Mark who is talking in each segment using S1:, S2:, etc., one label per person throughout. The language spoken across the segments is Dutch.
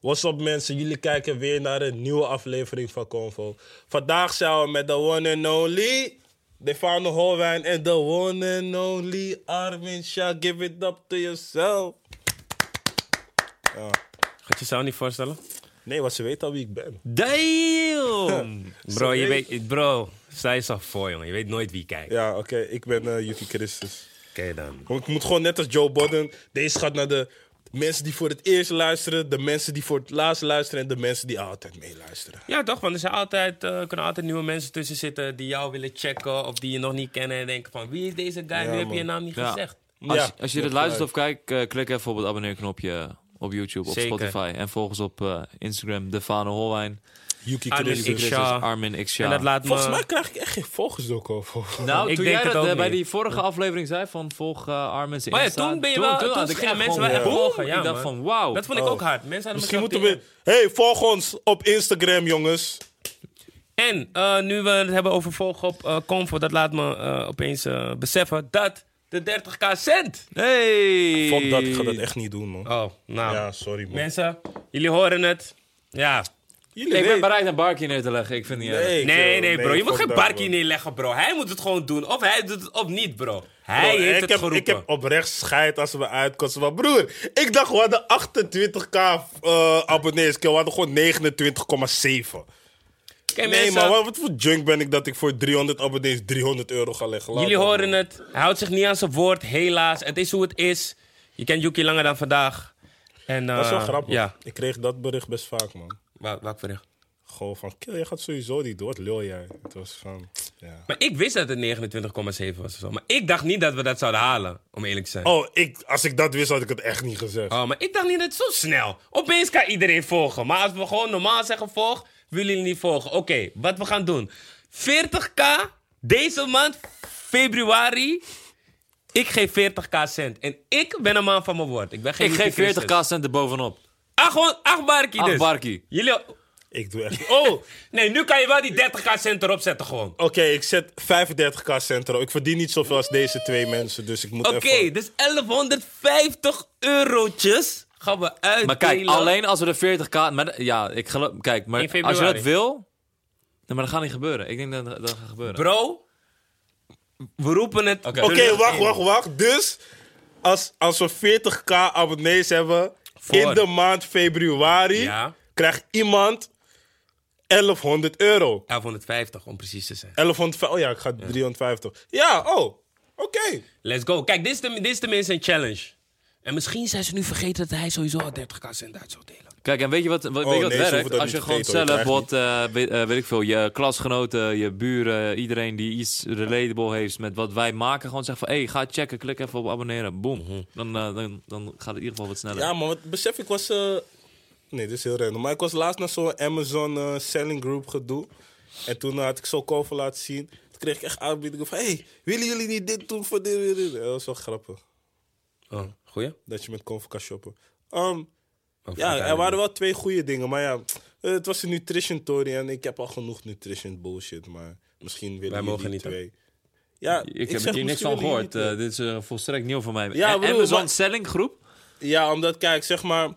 S1: What's up mensen, jullie kijken weer naar een nieuwe aflevering van Convo. Vandaag zijn we met de one and only Defano Holwijn en de one and only Armin Shah. Give it up to yourself.
S2: Gaat je zou niet voorstellen?
S1: Nee, want ze weet al wie ik ben.
S2: Damn! Bro, je
S1: Zo
S2: weet, bro, sta jezelf voor, jongen. Je weet nooit wie kijkt.
S1: Ja, oké, ik ben eh Yuki Christus.
S2: Oké dan.
S1: Want ik moet gewoon net als Joe Budden. Deze gaat naar de mensen die voor het eerst luisteren, de mensen die voor het laatst luisteren en de mensen die altijd meeluisteren.
S2: Ja, toch? Want er zijn altijd, eh, kunnen altijd nieuwe mensen tussen zitten die jou willen checken of die je nog niet kennen. En denken van, wie is deze guy? nu heb je je naam niet
S3: Ja.
S2: gezegd.
S3: Als,
S1: Ja,
S3: als
S1: je
S3: je dit
S1: hebt
S3: luistert of kijkt, eh, klik even op het abonneerknopje op YouTube, op
S2: Zeker.
S3: Spotify. En volg ons op eh, Instagram, Defano Holwijn.
S1: Yuki
S2: Armin
S1: Christus.
S2: Ik Sha.
S3: Armin Xia.
S2: En dat laat me...
S1: Volgens mij krijg ik echt geen volgers door Convo.
S3: Nou,
S2: Ik
S3: toen
S2: denk
S3: jij
S2: het
S3: dat
S2: ook
S3: eh, bij
S2: niet.
S3: die vorige aflevering zei van volg eh Armin's
S2: Maar ja,
S3: Insta.
S2: toen ben je wel- toen
S3: had ik
S2: gingen
S3: echt
S2: mensen
S3: gewoon
S2: wel echt
S3: boom.
S2: volgen, ja,
S3: ik dacht
S2: man.
S3: van wauw.
S2: Dat vond ik
S1: Oh.
S2: ook hard. Mensen hadden
S1: Misschien
S2: mezelf
S1: moeten
S2: tegen-
S1: we. Hey, volg ons op Instagram, jongens.
S2: En eh, nu we het hebben over volg op eh Comfort, dat laat me eh, opeens eh, beseffen dat de 30k cent.
S3: Hey!
S1: Fuck dat, ik ga dat echt niet doen, man.
S2: Oh, nou.
S1: Ja, sorry, man.
S2: Mensen, jullie horen het. Ja.
S1: Jullie
S3: Ik ben
S1: weten-
S3: bereid een barkje neer te leggen. Ik vind het niet erg.
S1: eh, Nee,
S2: Nee,
S1: joh,
S2: nee, bro. je moet
S1: fuck
S2: geen
S1: dat,
S2: barkie
S1: man.
S2: neerleggen, bro. Hij moet het gewoon doen. Of hij doet het of niet, bro.
S1: Bro,
S2: Hij heeft
S1: ik
S2: het
S1: heb,
S2: geroepen.
S1: Ik heb oprecht scheid als we uitkomen. Maar broer, ik dacht we hadden 28k eh, abonnees. We hadden gewoon 29,7.
S2: Kijk,
S1: Nee,
S2: mensen,
S1: maar wat, wat voor junk ben ik dat ik voor 300 abonnees 300 euro ga leggen? Laat
S2: jullie
S1: dat,
S2: horen
S1: man.
S2: het. Hij houdt zich niet aan zijn woord, helaas. Het is hoe het is. Je kent Yuki langer dan vandaag. En,
S1: Dat is wel
S2: eh,
S1: grappig.
S2: Ja.
S1: Ik kreeg dat bericht best vaak, man.
S2: Wa- Welk bericht?
S1: Gewoon van, kill, je gaat sowieso niet door. Wat lul jij? Het was van, ja.
S2: Maar ik wist dat het 29,7 was of zo. Maar ik dacht niet dat we dat zouden halen, om eerlijk te zijn. Oh.
S1: Oh, ik, als ik dat wist, had ik het echt niet gezegd.
S2: maar ik dacht niet dat het zo snel. Opeens kan iedereen volgen. Maar als we gewoon normaal zeggen volg, willen jullie niet volgen. Oké, wat we gaan doen. 40k deze maand, februari. Ik geef 40k cent. En ik ben een man van mijn woord. Ik, ben geen
S3: Ik
S2: Mickey
S3: geef 40k
S2: Christus.
S3: cent erbovenop.
S2: Ah, gewoon acht barkie dus.
S3: Acht barkie.
S2: Jullie...
S1: Ik doe echt...
S2: Oh, nee, nu kan je wel die 30k cent erop zetten gewoon.
S1: Oké, ik zet 35k centro. Ik verdien niet zoveel als deze twee mensen, dus ik moet
S2: Oké,
S1: even...
S2: dus 1150 eurotjes gaan we uitdelen.
S3: Maar kijk, alleen als we de 40k... Maar, ja, ik geloof... Kijk, maar
S2: In
S3: als je
S2: februari.
S3: dat wil... Nee, maar dat gaat niet gebeuren. Ik denk dat dat gaat gebeuren.
S2: Bro, we roepen het. Oké,
S1: Oké, wacht, wacht, wacht. Dus, als, als we 40k abonnees hebben in
S2: Voor.
S1: de maand februari,
S2: Ja.
S1: krijgt iemand 1100 euro.
S2: 1150 om precies te zijn.
S1: 1100, oh ja, ik ga 350. Ja, oh, oké.
S2: Let's go. Kijk, dit is, de, dit is tenminste een challenge. En misschien zijn ze nu vergeten dat hij sowieso al 30k cent uit zou delen.
S3: Kijk, en weet je wat, wat, weet je wat
S1: Oh, nee, ze hoeven
S3: werkt?
S1: dat
S3: Als je
S1: niet te
S3: gewoon
S1: vergeten,
S3: zelf
S1: hoor. Je
S3: wat, eh, weet, eh, weet ik veel, je klasgenoten, je buren, iedereen die iets relatable heeft met wat wij maken, gewoon zeggen van, hé, hey, ga checken, klik even op abonneren, boom. Dan, eh, dan, dan gaat het in ieder geval wat sneller.
S1: Mhm. Ja, maar wat besef ik was. eh, nee, dit is heel random. Maar ik was laatst naar zo'n Amazon eh, Selling Group gedoe. En toen had ik zo'n cover laten zien. Toen kreeg ik echt aanbiedingen van: hey, willen jullie niet dit doen voor dit? dit, dit? Dat was wel grappig.
S2: Oh, goeie?
S1: Dat je met Convo kan shoppen. Ehm,
S2: Of
S1: ja, er
S2: uiteindelijk?
S1: waren wel twee goede dingen. Maar ja, eh, het was een nutrition tory. En ik heb al genoeg nutrition bullshit. Maar misschien willen
S2: Wij
S1: jullie
S2: mogen
S1: die
S2: niet, hè?
S1: twee. Ja,
S3: ik, heb
S1: zeg,
S3: hier niks
S1: misschien willen
S3: van gehoord.
S1: jullie die
S3: Eh, dit is eh, volstrekt nieuw voor mij.
S1: Ja,
S3: En
S1: bedoel,
S3: Amazon
S1: maar-
S3: Selling Groep?
S1: Ja, omdat kijk, zeg maar,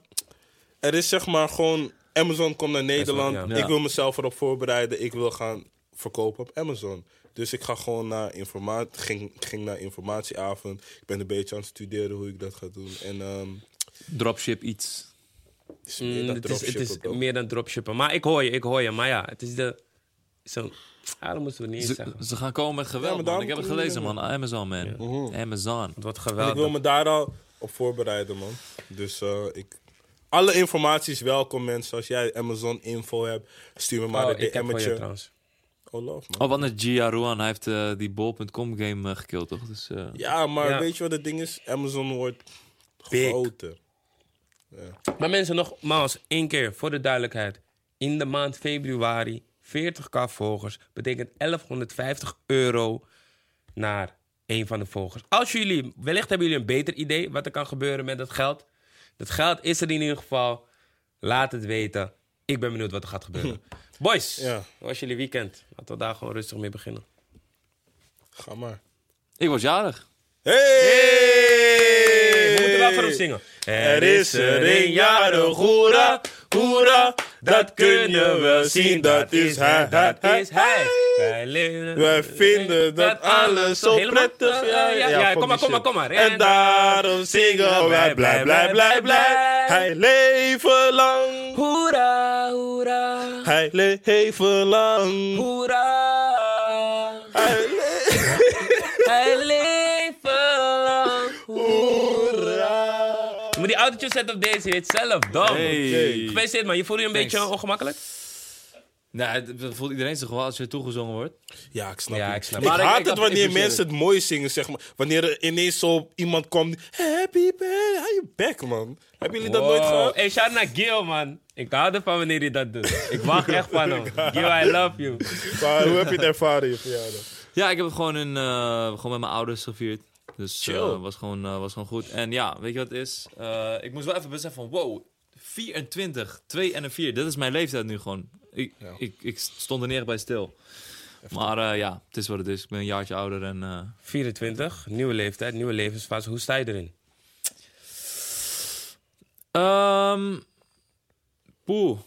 S1: er is zeg maar gewoon Amazon komt naar Nederland.
S2: ja.
S1: Ik
S3: Ja.
S1: wil mezelf erop voorbereiden. Ik wil gaan verkopen op Amazon. Dus ik ga gewoon naar informatie, ging, ging naar informatieavond. Ik ben een beetje aan het studeren hoe ik dat ga doen. En ehm
S3: Dropship iets.
S1: het is
S2: Mm,
S1: meer dat
S2: het is, het is
S1: dropshippen, bro.
S2: meer dan dropshippen. Maar ik hoor je, ik hoor je. Maar ja, het is de... Zo, daarom moeten we het niet eens
S3: Ze,
S2: zeggen.
S3: ze gaan komen met
S1: Ja,
S3: geweld,
S1: maar
S3: man.
S1: daarom
S3: Ik heb het
S1: kunnen we
S3: gelezen, man. Amazon, man. Amazon.
S2: Het wordt
S1: En
S2: geweldig.
S1: ik wil me daar al op voorbereiden, man. Dus eh, ik... Alle informatie is welkom, mensen. Als jij Amazon info hebt, stuur me maar
S2: Oh,
S1: een
S2: ik heb voor je
S1: DM'tje.
S2: trouwens.
S1: Oh, love, man.
S3: Oh, wat net Gia Ruan. Hij heeft eh, die bol.com game eh, gekild, toch? Dus, eh,
S1: Ja, maar
S2: Ja.
S1: weet je wat het ding is? Amazon wordt
S2: Big.
S1: groter.
S2: Maar mensen, nogmaals, één keer voor de duidelijkheid. In de maand februari, 40k volgers, betekent 1150 euro naar één van de volgers. Als jullie, wellicht hebben jullie een beter idee wat er kan gebeuren met dat geld. Dat geld is er in ieder geval. Laat het weten. Ik ben benieuwd wat er gaat gebeuren. Boys,
S1: Ja.
S2: hoe was jullie weekend? Laten we daar gewoon rustig mee beginnen.
S1: Ga maar.
S3: Ik was jarig.
S1: Hey!
S2: moeten wel voor hem zingen.
S1: Er is er een jarig, hoera, hoera, dat kun je wel zien, dat is hij,
S2: dat
S1: hij,
S2: is hij.
S1: hij.
S2: Wij leren-
S1: Wij vinden dat alles zo
S2: Helemaal?
S1: prettig.
S2: Ja, ja, ja,
S1: fuck
S2: kom maar,
S1: die
S2: kom maar,
S1: shit.
S2: kom maar.
S1: En daarom zingen wij blij, blij, blij, blij. Hij leven lang,
S2: Hoera, hoera,
S1: hij leven lang.
S2: hoera.
S1: Hij le-
S2: Hij leven lang.
S1: Hoera.
S2: Je moet die autootje zetten op deze, je weet zelf,
S1: Oh,
S2: dom.
S3: Hey.
S2: Gefeliciteerd man, je voelde je een beetje
S3: Thanks.
S2: ongemakkelijk?
S3: Nou, het- dat voelt iedereen zich wel als je toegezongen wordt.
S1: Ja, ik snap
S2: Ja,
S1: het.
S2: ik
S1: Ik,
S2: snap
S3: het. Maar ik-
S1: haat
S3: ik
S1: het
S3: apprecieer
S1: wanneer
S3: het.
S1: mensen het mooi zingen, zeg maar. Wanneer er ineens zo iemand komt. die, Happy birthday, hou je bek, man. Hebben jullie dat nooit
S2: Wow.
S1: gehad?
S2: Hey, shout naar Gil man. Ik hou ervan wanneer hij dat doet. Ik wacht echt van hem. Gil, I love you.
S1: Maar hoe heb je het ervaren, je verjaardag?
S3: Ja, ik heb het gewoon, in, eh, gewoon met mijn ouders gevierd. Dus eh,
S1: Chill.
S3: was, gewoon, eh, was gewoon goed. En ja, weet je wat het is? Eh, ik moest wel even beseffen van, wow, 24, 2 en een 4. Dit is mijn leeftijd nu gewoon. Ik,
S1: Ja.
S3: ik, ik stond er neer bij stil. Maar eh, ja, het is wat het is. Ik ben een jaartje ouder en... eh,
S2: 24, nieuwe leeftijd, nieuwe levensfase. Hoe sta je erin?
S3: Ehm poeh.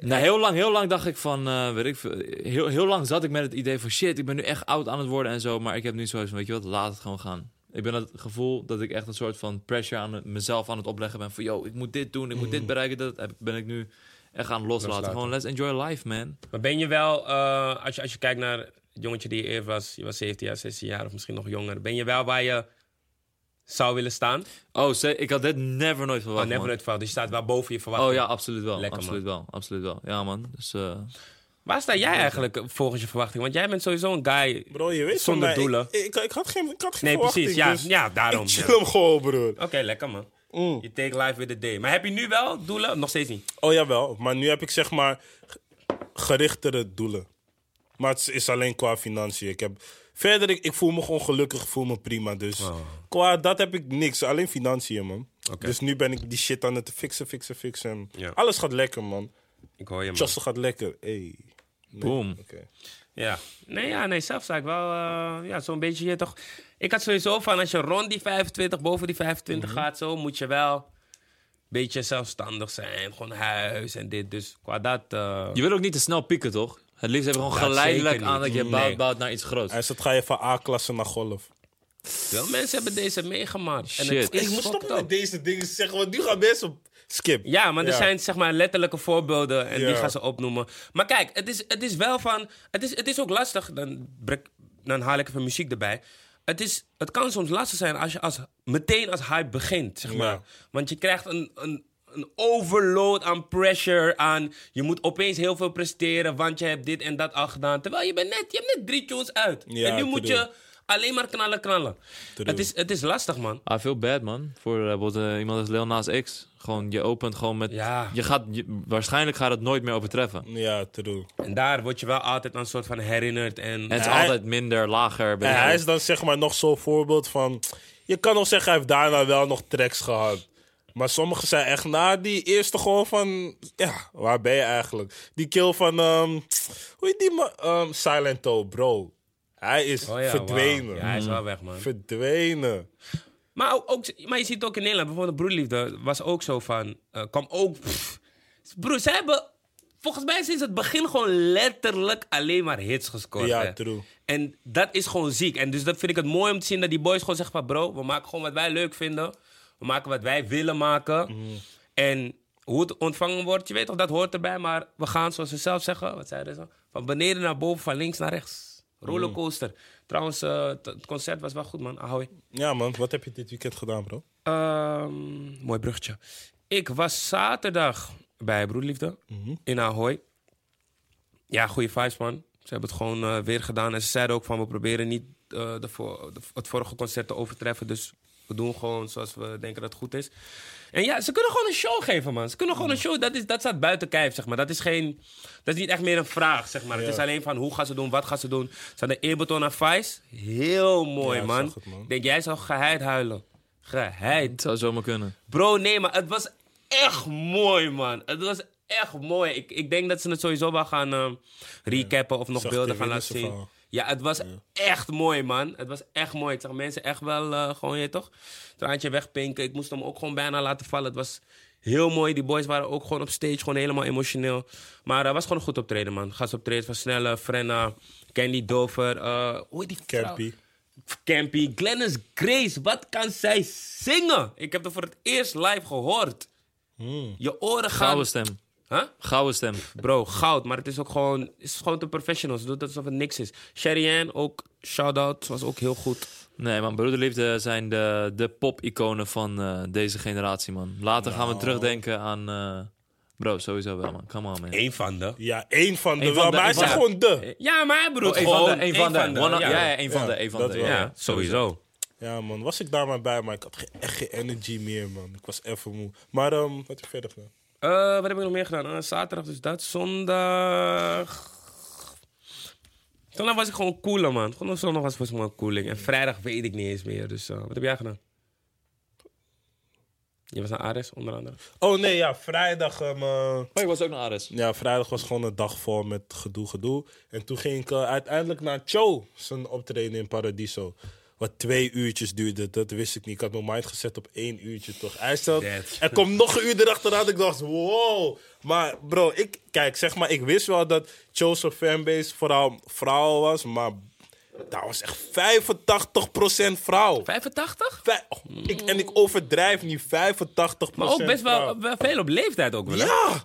S3: Nou, heel lang, heel lang dacht ik van, eh, weet ik veel, heel, heel lang zat ik met het idee van shit, ik ben nu echt oud aan het worden en zo, maar ik heb nu zoiets van, weet je wat, laat het gewoon gaan. Ik ben het gevoel dat ik echt een soort van pressure aan het- mezelf aan het opleggen ben van, yo, ik moet dit doen, ik moet dit bereiken, dat heb- ben ik nu echt aan
S2: Mm.
S3: het loslaten.
S2: Loslaten.
S3: Gewoon, let's enjoy life, man.
S2: Maar ben je wel, eh, als, je, als je kijkt naar het jongetje die je eerder was, je was 17 jaar, 16 jaar of misschien nog jonger, ben je wel waar je zou willen staan?
S3: Oh, ze- ik had dit never nooit
S2: Oh,
S3: verwacht,
S2: never
S3: man.
S2: nooit fout. Dus je staat wel boven je verwachting.
S3: Oh ja, absoluut wel,
S2: Lekker,
S3: absoluut wel, absoluut wel. Ja, man, dus... eh,
S2: Waar sta jij eigenlijk eh, volgens je verwachting? Want jij bent sowieso een guy.
S1: Bro, je weet
S2: Zonder
S1: van mij,
S2: doelen.
S1: Ik, ik, ik had geen, ik had geen
S2: Nee,
S1: verwachting,
S2: precies. Ja,
S1: dus
S2: ja daarom.
S1: Ik
S2: ja.
S1: chill hem gewoon, broer.
S2: Oké, lekker man.
S1: Mm.
S2: You take life with the day. Maar heb je nu wel doelen? Nog steeds niet.
S1: Oh jawel, maar nu heb ik zeg maar g- gerichtere doelen. Maar het is alleen qua financiën. Ik heb, verder, ik, ik voel me gewoon gelukkig, ik voel me prima. Dus
S2: Oh.
S1: qua dat heb ik niks, alleen financiën, man. Dus nu ben ik die shit aan het fixen, fixen, fixen. En
S2: Ja.
S1: Alles gaat lekker, man.
S2: Ik hoor je man.
S1: Chassen gaat lekker. Hey. Nee,
S3: Boom.
S1: oké.
S2: Ja. Nee, ja, nee, zelf sta ik wel eh, ja, zo'n beetje hier toch. Ik had sowieso van als je rond die 25, boven die 25
S1: Mhm.
S2: gaat, zo moet je wel een beetje zelfstandig zijn. Gewoon huis en dit. Dus qua dat. eh,
S3: Je wil ook niet te snel pieken, toch? Het liefst even gewoon
S2: Dat
S3: geleidelijk
S2: zeker niet.
S3: aan dat je
S2: Nee.
S3: bouwt, bouwt naar iets groots.
S1: Hij zegt, ga je van A-klasse naar golf.
S2: Veel mensen hebben deze meegemaakt. En
S3: Shit.
S2: het is
S1: Ik moet
S2: fucked
S1: stoppen
S2: up.
S1: met deze dingen zeggen, want nu gaan mensen skip.
S2: Ja, maar er
S1: Ja.
S2: zijn zeg maar letterlijke voorbeelden en die
S1: Ja.
S2: gaan ze opnoemen. Maar kijk, het is, het is wel van. Het is, het is ook lastig. Dan, brek- dan haal ik even muziek erbij. Het, is, het kan soms lastig zijn als je als, meteen als hype begint, zeg
S1: Ja.
S2: maar. Want je krijgt een, een, een overload aan pressure, aan... Je moet opeens heel veel presteren, want je hebt dit en dat al gedaan. Terwijl je bent net, je hebt net drie tunes uit.
S1: Ja,
S2: en nu moet
S1: true.
S2: je alleen maar knallen, knallen. Het is, het is lastig, man.
S3: Ah, veel bad, man. Voor eh, bijvoorbeeld eh, iemand als Lil Nas X. Gewoon, je opent gewoon met...
S2: Ja.
S3: Je gaat, je- waarschijnlijk gaat het nooit meer overtreffen.
S1: Ja, true.
S2: En daar word je wel altijd aan een soort van herinnerd en...
S3: En het is
S1: hij-
S3: altijd minder, lager.
S1: En
S3: beter.
S1: hij is dan zeg maar nog zo'n voorbeeld van... Je kan nog zeggen, hij heeft daarna wel nog tracks gehad. Maar sommigen zijn echt na die eerste gewoon van... Ja, waar ben je eigenlijk? Die kill van... ehm, hoe heet die man? Ehm, Silent Toe, bro. Hij is
S2: Oh ja,
S1: verdwenen. Mm.
S2: wauw. Ja, hij is wel weg, man.
S1: Verdwenen.
S2: Maar, ook- ook, maar je ziet het ook in Nederland. Bijvoorbeeld Broederliefde was ook zo van... eh kwam ook... pff. Broer, ze hebben... Volgens mij sinds het begin gewoon letterlijk alleen maar hits gescoord.
S1: Ja,
S2: hè.
S1: true.
S2: En dat is gewoon ziek. En dus dat vind ik het mooi om te zien dat die boys gewoon zeggen van... Bro, we maken gewoon wat wij leuk vinden. We maken wat wij willen maken. En hoe het ontvangen wordt, je weet toch, dat hoort erbij. Maar we gaan, zoals ze zelf zeggen, wat zeiden ze? Van beneden naar boven, van links naar rechts. Rollercoaster. Trouwens, eh, t- het concert was wel goed, man. Ahoy.
S1: Ja man, wat heb je dit weekend gedaan, bro?
S2: Ehm, mooi bruggetje. Ik was zaterdag bij Broederliefde
S1: Mhm.
S2: in Ahoy. Ja, goede vibes, man. Ze hebben het gewoon eh, weer gedaan. En ze zeiden ook van, we proberen niet eh, de vo- de- het vorige concert te overtreffen. Dus we doen gewoon zoals we denken dat het goed is. En ja, ze kunnen gewoon een show geven, man. Ze kunnen gewoon
S1: Mhm.
S2: een show. Dat, is, dat staat buiten kijf, zeg maar. Dat is geen... Dat is niet echt meer een vraag, zeg maar. Het is alleen van, hoe gaan ze doen? Wat gaan ze doen? Ze hadden Eberton en Vice. Heel mooi,
S1: Ja, ik
S2: man.
S1: zag het, man.
S2: Ik denk, jij zou geheid huilen. Geheid.
S3: Het zou zomaar kunnen.
S2: Bro, nee, maar het was echt mooi, man. Het was echt mooi. Ik, ik denk dat ze het sowieso wel gaan eh, recappen of nog
S1: Zag ik
S2: beelden
S1: die
S2: gaan laten zien.
S1: Willemsen verhaal.
S2: Ja, het was echt mooi, man. Het was echt mooi. Ik zag mensen echt wel eh, gewoon, je weet toch, traantje wegpinken. Ik moest hem ook gewoon bijna laten vallen. Het was heel mooi. Die boys waren ook gewoon op stage, gewoon helemaal emotioneel. Maar het was gewoon een goed optreden, man. Gastoptreden van Snelle, Frenna, Candy Dover. eh, hoe heet die vrouw?
S1: Campy.
S2: Campy, Glennis Grace, wat kan zij zingen? Ik heb haar voor het eerst live gehoord.
S3: Hmm.
S2: Je oren gaan...
S3: Gouden stem.
S2: Huh?
S3: Gouden stem.
S2: Bro, goud, maar het is ook gewoon, het is gewoon te professionals. Ze doet alsof het niks is. Sherry-Ann, ook shout-out, ze was ook heel goed.
S3: Nee, man. Broederliefde zijn de, de pop-iconen van eh, deze generatie, man. Later gaan we terugdenken aan... eh, bro, sowieso wel, man. Come on, man.
S2: Eén van de.
S1: Ja, één van de
S3: Eén van
S1: wel,
S3: de-
S1: maar hij
S3: één
S1: zegt
S3: van de-
S1: gewoon de.
S2: Ja, maar hij bedoelt
S3: Eén
S2: gewoon...
S3: Oh, van de, één van de.
S2: ja,
S3: One- ja, ja, één van
S1: Ja,
S3: de, één van
S1: dat
S3: de.
S1: wel.
S3: ja.
S2: Ja, sowieso.
S1: Ja, man, was ik daar maar bij, maar ik had geen- echt geen energy meer, man. Ik was even moe. Maar ehm, wat heb je verder gedaan?
S2: Eh, wat heb ik nog meer gedaan? Eh, zaterdag dus dat, zondag... Zondag was ik gewoon cooler, man. Gewoon op zondag was volgens mij een cooling. En vrijdag weet ik niet eens meer, dus eh, wat heb jij gedaan? Je was naar Ares, onder andere.
S1: Oh nee, ja, vrijdag. ehm, eh,
S3: Oh, ik was ook naar Ares.
S1: ja, vrijdag was gewoon een dag vol met gedoe, gedoe. En toen ging ik eh, uiteindelijk naar Cho, zijn optreden in Paradiso. Wat twee uurtjes duurde, dat wist ik niet. Ik had mijn mind gezet op één uurtje, toch? Hij stelt,
S2: That's-
S1: er komt nog een uur erachteraan. Ik dacht, wow. Maar bro, ik, kijk, zeg maar, ik wist wel dat Cho zijn fanbase vooral vrouw was. Maar daar was echt 85% vrouw.
S2: 85?
S1: Vij- oh, ik, en ik overdrijf niet 85%.
S2: Maar ook best
S1: vrouw.
S2: wel, wel veel op leeftijd ook wel, hè?
S1: Ja!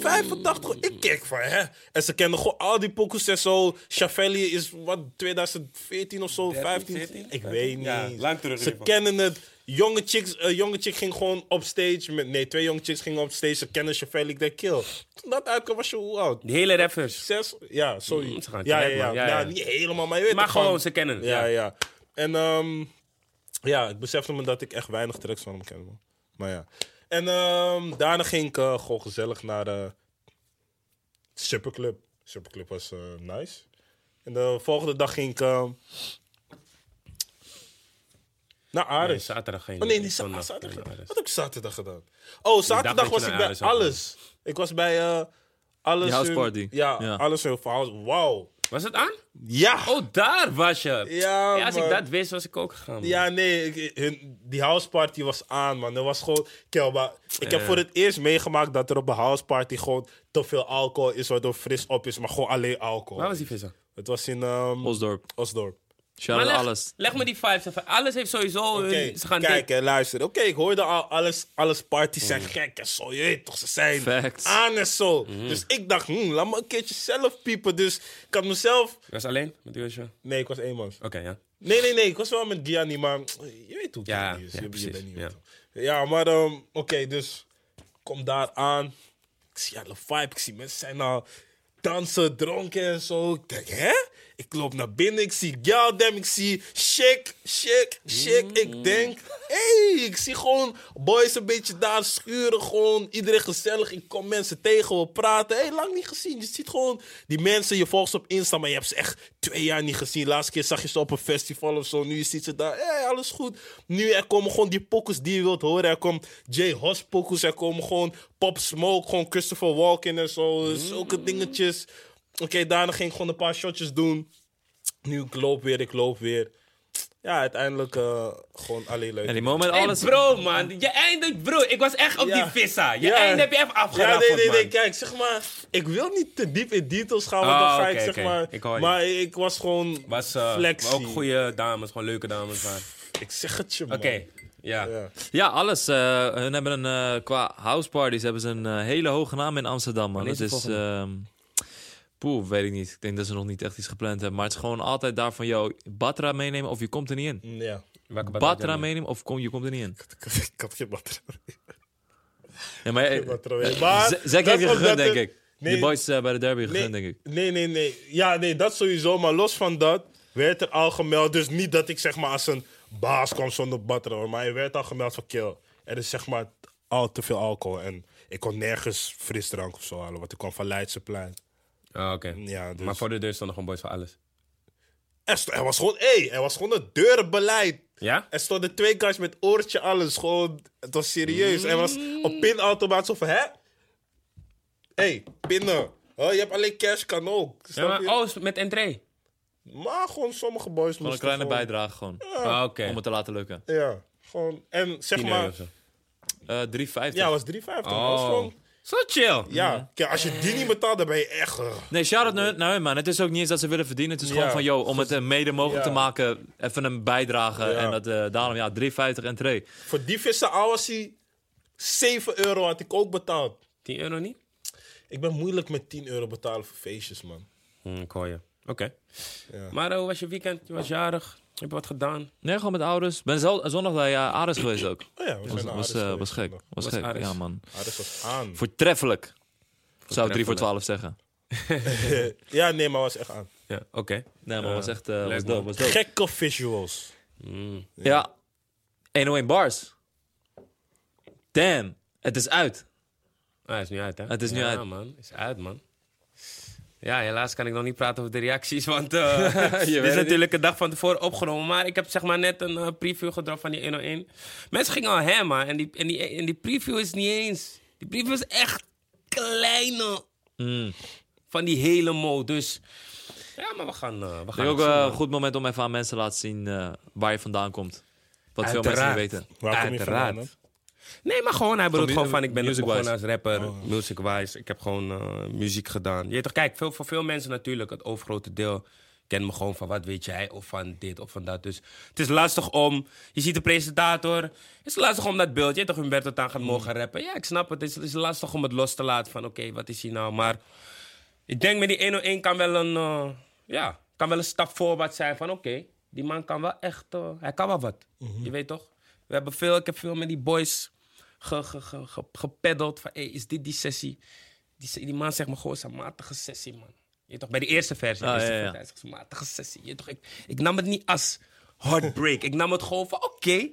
S1: 85, ik kijk van hè. En ze kennen gewoon al die pokus en zo. Chavelli is wat, 2014 of zo, 15?
S2: 14?
S1: Ik weet niet.
S2: Ja, lang terug in
S1: Ze
S2: ieder
S1: kennen het. Jonge chicks, eh, jonge chick ging gewoon op stage. Met, nee, twee jonge chicks gingen op stage. Ze kennen Chavelli, ik denk kill. Toen dat uitkwam was je hoe oud?
S2: Die hele rappers.
S1: Zes? Ja, sorry.
S2: Mm, ze gaan
S1: ja, ja,
S2: track,
S1: ja,
S2: man. Ja,
S1: Ja,
S2: ja.
S1: Niet helemaal, maar je weet
S2: Maar
S1: toch van-
S2: gewoon, ze kennen het,
S1: Ja,
S2: ja.
S1: ja. En ehm, ja, ik besefte me dat ik echt weinig tracks van hem ken. Man. Maar ja. En ehm, daarna ging ik eh, gewoon gezellig naar de Superclub. Superclub was eh, nice. En de volgende dag ging ik ehm, naar
S2: Nee,
S1: Ares.
S2: zaterdag geen.
S1: Oh nee, nee za-
S2: zondag.
S1: zaterdag.
S2: Nee, Ares.
S1: Wat heb ik zaterdag gedaan? Oh, zaterdag
S2: dat je
S1: was ik
S2: naar
S1: bij
S2: Ares zou gaan.
S1: alles. Ik was bij eh, alles.
S3: Die house
S1: in-
S3: party.
S1: Ja,
S3: Ja.
S1: alles in Wauw. Wow.
S2: Was het aan?
S1: Ja.
S2: Oh, daar was je.
S1: Ja,
S2: als ik
S1: man.
S2: dat wist, was ik ook gegaan. man.
S1: Ja, nee, ik- hun- die houseparty was aan, man. Dat was gewoon... Kel, maar ik heb
S2: Ja.
S1: voor het eerst meegemaakt dat er op een houseparty gewoon te veel alcohol is, waardoor fris op is, maar gewoon alleen alcohol.
S2: Waar was die visser?
S1: Het was in ehm,
S3: Osdorp.
S1: Osdorp.
S3: Shout-out
S2: Hm. leg,
S3: alles.
S2: leg me die vibes even. Alles heeft sowieso... hun-
S1: Oké,
S2: Eh, ze gaan
S1: kijk
S2: dit-
S1: en luister. Oké, ik hoorde al, alles, alles parties zijn gek en zo. Je weet toch, ze zijn
S3: Facts.
S1: aan en zo. Dus ik dacht, hmm, laat me een keertje zelf piepen. Dus ik had mezelf...
S2: Was alleen? Met u was je? Oké,
S1: Nee, ik was eenmans.
S2: ja.
S1: Nee, nee, nee. Ik was wel met Gianni, maar je weet hoe het
S2: Ja,
S1: is.
S2: ja,
S1: je, je
S2: precies,
S1: bent niet
S2: ja.
S1: ja, maar ehm, oké, dus kom daar aan. Ik zie alle vibe. Ik zie mensen zijn al dansen, dronken en zo. Ik denk, hè? Ik loop naar binnen. Ik zie Galdem. Ik zie shake, shake, shake.
S2: Mm.
S1: Ik denk, hé, hey, ik zie gewoon boys een beetje daar schuren. Gewoon iedereen gezellig. Ik kom mensen tegen, we praten. Hé, hey, lang niet gezien. Je ziet gewoon die mensen. Je volgt ze op Insta, maar je hebt ze echt twee jaar niet gezien. Laatste keer zag je ze op een festival of zo. Nu ziet ze daar, hé, hey, alles goed. Nu er komen gewoon die pokus die je wilt horen. Er komt J. Hos pokus. Er komen gewoon Pop Smoke, gewoon Christopher Walken en zo. Dus
S2: Mm.
S1: Zulke dingetjes. Oké, daarna ging ik gewoon een paar shotjes doen. Nu ik loop weer, ik loop weer. Ja, uiteindelijk eh, gewoon alleen leuk.
S3: En die moment
S2: Hey,
S3: alles...
S2: bro, man. Je eindigt... Bro, ik was echt op
S1: Ja.
S2: die vissa. Je
S1: Ja.
S2: eind heb je even
S1: Ja,
S2: afgeraffeld,
S1: nee, nee, nee,
S2: man.
S1: kijk, zeg maar. Ik wil niet te diep in details gaan, want
S2: Ah,
S1: dan ga ik
S2: oké,
S1: zeg
S2: oké.
S1: maar.
S2: Ik hoor je.
S1: maar ik was gewoon
S2: Was eh,
S1: flexie.
S2: ook goede dames, gewoon leuke dames. maar- Oké,
S1: Ik zeg het je, man.
S2: ja.
S1: Ja.
S3: Ja, alles. eh, hun hebben een, eh, qua houseparties hebben ze een eh, hele hoge naam in Amsterdam, man.
S2: Wanneer
S3: Dat
S2: is de
S3: is... ehm poeh, weet ik niet. Ik denk dat ze nog niet echt iets gepland hebben. Maar het is gewoon altijd daarvan, yo, Batra meenemen of je komt er niet in.
S1: Mm, Ja.
S2: Welke badminton?
S3: Batra meenemen of kom, je komt er niet in.
S1: Ik had geen batterij.
S3: Ja, maar... eh,
S1: batterij. Maar
S3: Z- Zek
S1: dat
S3: heeft
S1: omdat
S3: je gegund, denk
S1: het-
S3: ik. Die boys eh, bij de derby
S1: nee,
S3: gegund, denk ik.
S1: Nee, nee, nee. Ja, nee, dat sowieso. Maar los van dat werd er al gemeld. Dus niet dat ik zeg maar als een baas kwam zonder batterij. hoor, Maar je werd al gemeld van kill. Er is zeg maar al te veel alcohol. En ik kon nergens frisdrank of zo halen. Want ik kwam van Leidseplein.
S2: Ah, oké.
S1: Ja, dus-
S2: Maar voor de deur stonden gewoon boys van alles.
S1: Er, st- er was gewoon, hé, er was gewoon een deurenbeleid.
S2: Ja?
S1: Er stonden twee guys met oortje, alles. Gewoon, het was serieus. Er was op pinautomaat zo van, hè? Hé, hey, pinnen. Oh, je hebt alleen cash, kan ook.
S2: Ja,
S1: Snap
S2: maar,
S1: je?
S2: oh, met entree.
S1: Maar gewoon sommige boys
S3: Gewoon een kleine bijdrage gewoon.
S2: Ah, Oké.
S3: Om het te laten lukken.
S1: Ja, gewoon. En zeg
S2: 10 euro
S1: maar.
S2: of zo.
S3: Eh 3,50.
S1: Ja, was 3,50. Dat was
S2: Oh.
S1: gewoon.
S2: Zo chill.
S1: Ja, kijk, als je die niet betaalt, dan ben je echt. eh,
S3: Nee, shout-out naar, naar hun, man. Het is ook niet eens dat ze willen verdienen. Het is
S1: Ja.
S3: gewoon van, yo, om het eh, mede mogelijk
S1: Ja.
S3: te maken, even een bijdrage.
S1: Ja.
S3: En dat, eh, daarom, ja, 3,50 entree.
S1: voor die vissen Awasi, 7 euro had ik ook betaald.
S2: 10 euro niet?
S1: Ik ben moeilijk met 10 euro betalen voor feestjes, man.
S2: Hm, ik hoor je. Oké.
S1: Ja.
S2: Maar eh, hoe was je weekend? Je was jarig. Heb je wat gedaan?
S3: Nee, gewoon met ouders. Ben zo- zondag bij eh, Ares geweest ook.
S1: Oh ja, we
S3: Was,
S1: zijn naar
S3: was,
S1: Ares
S3: eh,
S1: geweest
S3: was gek.
S1: vandaag.
S3: Was
S2: Was
S3: gek,
S2: Ares.
S3: ja, man.
S1: Ares was aan.
S3: Voortreffelijk. Zou ik 3 voor
S2: Voortreffelijk.
S3: 12 zeggen.
S1: ja, nee, maar was echt aan.
S2: Ja, oké.
S3: Nee, maar
S2: Eh,
S3: was echt eh,
S2: leuk,
S3: was dope,
S2: man.
S3: was dope.
S1: Gekke visuals.
S2: Mm.
S3: Ja. 101 bars. Damn. Het is uit.
S2: Ah, hij is nu uit, hè?
S3: Het is nu
S2: ja,
S3: uit.
S2: man. is uit, man. Ja, helaas kan ik nog niet praten over de reacties, want eh dit
S3: weet
S2: is
S3: het
S2: natuurlijk een dag van tevoren opgenomen. Maar ik heb zeg maar net een eh, preview gedropt van die 101. Mensen gingen al hem, man. En die, en, die, en die preview is niet eens... Die preview is echt kleine
S3: Mm.
S2: van die hele mo. Dus ja, maar we gaan, eh, we
S3: Ik
S2: gaan
S3: denk ook
S2: het zien,
S3: eh,
S2: man.
S3: een goed moment om even aan mensen te laten zien eh, waar je vandaan komt. Wat veel mensen
S2: Uiteraard.
S3: niet weten.
S1: Waar kom je vandaan,
S2: Uiteraard. Nee, maar gewoon, hij bedoelt
S3: mu-
S2: gewoon van, ik ben Oh.
S3: music-wise.
S2: begonnen als rapper, music-wise. Ik heb gewoon eh, muziek gedaan. Je weet toch, kijk, veel, voor veel mensen natuurlijk, het overgrote deel, kent me gewoon van wat weet jij, of van dit, of van dat. Dus het is lastig om, je ziet de presentator, het is lastig om dat beeld, je weet toch, Humberto Tan gaat mogen rappen. Ja, ik snap het, het is, het is lastig om het los te laten van, oké, wat is hij nou? Maar ik denk met die 101 kan wel een, eh, ja, kan wel een stap voorwaarts zijn van oké, die man kan wel echt, eh, hij kan wel wat.
S3: Mhm.
S2: Je weet toch? We hebben veel, ik heb veel met die boys ge, ge, ge- ge- gepeddeld van hey, is dit die sessie? Die, se- die man zegt me gewoon, het is een matige sessie man. Je weet toch, bij de eerste versie.
S3: Ah,
S2: eerste
S3: ja, ja.
S2: versie, hij zegt, het is een matige sessie. Je weet toch, ik, ik nam het niet als heartbreak. ik nam het gewoon van oké,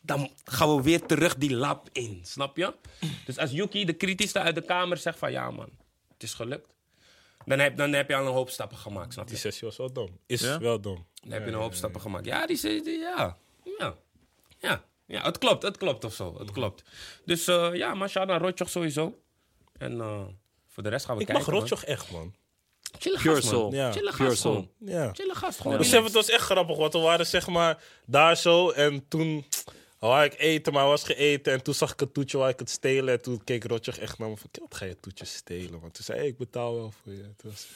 S2: dan gaan we weer terug die lab in, snap je? Dus als Yuki, de kritischste uit de kamer, zegt van ja man, het is gelukt. Dan heb, dan heb je al een hoop stappen gemaakt, snap
S1: Die
S2: je?
S1: sessie was wel dom. Is
S3: Ja?
S1: wel dom.
S2: Dan heb je een hoop stappen gemaakt. Ja, die, ze- die- ja. ja. Ja. Ja, het klopt, het klopt of zo. Het klopt. Dus eh, ja, maar shout naar Rotjoch sowieso. En eh, voor de rest gaan we
S1: Ik mag
S2: kijken.
S1: Rotjoch echt, man.
S2: man. Chille
S3: Pure
S2: gast, man.
S3: soul.
S1: Ja.
S2: Chille
S3: Pure
S2: gast,
S3: soul.
S2: gewoon.
S1: Ja.
S2: Chille gast, gewoon.
S1: Besef, het was echt grappig, want we waren zeg maar daar zo en toen had ik eten, maar was geëten en toen zag ik een toetje waar ik het stelen en toen keek Rotjoch echt naar me van, "Kiel, wat ga je toetjes stelen? Want toen zei hij, ik betaal wel voor je. Het was-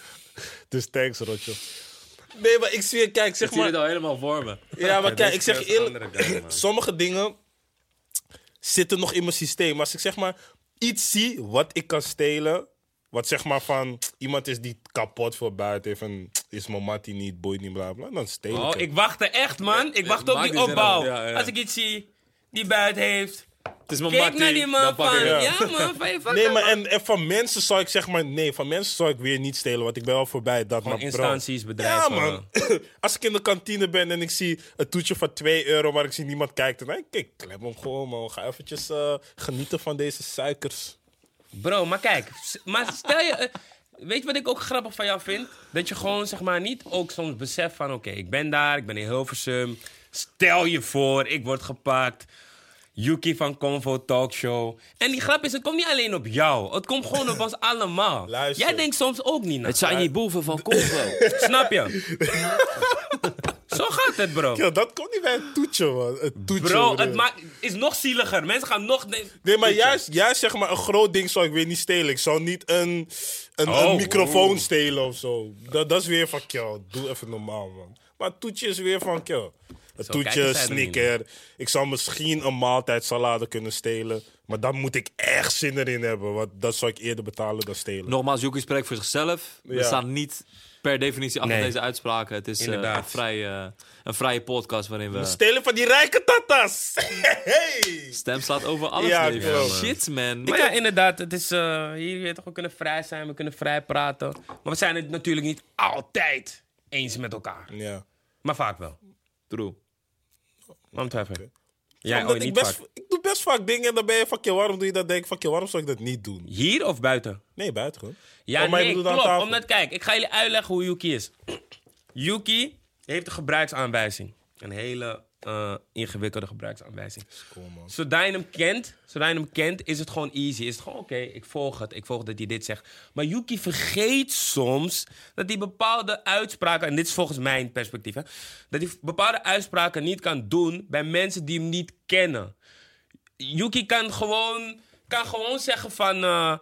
S1: dus thanks Rotjoch. Nee, maar ik zie je, kijk, zeg
S3: Ik zie
S1: maar...
S3: dit al helemaal voor me.
S1: Ja, maar kijk,
S2: deze
S1: ik zeg
S2: keer
S1: je
S2: is een
S1: eerlijk,
S2: andere guy, man.
S1: sommige dingen zitten nog in mijn systeem. Maar als ik zeg maar iets zie wat ik kan stelen, wat zeg maar van iemand is die kapot voor buiten heeft en is mijn mattie niet, boeit niet, bla bla, dan steel ik
S2: Oh,
S1: het.
S2: ik wacht er echt, man. Ik wacht op
S3: maak
S2: die
S3: dit weer
S2: opbouw.
S3: af. Ja, ja.
S2: Als ik iets zie die buiten heeft.
S3: Het is mijn
S2: Kijk naar die man van.
S1: ik
S2: Ja,
S1: het.
S2: man, van je van
S1: Nee, maar en, en van mensen zou ik zeg maar, nee, van mensen zou ik weer niet stelen, want ik ben al voorbij dat.
S2: Gewoon
S1: maar bro.
S2: instanties,
S1: Ja,
S2: bedrijven.
S1: man. Als ik in de kantine ben en ik zie een toetje van 2 euro, maar ik zie niemand kijken, dan kijk, klem hem gewoon, man. Ga eventjes eh, genieten van deze suikers.
S2: Bro, maar kijk. s- Maar stel je... eh, Weet je wat ik ook grappig van jou vind? Dat je gewoon zeg maar niet ook soms beseft van... Oké, ik ben daar, ik ben in Hilversum. Stel je voor, ik word gepakt. Yuki van Convo Talkshow. En die grap is, het komt niet alleen op jou. Het komt gewoon op ons allemaal.
S1: Luister.
S2: Jij denkt soms ook niet na.
S3: Het zijn die boeven van Congo.
S2: Snap je? Zo gaat het, bro.
S1: Ja, dat komt niet bij een toetje, man. Een toetje.
S2: Bro,
S1: broer.
S2: het maakt- is nog zieliger. Mensen gaan nog... Nee,
S1: Nee, maar juist, juist zeg maar, een groot ding zou ik weer niet stelen. Ik zou niet een, een,
S2: Oh,
S1: een microfoon
S2: oeh.
S1: stelen of zo. Dat, dat is weer van, kill, doe even normaal, man. Maar het toetje is weer van, kill. Een toetje,
S2: kijken zij er niet
S1: snicker. Ik zou misschien een maaltijdsalade kunnen stelen. Maar daar moet ik echt zin erin hebben. Want dat zou ik eerder betalen dan stelen.
S3: Nogmaals, Joekie spreekt voor zichzelf. We
S1: Ja.
S3: staan niet per definitie achter
S2: Nee.
S3: deze uitspraken. Het is eh,
S2: Inderdaad.
S3: een, vrij, eh, een vrije podcast waarin we...
S1: Stelen van die rijke tatas! Hey!
S3: Stem slaat over alles.
S1: Ja,
S3: leven.
S1: klopt.
S3: Shit, man.
S2: Maar ja, inderdaad, het is, eh, hier weet je toch, we kunnen vrij zijn, we kunnen vrij praten. Maar we zijn het natuurlijk niet altijd eens met elkaar.
S1: Ja.
S2: Maar vaak wel.
S3: True.
S2: Waarom twijfel je? Jij
S1: Omdat
S2: ooit
S1: ik,
S2: niet
S1: best,
S2: vaak.
S1: ik doe best vaak dingen en dan ben je van, kill, waarom doe je dat? Denk ik van, kill, waarom zou ik dat niet doen?
S2: Hier of buiten?
S1: Nee, buiten gewoon.
S2: Ja,
S1: Oh, maar je
S2: nee,
S1: bedoelt aan
S2: klopt.
S1: tafel.
S2: Omdat, kijk, ik ga jullie uitleggen hoe Yuki is. Yuki heeft een gebruiksaanwijzing. Een hele eh, ingewikkelde gebruiksaanwijzing.
S1: is cool, man.
S2: Zodra je hem kent, zodra je hem kent, is het gewoon easy. Is het gewoon oké, ik volg het. Ik volg dat hij dit zegt. Maar Yuki vergeet soms dat hij bepaalde uitspraken, en dit is volgens mijn perspectief, hè, dat hij bepaalde uitspraken niet kan doen bij mensen die hem niet kennen. Yuki kan gewoon, kan gewoon zeggen van. eh,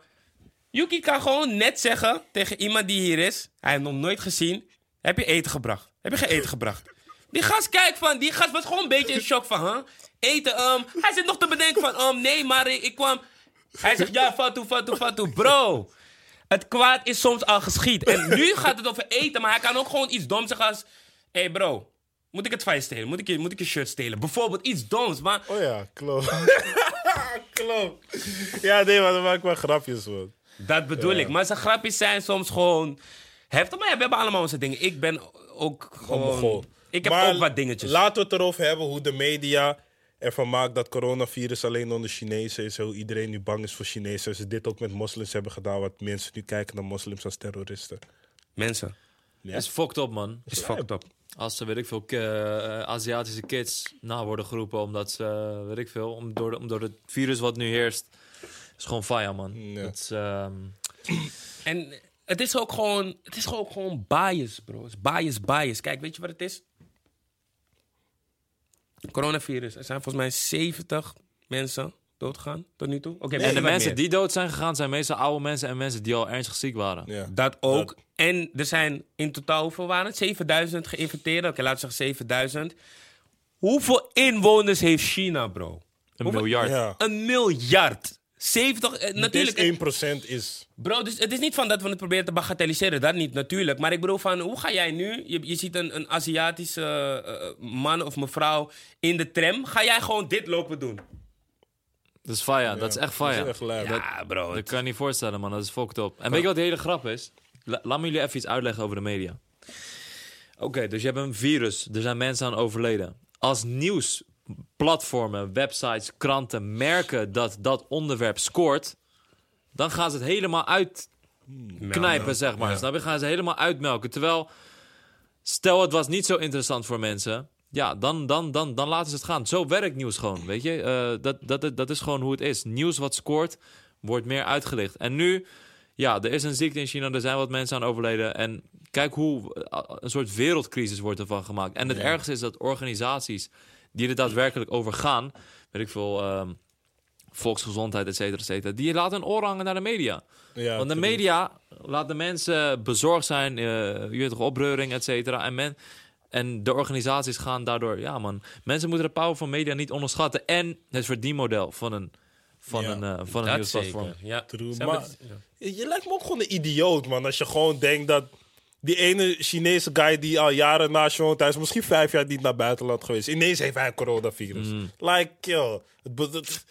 S2: Yuki kan gewoon net zeggen tegen iemand die hier is. Hij heeft nog nooit gezien. Heb je eten gebracht? Heb je geen eten gebracht? Die gast kijkt van, die gast was gewoon een beetje in shock van, huh? Eten, ehm, hij zit nog te bedenken van, ehm, nee, maar ik ik kwam. Hij zegt, ja, fatu, fatu, fatu, bro. Het kwaad is soms al geschied. En nu gaat het over eten, maar hij kan ook gewoon iets doms zeggen als, hé hey bro, moet ik het van je stelen? Moet ik je, moet ik je shirt stelen? Bijvoorbeeld iets doms, maar
S1: Oh ja, klopt. klopt. Ja, nee, maar dan maak ik maar grapjes, man.
S2: Dat bedoel ik. Maar zijn grapjes zijn soms gewoon heftig. Maar ja, we hebben allemaal onze dingen. Ik ben ook gewoon...
S1: Mongool.
S2: ik heb
S1: Oh, Maar
S2: ook wat dingetjes.
S1: Laten we het erover hebben hoe de media ervan maakt dat coronavirus alleen onder Chinezen is. Hoe iedereen nu bang is voor Chinezen. Ze dit ook met moslims hebben gedaan. Wat mensen nu kijken naar moslims als terroristen.
S2: Mensen,
S3: is fucked up, man.
S2: is fucked up.
S3: Als er, weet ik veel, ki- eh, Aziatische kids na worden geroepen omdat ze, eh, weet ik veel, om door, de- om door het virus wat nu heerst. is gewoon faya, man.
S1: Ja.
S3: Dat is, ehm,
S2: En het is ook gewoon, het is ook gewoon bias, bro. Het is bias, bias. Kijk, weet je wat het is? Coronavirus. Er zijn volgens mij 70 mensen doodgegaan tot nu toe. Oké,
S3: en de
S2: misschien wat
S3: mensen
S2: meer.
S3: die dood zijn gegaan zijn meestal oude mensen en mensen die al ernstig ziek waren.
S1: Ja.
S2: Dat ook. En er zijn in totaal, hoeveel waren het? 7000 geïnfecteerden. Oké, laten we zeggen 7000. Hoeveel inwoners heeft China, bro?
S3: Een
S2: Hoeveel-
S3: miljard.
S1: Ja.
S2: Een miljard. 70, eh, natuurlijk. eh,
S1: Natuurlijk. 1% is.
S2: Bro, dus het is niet van dat we het proberen te bagatelliseren. Dat niet, natuurlijk. Maar ik bedoel van, hoe ga jij nu... Je, je ziet een, een Aziatische eh, eh, man of mevrouw in de tram. Ga jij gewoon dit lopen doen?
S3: Dat is faya, dat is echt faya.
S1: Dat is echt lijp.
S2: Ja, bro.
S3: Dat kan je niet voorstellen, man. Dat is fucked up. En weet je wat de hele grap is? La- laat me jullie even iets uitleggen over de media. Oké, dus je hebt een virus. Er zijn mensen aan overleden. Als nieuwsplatformen, websites, kranten merken dat dat onderwerp scoort... dan gaan ze het helemaal uitknijpen, zeg maar. Snap je? Gaan ze helemaal uitmelken. Terwijl, stel het was niet zo interessant voor mensen... Ja, dan, dan, dan, dan laten ze het gaan. Zo werkt nieuws gewoon, weet je? Eh, dat, dat, dat, dat is gewoon hoe het is. Nieuws wat scoort, wordt meer uitgelicht. En nu, ja, er is een ziekte in China, er zijn wat mensen aan overleden. En kijk hoe eh, een soort wereldcrisis wordt ervan gemaakt. En het ergste is dat organisaties die er daadwerkelijk over gaan, weet ik veel, ehm, volksgezondheid, et cetera, et cetera, die laten een oor hangen naar de media.
S1: Ja,
S3: Want de
S1: tuurlijk.
S3: media laat de mensen bezorgd zijn, eh, je weet toch, opreuring, et cetera. En, men, en de organisaties gaan daardoor, ja man, mensen moeten de power van media niet onderschatten. En het verdienmodel van een, van
S1: Ja,
S3: een, eh, van een
S2: Dat
S3: nieuwsplatform.
S2: zeker. Ja.
S1: True,
S2: Zeg
S1: maar- Je je lijkt me ook gewoon een idioot, man. Als je gewoon denkt dat die ene Chinese guy die al jaren naast je woont, hij is misschien vijf jaar niet naar buitenland geweest. Ineens heeft hij een coronavirus.
S2: Mm.
S1: Like, yo. Het be- het-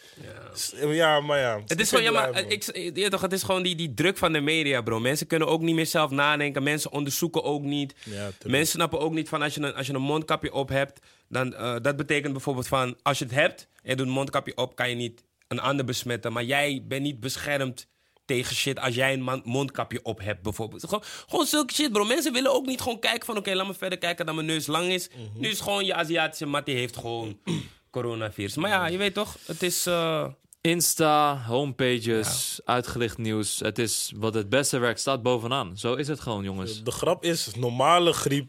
S1: ja. maar ja.
S2: Het is eh,
S1: Ik vind
S2: gewoon, ja, maar
S1: lijp, man.
S2: ik, je weet toch, het is gewoon die, die druk van de media, bro. Mensen kunnen ook niet meer zelf nadenken. Mensen onderzoeken ook niet.
S1: tuurlijk.
S2: Mensen snappen ook niet van als je een, als je een mondkapje op hebt. Dan, eh, dat betekent bijvoorbeeld van als je het hebt en je doet een mondkapje op, kan je niet een ander besmetten. Maar jij bent niet beschermd tegen shit als jij een man- mondkapje op hebt, bijvoorbeeld. Gewoon, gewoon zulke shit, bro. Mensen willen ook niet gewoon kijken van... oké, laat me verder kijken dat mijn neus lang is. Nu is gewoon je Aziatische mat, die heeft gewoon coronavirus. Maar ja, je weet toch, het is... eh,
S3: Insta, homepages, uitgelicht nieuws. Het is wat het beste werkt, staat bovenaan. Zo is het gewoon, jongens.
S1: De grap is, normale griep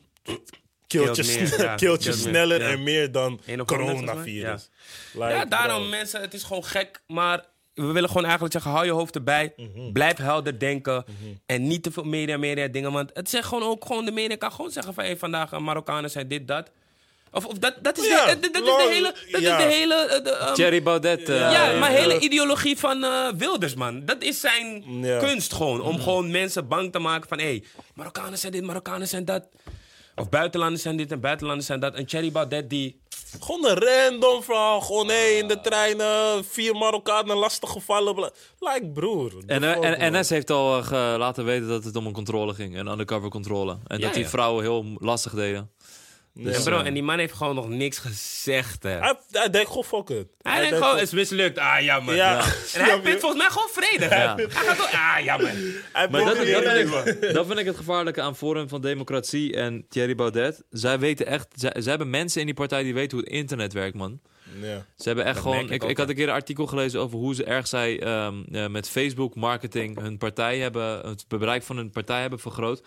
S1: kilt je,
S2: Kilt meer,
S1: sne-
S2: ja.
S1: kilt je
S2: Kilt meer,
S1: sneller
S2: ja.
S1: en meer dan
S2: Eén op honderd,
S1: coronavirus. Like,
S2: Ja, daarom
S1: bro.
S2: mensen, het is gewoon gek, maar we willen gewoon eigenlijk zeggen, hou je hoofd erbij,
S1: Mhm.
S2: blijf helder denken en niet te veel media, media dingen, want het zegt gewoon ook, gewoon de media kan gewoon zeggen van, hey, vandaag eh, Marokkanen zijn dit, dat. Of, of dat, dat is
S1: Ja,
S2: de, eh, dat, dat is
S1: lol,
S2: de hele, dat
S1: ja.
S2: is de hele, eh, de, ehm,
S3: Thierry Baudet. eh,
S2: ja, maar
S1: eh,
S2: hele
S1: eh,
S2: ideologie van eh, Wilders, man. Dat is zijn
S1: Ja. Mhm.
S2: kunst gewoon, om gewoon mensen bang te maken van, hé, hey, Marokkanen zijn dit, Marokkanen zijn dat. Of buitenlanders zijn dit en buitenlanders zijn dat. En Thierry Baudet die...
S1: Gewoon een random verhaal. Gewoon, hé, in de treinen, vier Marokkanen lastig gevallen. bla- Like, broer. the
S3: En, eh,
S1: fuck,
S3: en-
S1: man.
S3: NS heeft al eh, ge- laten weten dat het om een controle ging, een undercover controle. En
S2: Ja,
S3: dat die
S2: ja.
S3: vrouwen heel m- lastig deden.
S1: Nee.
S2: en bro, en die man heeft gewoon nog niks gezegd, hè.
S1: Hij, hij denkt gewoon fuck it.
S2: Hij denkt gewoon, het is mislukt. Ah, jammer.
S1: Ja.
S2: En hij vindt volgens mij gewoon vredig. hè.
S3: Ja.
S2: Hij gaat door. Ah, jammer.
S1: Hij
S3: Maar dat, dat,
S1: probeert het niet,
S3: vind ik, dat vind ik het gevaarlijke aan Forum van Democratie en Thierry Baudet. Zij weten echt, zij, zij hebben mensen in die partij die weten hoe het internet werkt, man.
S1: man. Ja.
S3: Ze hebben echt
S2: Dat merk
S3: gewoon.
S2: ik
S3: Ik,
S2: ook,
S3: ik had
S2: hè.
S3: een keer een artikel gelezen over hoe ze erg zij ehm, eh, met Facebook marketing hun partij hebben, het bereik van hun partij hebben vergroot.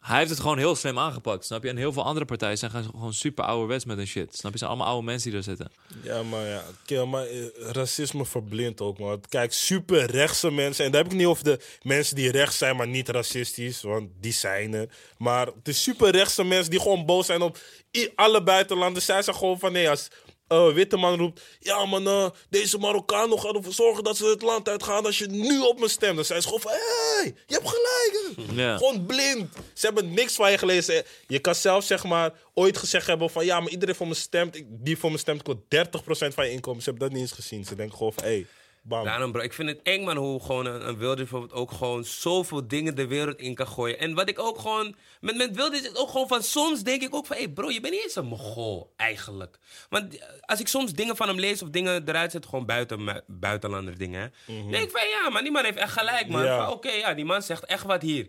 S3: Hij heeft het gewoon heel slim aangepakt, snap je? En heel veel andere partijen zijn gaan- gewoon super ouderwets met hun shit. Snap je? Zijn allemaal oude mensen die daar zitten.
S1: Ja, maar ja. Kerel, maar eh, racisme verblindt ook, man. Kijk, super rechtse mensen. En daar heb ik niet over de mensen die rechts zijn, maar niet racistisch. Want die zijn er. Maar de super rechtse mensen die gewoon boos zijn op i- alle buitenlanders. Zij zijn gewoon van, nee, als eh, witte man roept... Ja, man, eh, deze Marokkanen gaan ervoor zorgen dat ze het land uitgaan als je nu op me stemt. Dan zijn ze gewoon van, hey, je hebt gelijk. hè."
S3: Ja.
S1: Gewoon blind. Ze hebben niks van je gelezen. Je kan zelf zeg maar ooit gezegd hebben van ja, maar iedereen voor me stemt. ik- Die voor me stemt kost 30% van je inkomen. Ze hebben dat niet eens gezien. Ze denken gewoon van hé, hey, bam.
S2: Daarom, bro. Ik vind het eng, man, hoe gewoon een, een Wilders bijvoorbeeld ook gewoon zoveel dingen de wereld in kan gooien. En wat ik ook gewoon... Met, met Wilders is het ook gewoon van... Soms denk ik ook van... Hé, hey bro, je bent niet eens een mogol, eigenlijk. Want eh, als ik soms dingen van hem lees of dingen eruit zet... Gewoon buiten, mu- buitenlander dingen, hè. denk ik van... Ja, man, die man heeft echt gelijk, man.
S1: Ja.
S2: Van, Oké, ja, die man zegt echt wat hier.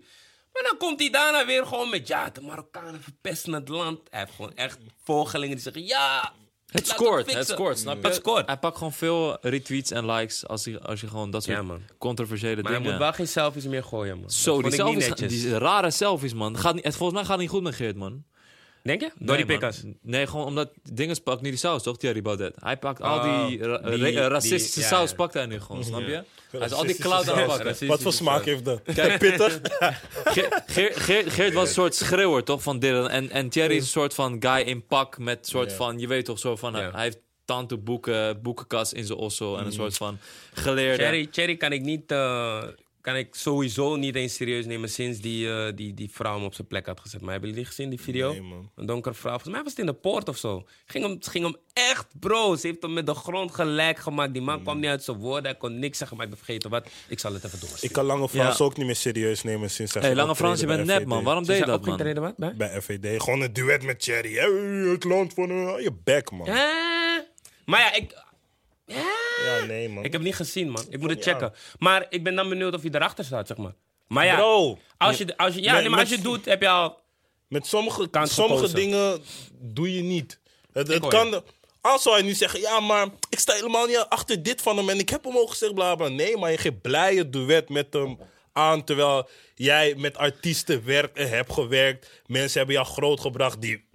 S2: Maar dan komt hij daarna weer gewoon met... Ja, de Marokkanen verpesten het land. Hij heeft gewoon echt volgelingen die zeggen... Ja...
S3: Het
S2: laat
S3: scoort,
S2: fixen.
S3: het scoort, snap je?
S2: Het scoort.
S3: Hij pakt gewoon veel retweets en likes als, hij, als je gewoon dat soort
S2: Ja, man.
S3: controversiële
S2: Maar hij
S3: dingen...
S2: moet wel geen selfies meer gooien, man.
S3: Zo,
S2: Dat
S3: die
S2: vond ik niet
S3: selfies, gaan-
S2: netjes.
S3: die rare selfies, man. Gaat niet, het, volgens mij gaat het niet goed met Geert, man.
S2: Denk je? Door die
S3: Nee, man. Oh,
S2: pikkas.
S3: Nee, gewoon omdat dinges pakt niet die saus, toch? Thierry Baudet. Hij pakt al
S2: Oh,
S3: die, ra-
S2: die-
S3: ra-
S2: die-
S3: racistische
S2: ja,
S3: saus,
S2: ja.
S3: pakt hij nu gewoon, snap je? Hij is al die
S1: Racistische
S3: clout aan het
S1: saus.
S3: pakken.
S1: Wat
S2: dus,
S1: voor
S2: eh,
S1: smaak eh, heeft dat? Kijk, pittig.
S3: Ge- Geert, Geert- Geert was een soort schreeuwer, toch, van Dylan. En, en Thierry is een soort van guy in pak met soort
S1: Ja.
S3: van... Je weet toch, zo van...
S2: Ja. Mhm.
S3: Hij heeft tante boeken, boekenkast in zijn ossel. En een soort van geleerde...
S2: Cherry, Cherry kan ik niet... eh, kan ik sowieso niet eens serieus nemen sinds die, eh, die, die vrouw hem op zijn plek had gezet. Maar hebben jullie gezien die video?
S1: Nee, man.
S2: Een donkere vrouw. Volgens mij was het in de poort of zo. Ging hem, ging hem echt, bro. Ze heeft hem met de grond gelijk gemaakt. Die man
S1: Mm.
S2: kwam niet uit zijn woorden. Hij kon niks zeggen, maar ik ben vergeten wat. Ik zal het even doorsturen.
S1: Ik kan Lange Frans
S3: Ja.
S1: ook niet meer serieus nemen sinds hij
S3: Hé,
S1: ging
S3: Lange Frans, je bent
S1: optreden
S3: nep,
S1: bij FVD.
S3: man. Waarom
S2: Ze
S3: deed je
S2: zei
S3: dat,
S2: ook geen
S3: man?
S2: treden wat bij?
S1: Bij FVD. Gewoon een duet met Cherry. Hey, het land van eh, je bek, man.
S2: Hè? Maar ja, ik... Hè?
S1: Ja, nee, man.
S2: Ik heb niet gezien, man. Ik moet het checken. Maar ik ben dan benieuwd of hij erachter staat, zeg maar. Maar ja,
S1: Bro.
S2: als je, als je, ja,
S1: Nee,
S2: nee, maar als je het
S1: met-
S2: doet, heb je al...
S1: Met sommige,
S2: Kant
S1: sommige
S2: gekozen.
S1: dingen doe je niet. Het, het
S2: hoor
S1: kan. Als zou hij nu zeggen, ja, maar ik sta helemaal niet achter dit van hem en ik heb hem ook gezegd, bla bla. Nee, maar je geeft blij het duet met hem aan terwijl jij met artiesten werkt en hebt gewerkt. Mensen hebben jou grootgebracht die.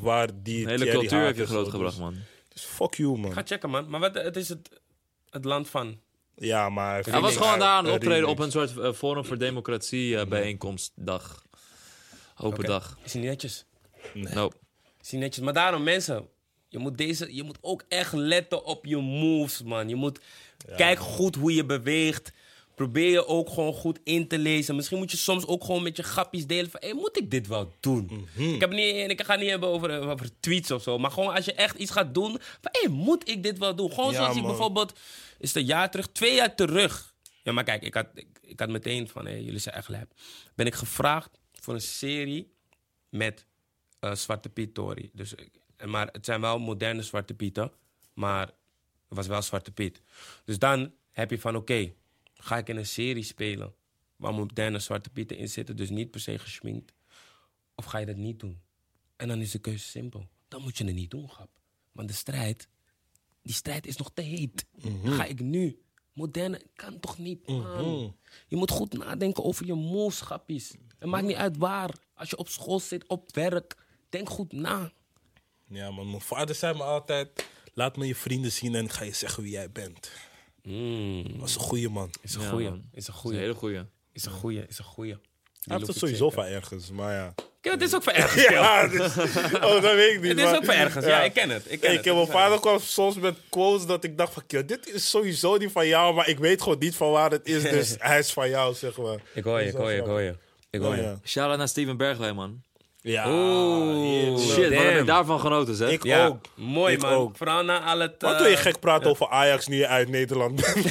S1: Waar die
S3: De hele
S1: Thierry
S3: cultuur heb
S1: haat
S3: je
S1: en zo.
S3: grootgebracht, man.
S1: Dus fuck you, man.
S2: Ga checken, man. Maar wat, het is het, het land van...
S1: Ja, maar.
S3: Hij was gewoon daar aan het
S1: Eh,
S3: optreden op
S1: remix.
S3: een soort eh, Forum voor Democratie eh, bijeenkomstdag. Open
S2: Oké.
S3: dag.
S2: Is niet netjes.
S3: Nope.
S2: Is niet netjes. Maar daarom, mensen. Je moet, deze, je moet ook echt letten op je moves, man. Je moet... Kijk goed hoe je beweegt. Probeer je ook gewoon goed in te lezen. Misschien moet je soms ook gewoon met je grappies delen van... Hé, moet ik dit wel doen?
S1: Mhm.
S2: Ik, heb niet, en ik ga het niet hebben over, eh, over tweets of zo. Maar gewoon als je echt iets gaat doen... Van, hé, moet ik dit wel doen? Gewoon
S1: Ja,
S2: zoals ik
S1: man.
S2: bijvoorbeeld... Is het een jaar terug? Twee jaar terug. Ja, maar kijk, ik had, ik, ik had meteen van... Hé, jullie zijn echt lijp. Ben ik gevraagd voor een serie met eh, Zwarte Piet Tory. Dus, ik- en maar het zijn wel moderne Zwarte Pieten, maar het was wel Zwarte Piet. Dus dan heb je van, oké, ga ik in een serie spelen waar moderne Zwarte Pieten in zitten, dus niet per se geschminkt, of ga je dat niet doen? En dan is de keuze simpel. Dan moet je het niet doen, grap. Want de strijd, die strijd is nog te heet.
S1: Mhm.
S2: Ga ik nu moderne, kan toch niet, man. Je moet goed nadenken over je moves, grappies. Het maakt niet uit waar. Als je op school zit, op werk, denk goed na.
S1: Ja, man. Mijn vader zei me altijd: laat me je vrienden zien en ga je zeggen wie jij bent. Dat is een goeie man.
S2: Mm, Is een
S3: Ja,
S2: goeie.
S3: man.
S2: Is een
S3: Een
S2: goeie.
S3: hele goeie.
S2: Is een goeie. Is een goeie.
S1: Hij heeft het sowieso van ergens, maar ja.
S2: Ja, het is ook van ergens.
S1: Ja, dus, oh, dat weet ik niet.
S2: Het is
S1: maar-
S2: ook van ergens. Ja, ik ken het. Ik ken
S1: Ik
S2: het.
S1: heb mijn vader kwam soms met quotes dat ik dacht van... "Kill, dit is sowieso niet van jou, maar ik weet gewoon niet van waar het is. Dus hij is van jou, zeg maar.
S2: Ik hoor je, ik hoor je, ik hoor je. Ik hoor
S1: Oh,
S2: je.
S1: ja.
S3: Shout-out naar Steven Bergwijn, man.
S1: Ja.
S2: Oeh,
S1: heerlijk.
S2: Damn.
S3: Shit, wat heb ik daarvan genoten, zeg.
S1: Oh, Ik
S2: Ja,
S1: ook.
S2: mooi
S1: Ik
S2: man.
S1: ook.
S2: Vooral na al het...
S1: Wat
S2: eh,
S1: wil je gek praten over Ajax nu je uit Nederland bent?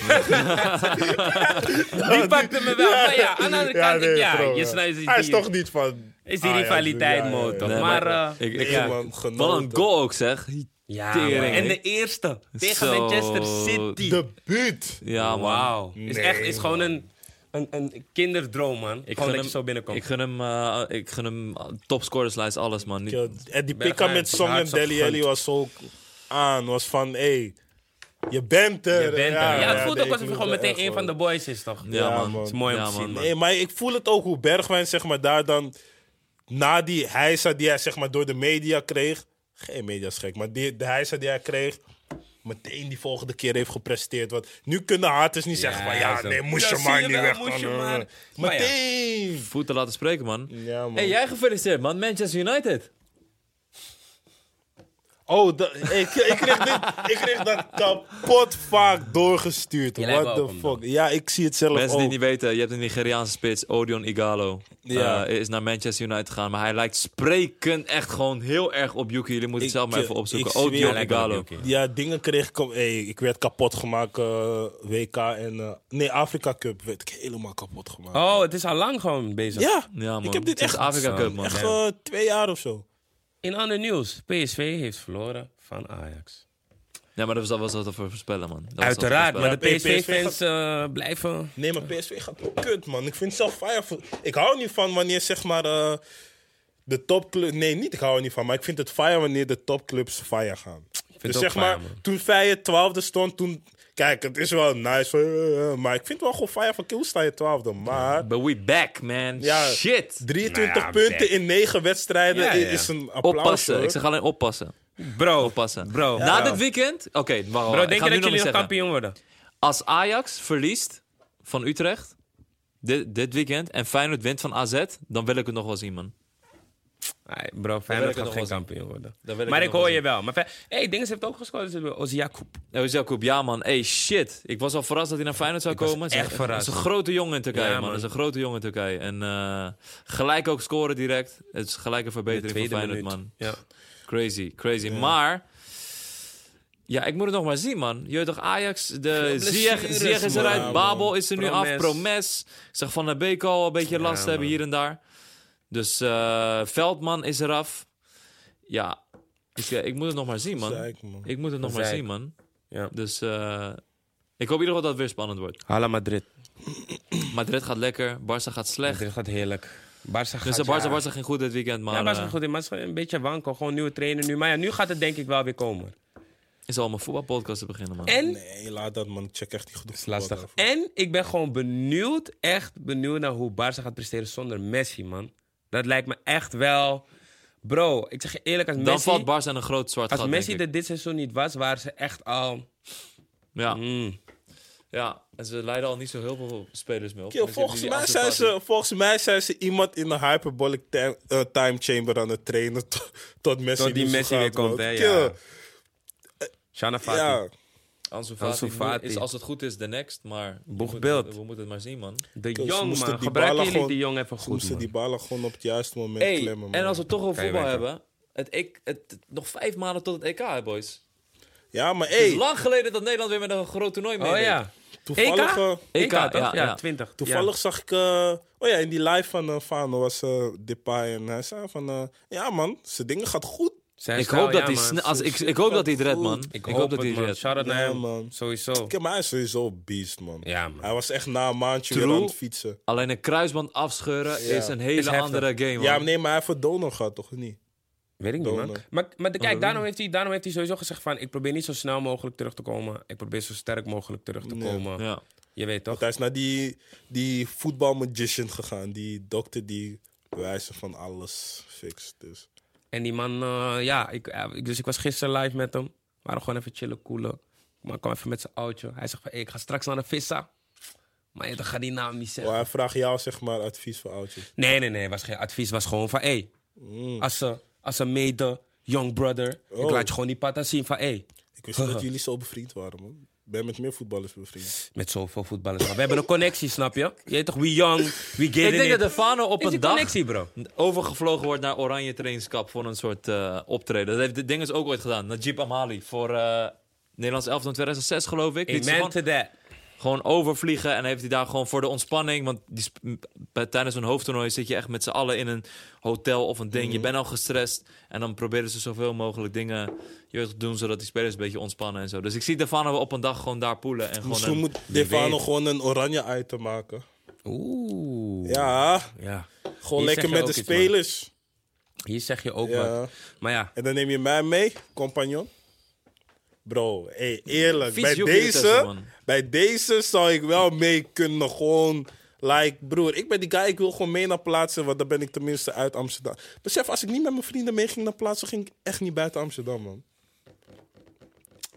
S2: Die pakte me wel. Maar ja, aan de andere kant, ik- ja,
S1: bro,
S2: je
S1: ja.
S2: snijdt die,
S1: Hij is toch niet van...
S2: is die
S1: Ajax, dus
S2: rivaliteit
S1: ja, ja,
S2: motor.
S1: ja.
S3: Nee,
S2: maar...
S3: maar-
S2: eh,
S3: ik-
S1: Nee,
S3: ik-
S2: ja.
S1: man, genoten.
S3: Wat een goal ook, zeg.
S2: Ja,
S3: Tering,
S2: man. en
S3: hè?
S2: de eerste tegen
S3: Zo.
S2: Manchester City.
S1: Debuut.
S3: Ja,
S2: Oh,
S3: man.
S2: Wauw. Is
S1: Nee,
S2: echt is gewoon een, een, een kinderdroom, man.
S3: Ik
S2: gewoon
S3: gun
S2: dat je
S3: hem-
S2: zo binnenkomt.
S3: Ik gun hem, eh, ik gun hem eh, topscorerslijst, alles, man. Niet,
S1: Yo, En die pika
S2: Bergwijn,
S1: eh, met Song en
S2: hard
S1: Deli
S2: gegund.
S1: Alli was ook aan. Was van, hé, hey, je bent er.
S2: je bent ja, ja, het voelt
S1: nee, ik
S2: ook alsof je
S1: voel
S2: gewoon
S1: het
S2: meteen
S1: echt,
S2: een van de boys is, toch?
S3: Ja,
S1: Ja,
S3: man.
S1: man.
S2: Dat is mooi om
S3: Ja,
S2: te
S3: man.
S2: zien, man.
S1: Nee, maar ik voel het ook hoe Bergwijn zeg maar, daar dan... Na die heisa die hij zeg maar, door de media kreeg... Geen media is gek, maar die, de heisa die hij kreeg... Meteen die volgende keer heeft gepresteerd. Want nu kunnen haters niet zeggen van... Ja,
S2: zo.
S1: nee, moest
S2: Ja,
S1: je
S2: zie
S1: maar
S2: je
S1: niet
S2: wel,
S1: weg.
S2: moest je
S1: dan, eh,
S2: maar. Maar ja.
S1: Meteen!
S3: Voeten laten spreken, man.
S1: Ja, man.
S3: Hey, jij gefeliciteerd, man. Manchester United.
S1: Oh, da- ik, ik, kreeg dit, ik kreeg dat kapot vaak doorgestuurd.
S2: Jij lijkt
S1: What
S2: wel
S1: the
S2: op hem
S1: fuck. Ja, ik zie het zelf
S3: Mensen
S1: ook.
S3: die het niet weten, je hebt een Nigeriaanse spits, Odion Igalo. Eh,
S1: Ja.
S3: is naar Manchester United gegaan, maar hij lijkt sprekend echt gewoon heel erg op Yuki. Jullie moeten
S1: Ik,
S3: het zelf maar
S1: eh,
S3: even
S1: ik
S3: opzoeken.
S1: zweer- Hij
S3: Odion
S2: lijkt wel op
S3: Igalo.
S2: Yuki.
S1: Ja, dingen kreeg ik. om- Hey, ik werd kapot gemaakt. eh, WK en. eh, nee, Afrika Cup werd ik helemaal kapot gemaakt.
S2: Oh, het is al lang gewoon bezig.
S1: ja,
S3: Ja, man.
S1: ik heb dit
S3: Het is
S1: echt.
S3: Afrika Cup, man.
S1: Echt
S3: Ja.
S1: eh, twee jaar of zo.
S2: In ander nieuws, PSV heeft verloren van Ajax.
S3: Ja, maar dat was, dat was al te voorspellen, man. Dat was al te
S2: Uiteraard, maar de
S1: Ja, PSV
S2: PSV-fans eh, blijven...
S1: Nee, maar PSV gaat kut, man. Ik vind zelf Fire. Ik hou niet van wanneer zeg maar. eh, de topclub. Nee, niet ik hou er niet van. Maar ik vind het fire wanneer de topclubs fire gaan.
S2: het
S1: Dus
S2: ook
S1: zeg
S2: fire,
S1: maar,
S2: man.
S1: toen Feyenoord twaalfde stond, toen... Kijk, het is wel nice, eh, eh, maar ik vind het wel gewoon fire van Kiel sta je twaalfde. Maar
S3: But we back, man.
S1: Ja.
S3: Shit.
S1: 23
S2: Nou ja,
S1: punten
S2: back.
S1: in 9 wedstrijden
S2: Ja, ja, ja.
S1: is een applaus.
S3: Oppassen.
S1: hoor.
S3: Ik zeg alleen oppassen.
S2: Bro,
S3: Oppassen.
S2: Bro.
S3: Na
S2: Ja.
S3: dit weekend... Oké, wacht, wacht,
S2: bro
S3: wacht. ik
S2: denk
S3: ga
S2: je
S3: nu
S2: dat
S3: nog
S2: jullie nog
S3: iets zeggen.
S2: kampioen worden?
S3: Als Ajax verliest van Utrecht dit, dit weekend en Feyenoord wint van AZ, dan wil ik het nog wel zien, man.
S2: Nee, bro,
S3: wil
S2: Feyenoord
S3: ik het
S2: gaat geen
S3: nog wel zien.
S2: kampioen worden.
S3: Dat wil ik
S2: maar
S3: het
S2: ik
S3: nog
S2: hoor je
S3: wel
S2: wel. Maar Fe- hey, Dinges heeft ook gescoord. Dus Oziakoep.
S3: Ja, Nou, Jacob, ja man. Hey, shit. Ik was al verrast dat hij naar Feyenoord zou
S2: was
S3: komen. Het is
S2: echt
S3: een-
S2: verrast.
S3: Het is een grote jongen in Turkije,
S2: Ja,
S3: man.
S2: man.
S3: Het is een grote jongen in Turkije. En eh, gelijk ook scoren direct. Het is gelijk een verbetering voor Feyenoord, man.
S2: Ja.
S3: Crazy, crazy. Maar... Ja, ik moet het nog maar zien, man. Je weet toch, Ajax, de
S2: Veel
S3: Ziyech,
S2: blessures,
S3: Ziyech is
S2: man.
S3: eruit,
S1: Ja, man.
S3: Babel is er nu af,
S2: Promes.
S3: Promes. Ik zag Van der Beek al een beetje last
S2: Ja,
S3: hebben
S2: man.
S3: hier en daar. Dus eh, Veldman is eraf. Ja, ik, eh, ik moet het nog maar zien, man.
S1: Zeik, man.
S3: Ik moet het nog
S2: Van
S3: maar
S2: Zijk.
S3: zien, man.
S2: Ja.
S3: Dus eh, ik hoop in ieder geval dat het weer spannend wordt.
S2: Hala Madrid.
S3: Madrid gaat lekker, Barça gaat slecht.
S2: Madrid gaat heerlijk. Barça gaat...
S3: Dus de Barça, Barça ging goed dit weekend, maar
S2: Ja, Barca gaat
S3: eh,
S2: goed in. Maar het is een beetje wankel. Gewoon nieuwe trainer nu. Maar ja, nu gaat het denk ik wel weer komen.
S3: is al mijn voetbalpodcast te beginnen, man.
S2: En...
S1: Nee, laat dat, man. Ik check echt niet goed.
S2: Het is lastig. En ik ben gewoon benieuwd, echt benieuwd naar hoe Barca gaat presteren zonder Messi, man. Dat lijkt me echt wel. Bro, ik zeg je eerlijk, als
S3: Dan
S2: Messi,
S3: valt Barça in een groot zwart
S2: als
S3: gat,
S2: Messi
S3: denk ik.
S2: er dit seizoen niet was, waren ze echt al.
S3: Ja,
S2: Mm.
S3: ja, en ze leiden al niet zo heel veel spelers mee op.
S1: Kill,
S3: Tenminste,
S1: volgens,
S3: die
S1: mij zijn
S3: afstandsfase-
S1: ze, volgens mij zijn ze iemand in de hyperbolic time, eh, time chamber aan het trainen. Tot, tot Messi,
S2: Tot die
S1: dus
S2: Messi
S1: gaat,
S2: weer komt,
S1: man.
S2: hè? Ja.
S1: Kill,
S2: Shana Fati.
S1: ja.
S3: Ansu
S2: Ansu
S3: Fati
S2: Fati.
S3: is als het goed is de next, maar we
S2: Boegbeeld.
S3: moeten- We, moeten het maar zien, man.
S2: De
S1: Ze
S2: jong,
S1: moesten
S2: man.
S1: die
S2: Gebruik
S1: ballen
S2: jullie
S1: gewoon-
S2: die jong even
S1: Ze
S2: goed,
S1: moesten
S2: man.
S1: die ballen gewoon op het juiste moment
S3: Hey,
S1: klemmen, man.
S3: en als we toch over
S2: Kan je
S3: voetbal
S2: weten.
S3: hebben, het, ik, het, nog vijf maanden tot het EK, hè, boys.
S1: Ja, maar
S3: Het
S1: hey,
S3: is lang geleden dat Nederland weer met een groot toernooi meedeed.
S2: Oh ja.
S1: toevallig, eh,
S2: EK,
S3: EK,
S2: toch?
S3: ja,
S2: Ja,
S3: ja.
S2: 20.
S1: toevallig zag ik... eh, oh ja, in die live van eh, Fano was eh Depay en hij zei van... eh, ja man, zijn dingen gaat goed.
S3: Ik hoop dat hij sne- als- ik- ik hoop dat hij het redt, man.
S2: Ik
S3: Ik
S2: hoop
S3: hoop dat
S2: het,
S3: hij het
S2: man.
S3: redt.
S2: Shout out naar
S1: Ja,
S2: hem.
S1: man.
S2: Sowieso.
S1: Ik heb mij sowieso een beest, man.
S2: nou, Ja, man.
S1: Hij was echt na een maandje weer
S3: True.
S1: aan het fietsen.
S3: Alleen een kruisband afscheuren
S1: Ja.
S3: is een hele
S2: Is heftig.
S3: andere game, man.
S1: Ja, maar nee, maar hij heeft voor Donor gehad, toch? Of Niet?
S2: Weet ik niet, man.
S1: Donor.
S2: Maar, maar de- kijk, daarom heeft, hij, daarom heeft hij sowieso gezegd van... ik probeer niet zo snel mogelijk terug te komen. Ik probeer zo sterk mogelijk terug te
S1: Nee.
S2: komen.
S3: Ja.
S2: Je weet
S1: Want
S2: toch?
S1: hij is naar die, die voetbalmagician gegaan. Die dokter die wijze van alles fixt. Dus.
S2: En die man, eh, ja, ik, eh, ik- dus ik was gisteren live met hem. We waren gewoon even chillen, koelen. Maar ik kwam even met zijn oudje. Hij zegt van, hey, ik ga straks naar de vissa. Maar ja, dan ga die naam niet
S1: Maar
S2: zeggen.
S1: hij vraagt jou, zeg maar, advies voor oudjes.
S2: Nee, nee, nee. Was geen advies. Was gewoon van, hey, als ze, als ze mede, young brother. Ik
S1: Oh.
S2: laat je gewoon die patta zien van, hey.
S1: Ik wist niet dat jullie zo bevriend waren, man. ben met meer voetballers bevriend.
S2: Met zoveel voetballers. Maar we hebben een connectie, snap je? Je weet toch, we young, we get
S3: Ik
S2: it.
S3: denk dat de Fano op
S2: Is
S3: een
S2: die
S3: dag
S2: connectie, bro.
S3: overgevlogen wordt naar Oranje trainingskap voor een soort eh, optreden. Dat heeft de Dinges ook ooit gedaan. Najib Amali voor eh Nederlands elftal in 2006 geloof ik. Liet ze
S2: Amen
S3: gewoon-
S2: to that.
S3: gewoon overvliegen. En heeft hij daar gewoon voor de ontspanning. Want die sp- m- bij- tijdens een hoofdtoernooi zit je echt met z'n allen in een hotel of een ding.
S1: Mhm.
S3: Je bent al gestrest. En dan proberen ze zoveel mogelijk dingen je weet, te doen. Zodat die spelers een beetje ontspannen en zo. Dus ik zie Davano op een dag gewoon daar poelen. En gewoon
S1: Misschien
S3: een-
S1: moet
S2: wie
S1: Defano
S2: weet.
S1: gewoon een oranje item maken.
S2: Oeh.
S1: Ja,
S2: Ja.
S1: gewoon
S2: Hier
S1: lekker
S2: zeg
S1: met
S2: je
S1: de
S2: ook iets, man.
S1: spelers.
S2: Hier zeg je ook
S1: Ja.
S2: wat. Maar ja,
S1: En dan neem je mij mee, compagnon. Bro, hey, eerlijk.
S3: Vies
S1: bij,
S3: joekie ertussen,
S1: deze,
S3: man.
S1: bij deze zou ik wel mee kunnen. Gewoon, like, broer. Ik ben die guy, ik wil gewoon mee naar plaatsen. Want dan ben ik tenminste uit Amsterdam. Besef, als ik niet met mijn vrienden mee ging naar plaatsen, ging ik echt niet buiten Amsterdam, man.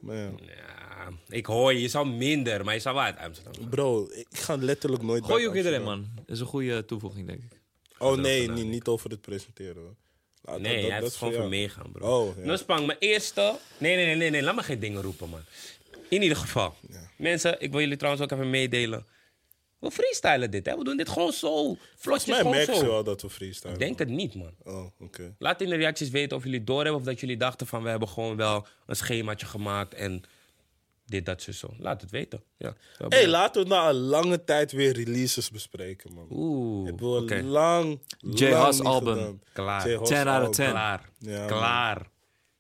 S1: Maar ja.
S2: ja, ik hoor je. Je zou minder, maar je zou wel uit Amsterdam. gaan.
S1: Bro, ik ga letterlijk nooit
S3: Gooi ook
S1: buiten
S3: iedereen,
S1: Amsterdam.
S3: man. Dat is een goede toevoeging, denk ik.
S1: Oh nee, niet, niet over het presenteren. hoor. Nou, Laat-
S2: Nee, hij heeft
S1: is
S2: gewoon
S1: voor
S2: voor
S1: jou.
S2: meegaan, bro.
S1: Oh, ja.
S2: Nuspang, mijn eerste... Nee, nee, nee, nee, nee, laat me geen dingen roepen, man. In ieder geval. Mensen, ik wil jullie trouwens ook even meedelen. We freestylen dit, hè. We doen dit gewoon zo. Vlotjes
S1: Volgens mij
S2: gewoon
S1: merk
S2: zo.
S1: je wel dat we freestylen.
S2: Ik denk het niet, man.
S1: Oh, oké.
S2: Laat in de reacties weten of jullie doorhebben... of dat jullie dachten van, we hebben gewoon wel een schemaatje gemaakt... en dit, dat, zo, zo. Laat het weten. Ja.
S1: Hé, hey, laten we na een lange tijd weer releases bespreken, man.
S2: Oeh,
S1: Ik
S2: oké.
S1: heb al lang,
S3: J.
S1: lang
S3: Haas
S1: niet
S3: album.
S1: gedaan.
S2: Klaar.
S1: J. Haas
S3: 10 out of
S1: album.
S3: 10.
S2: Klaar.
S1: Ja,
S2: Klaar.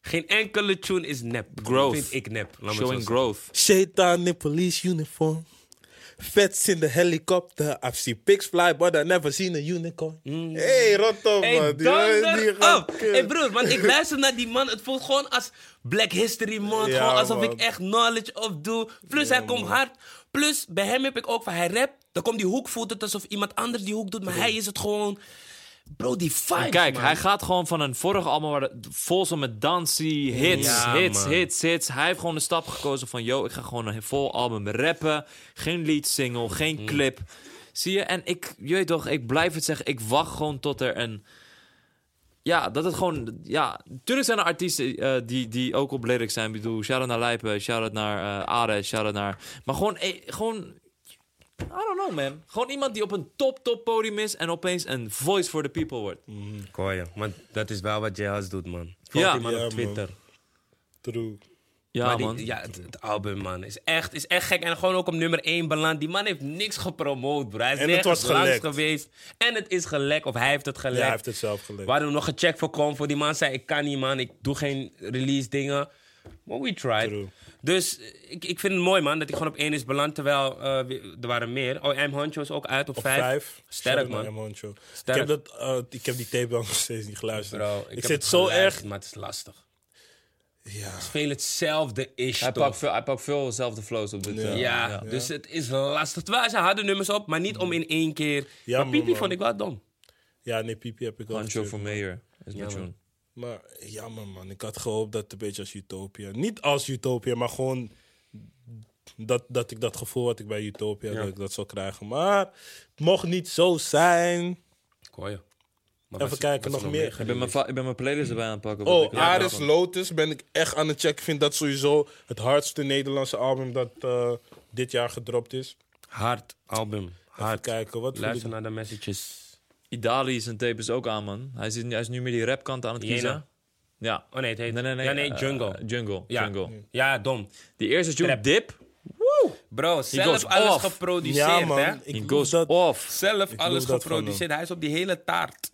S2: Geen enkele tune is nep.
S3: Growth.
S2: Vind ik nep. Laat me het zo
S3: Showing
S2: zeggen.
S3: growth.
S1: Shaitan in police uniform. Vets in the helicopter. I've seen pigs fly, but I've never seen a unicorn. hey, rot op,
S2: Mm. Hey,
S1: man. Die- die
S2: donder
S1: gaat
S2: op!
S1: kut.
S2: Hey broer, want ik luister naar die man. Het voelt gewoon als Black History Month.
S1: Ja,
S2: gewoon alsof
S1: man.
S2: ik echt knowledge opdoe. Plus hij komt hard. Plus bij hem heb ik ook van hij rapt. Dan komt die hoek, voelt het alsof iemand anders die hoek doet. Maar hij is het gewoon... Bro, die vibe.
S3: Kijk,
S2: man.
S3: hij gaat gewoon van een vorige album waar het vol zat met dansie, hits,
S2: Ja,
S3: hits,
S2: man.
S3: hits, hits. Hij heeft gewoon de stap gekozen van, yo, ik ga gewoon een vol album rappen. Geen lead single,
S2: Mm.
S3: geen clip. Zie je? En ik, je weet toch, ik blijf het zeggen. Ik wacht gewoon tot er een... Ja, dat het gewoon... Ja, natuurlijk zijn er artiesten eh, die, die ook op lyrics zijn. Ik bedoel, shout-out naar Lijpen, shout-out naar eh Ares, shout-out naar... Maar gewoon, eh, gewoon I don't know, man. Gewoon iemand die op een top, top podium is en opeens een voice for the people wordt.
S1: Mm,
S2: Ik hoor je, want dat is wel wat Jazz doet, man.
S3: Ja.
S2: Volg die man
S1: Ja,
S2: op
S1: man.
S2: Twitter.
S1: True.
S3: Ja,
S2: Maar die-
S3: man.
S2: ja, het, het album, man, is echt, is echt gek. En gewoon ook op nummer 1 beland. Die man heeft niks gepromoot, bro. Hij is
S1: En het
S2: nergens
S1: was
S2: langs
S1: gelekt.
S2: geweest. En het is gelekt, of hij heeft het gelekt.
S1: Ja, hij heeft het zelf gelekt.
S2: We hadden nog gecheckt voor Comfort. Die man zei, ik kan niet, man. Ik doe geen release dingen. Maar we tried.
S1: True.
S2: Dus eh, ik, ik vind het mooi, man, dat hij gewoon op één is beland. Terwijl eh, we- er waren meer. Oh, M. Honcho is ook uit op,
S1: Op
S2: vijf.
S1: vijf.
S2: Sterk,
S1: Shout-out naar
S2: man.
S1: Emoncho. Ik
S2: Sterk.
S1: heb, dat, eh, ik heb die tape wel nog steeds niet geluisterd.
S2: Bro,
S1: ik
S2: heb
S1: zit
S2: het
S1: zo
S2: geluisterd,
S1: erg...
S2: Maar het is lastig.
S1: Ja.
S2: Speel hetzelfde is,
S3: hij, pakt veel, hij pakt veel zelfde flows op dit. eh,
S2: Ja, dus het is lastig. Terwijl ze hadden nummers op, maar niet om in één keer.
S1: Ja,
S2: maar Pipi
S1: man.
S2: vond ik wel dom.
S1: ja, nee, Pipi heb ik al
S3: Pancho
S1: gestuurd.
S3: for Mayor is mijn tune.
S1: Maar jammer man, ik had gehoopt dat het een beetje als Utopia. Niet als Utopia, maar gewoon dat, dat ik dat gevoel had ik bij Utopia, dat ik dat zou krijgen. Maar het mocht niet zo zijn.
S2: Ik hoor je. Maar
S1: Even
S2: was-
S1: kijken,
S2: was
S1: nog
S2: er
S1: meer?
S3: Ik ben, mijn fa- ik ben mijn playlist erbij aan het pakken. want ik
S1: Oh,
S3: wil-
S1: Aris Lotus ben ik echt aan het checken. Ik vind dat sowieso het hardste Nederlandse album dat eh, dit jaar gedropt is.
S2: Hard album.
S1: Even
S2: Hard.
S1: kijken, wat wil ik...
S2: Luister naar de messages.
S3: Idali zijn tape is ook aan, man. Hij is, hij is nu meer die rapkant aan het
S2: Jena.
S3: kiezen. Ja.
S2: Oh nee, het heet...
S3: Nee, nee, nee.
S2: Ja, nee,
S3: eh,
S2: Jungle.
S3: jungle.
S2: ja.
S3: Jungle.
S2: Ja, dom.
S3: Die eerste tune,
S2: Trap.
S3: Dip.
S2: Bro,
S3: goes
S2: zelf alles
S3: off.
S2: geproduceerd,
S1: Ja man,
S2: hè?
S1: ik
S3: It
S1: loef
S3: goes
S1: dat...
S3: off.
S2: Zelf
S1: Ik
S2: alles
S1: loof dat van hem.
S2: geproduceerd. Hij is op die hele taart.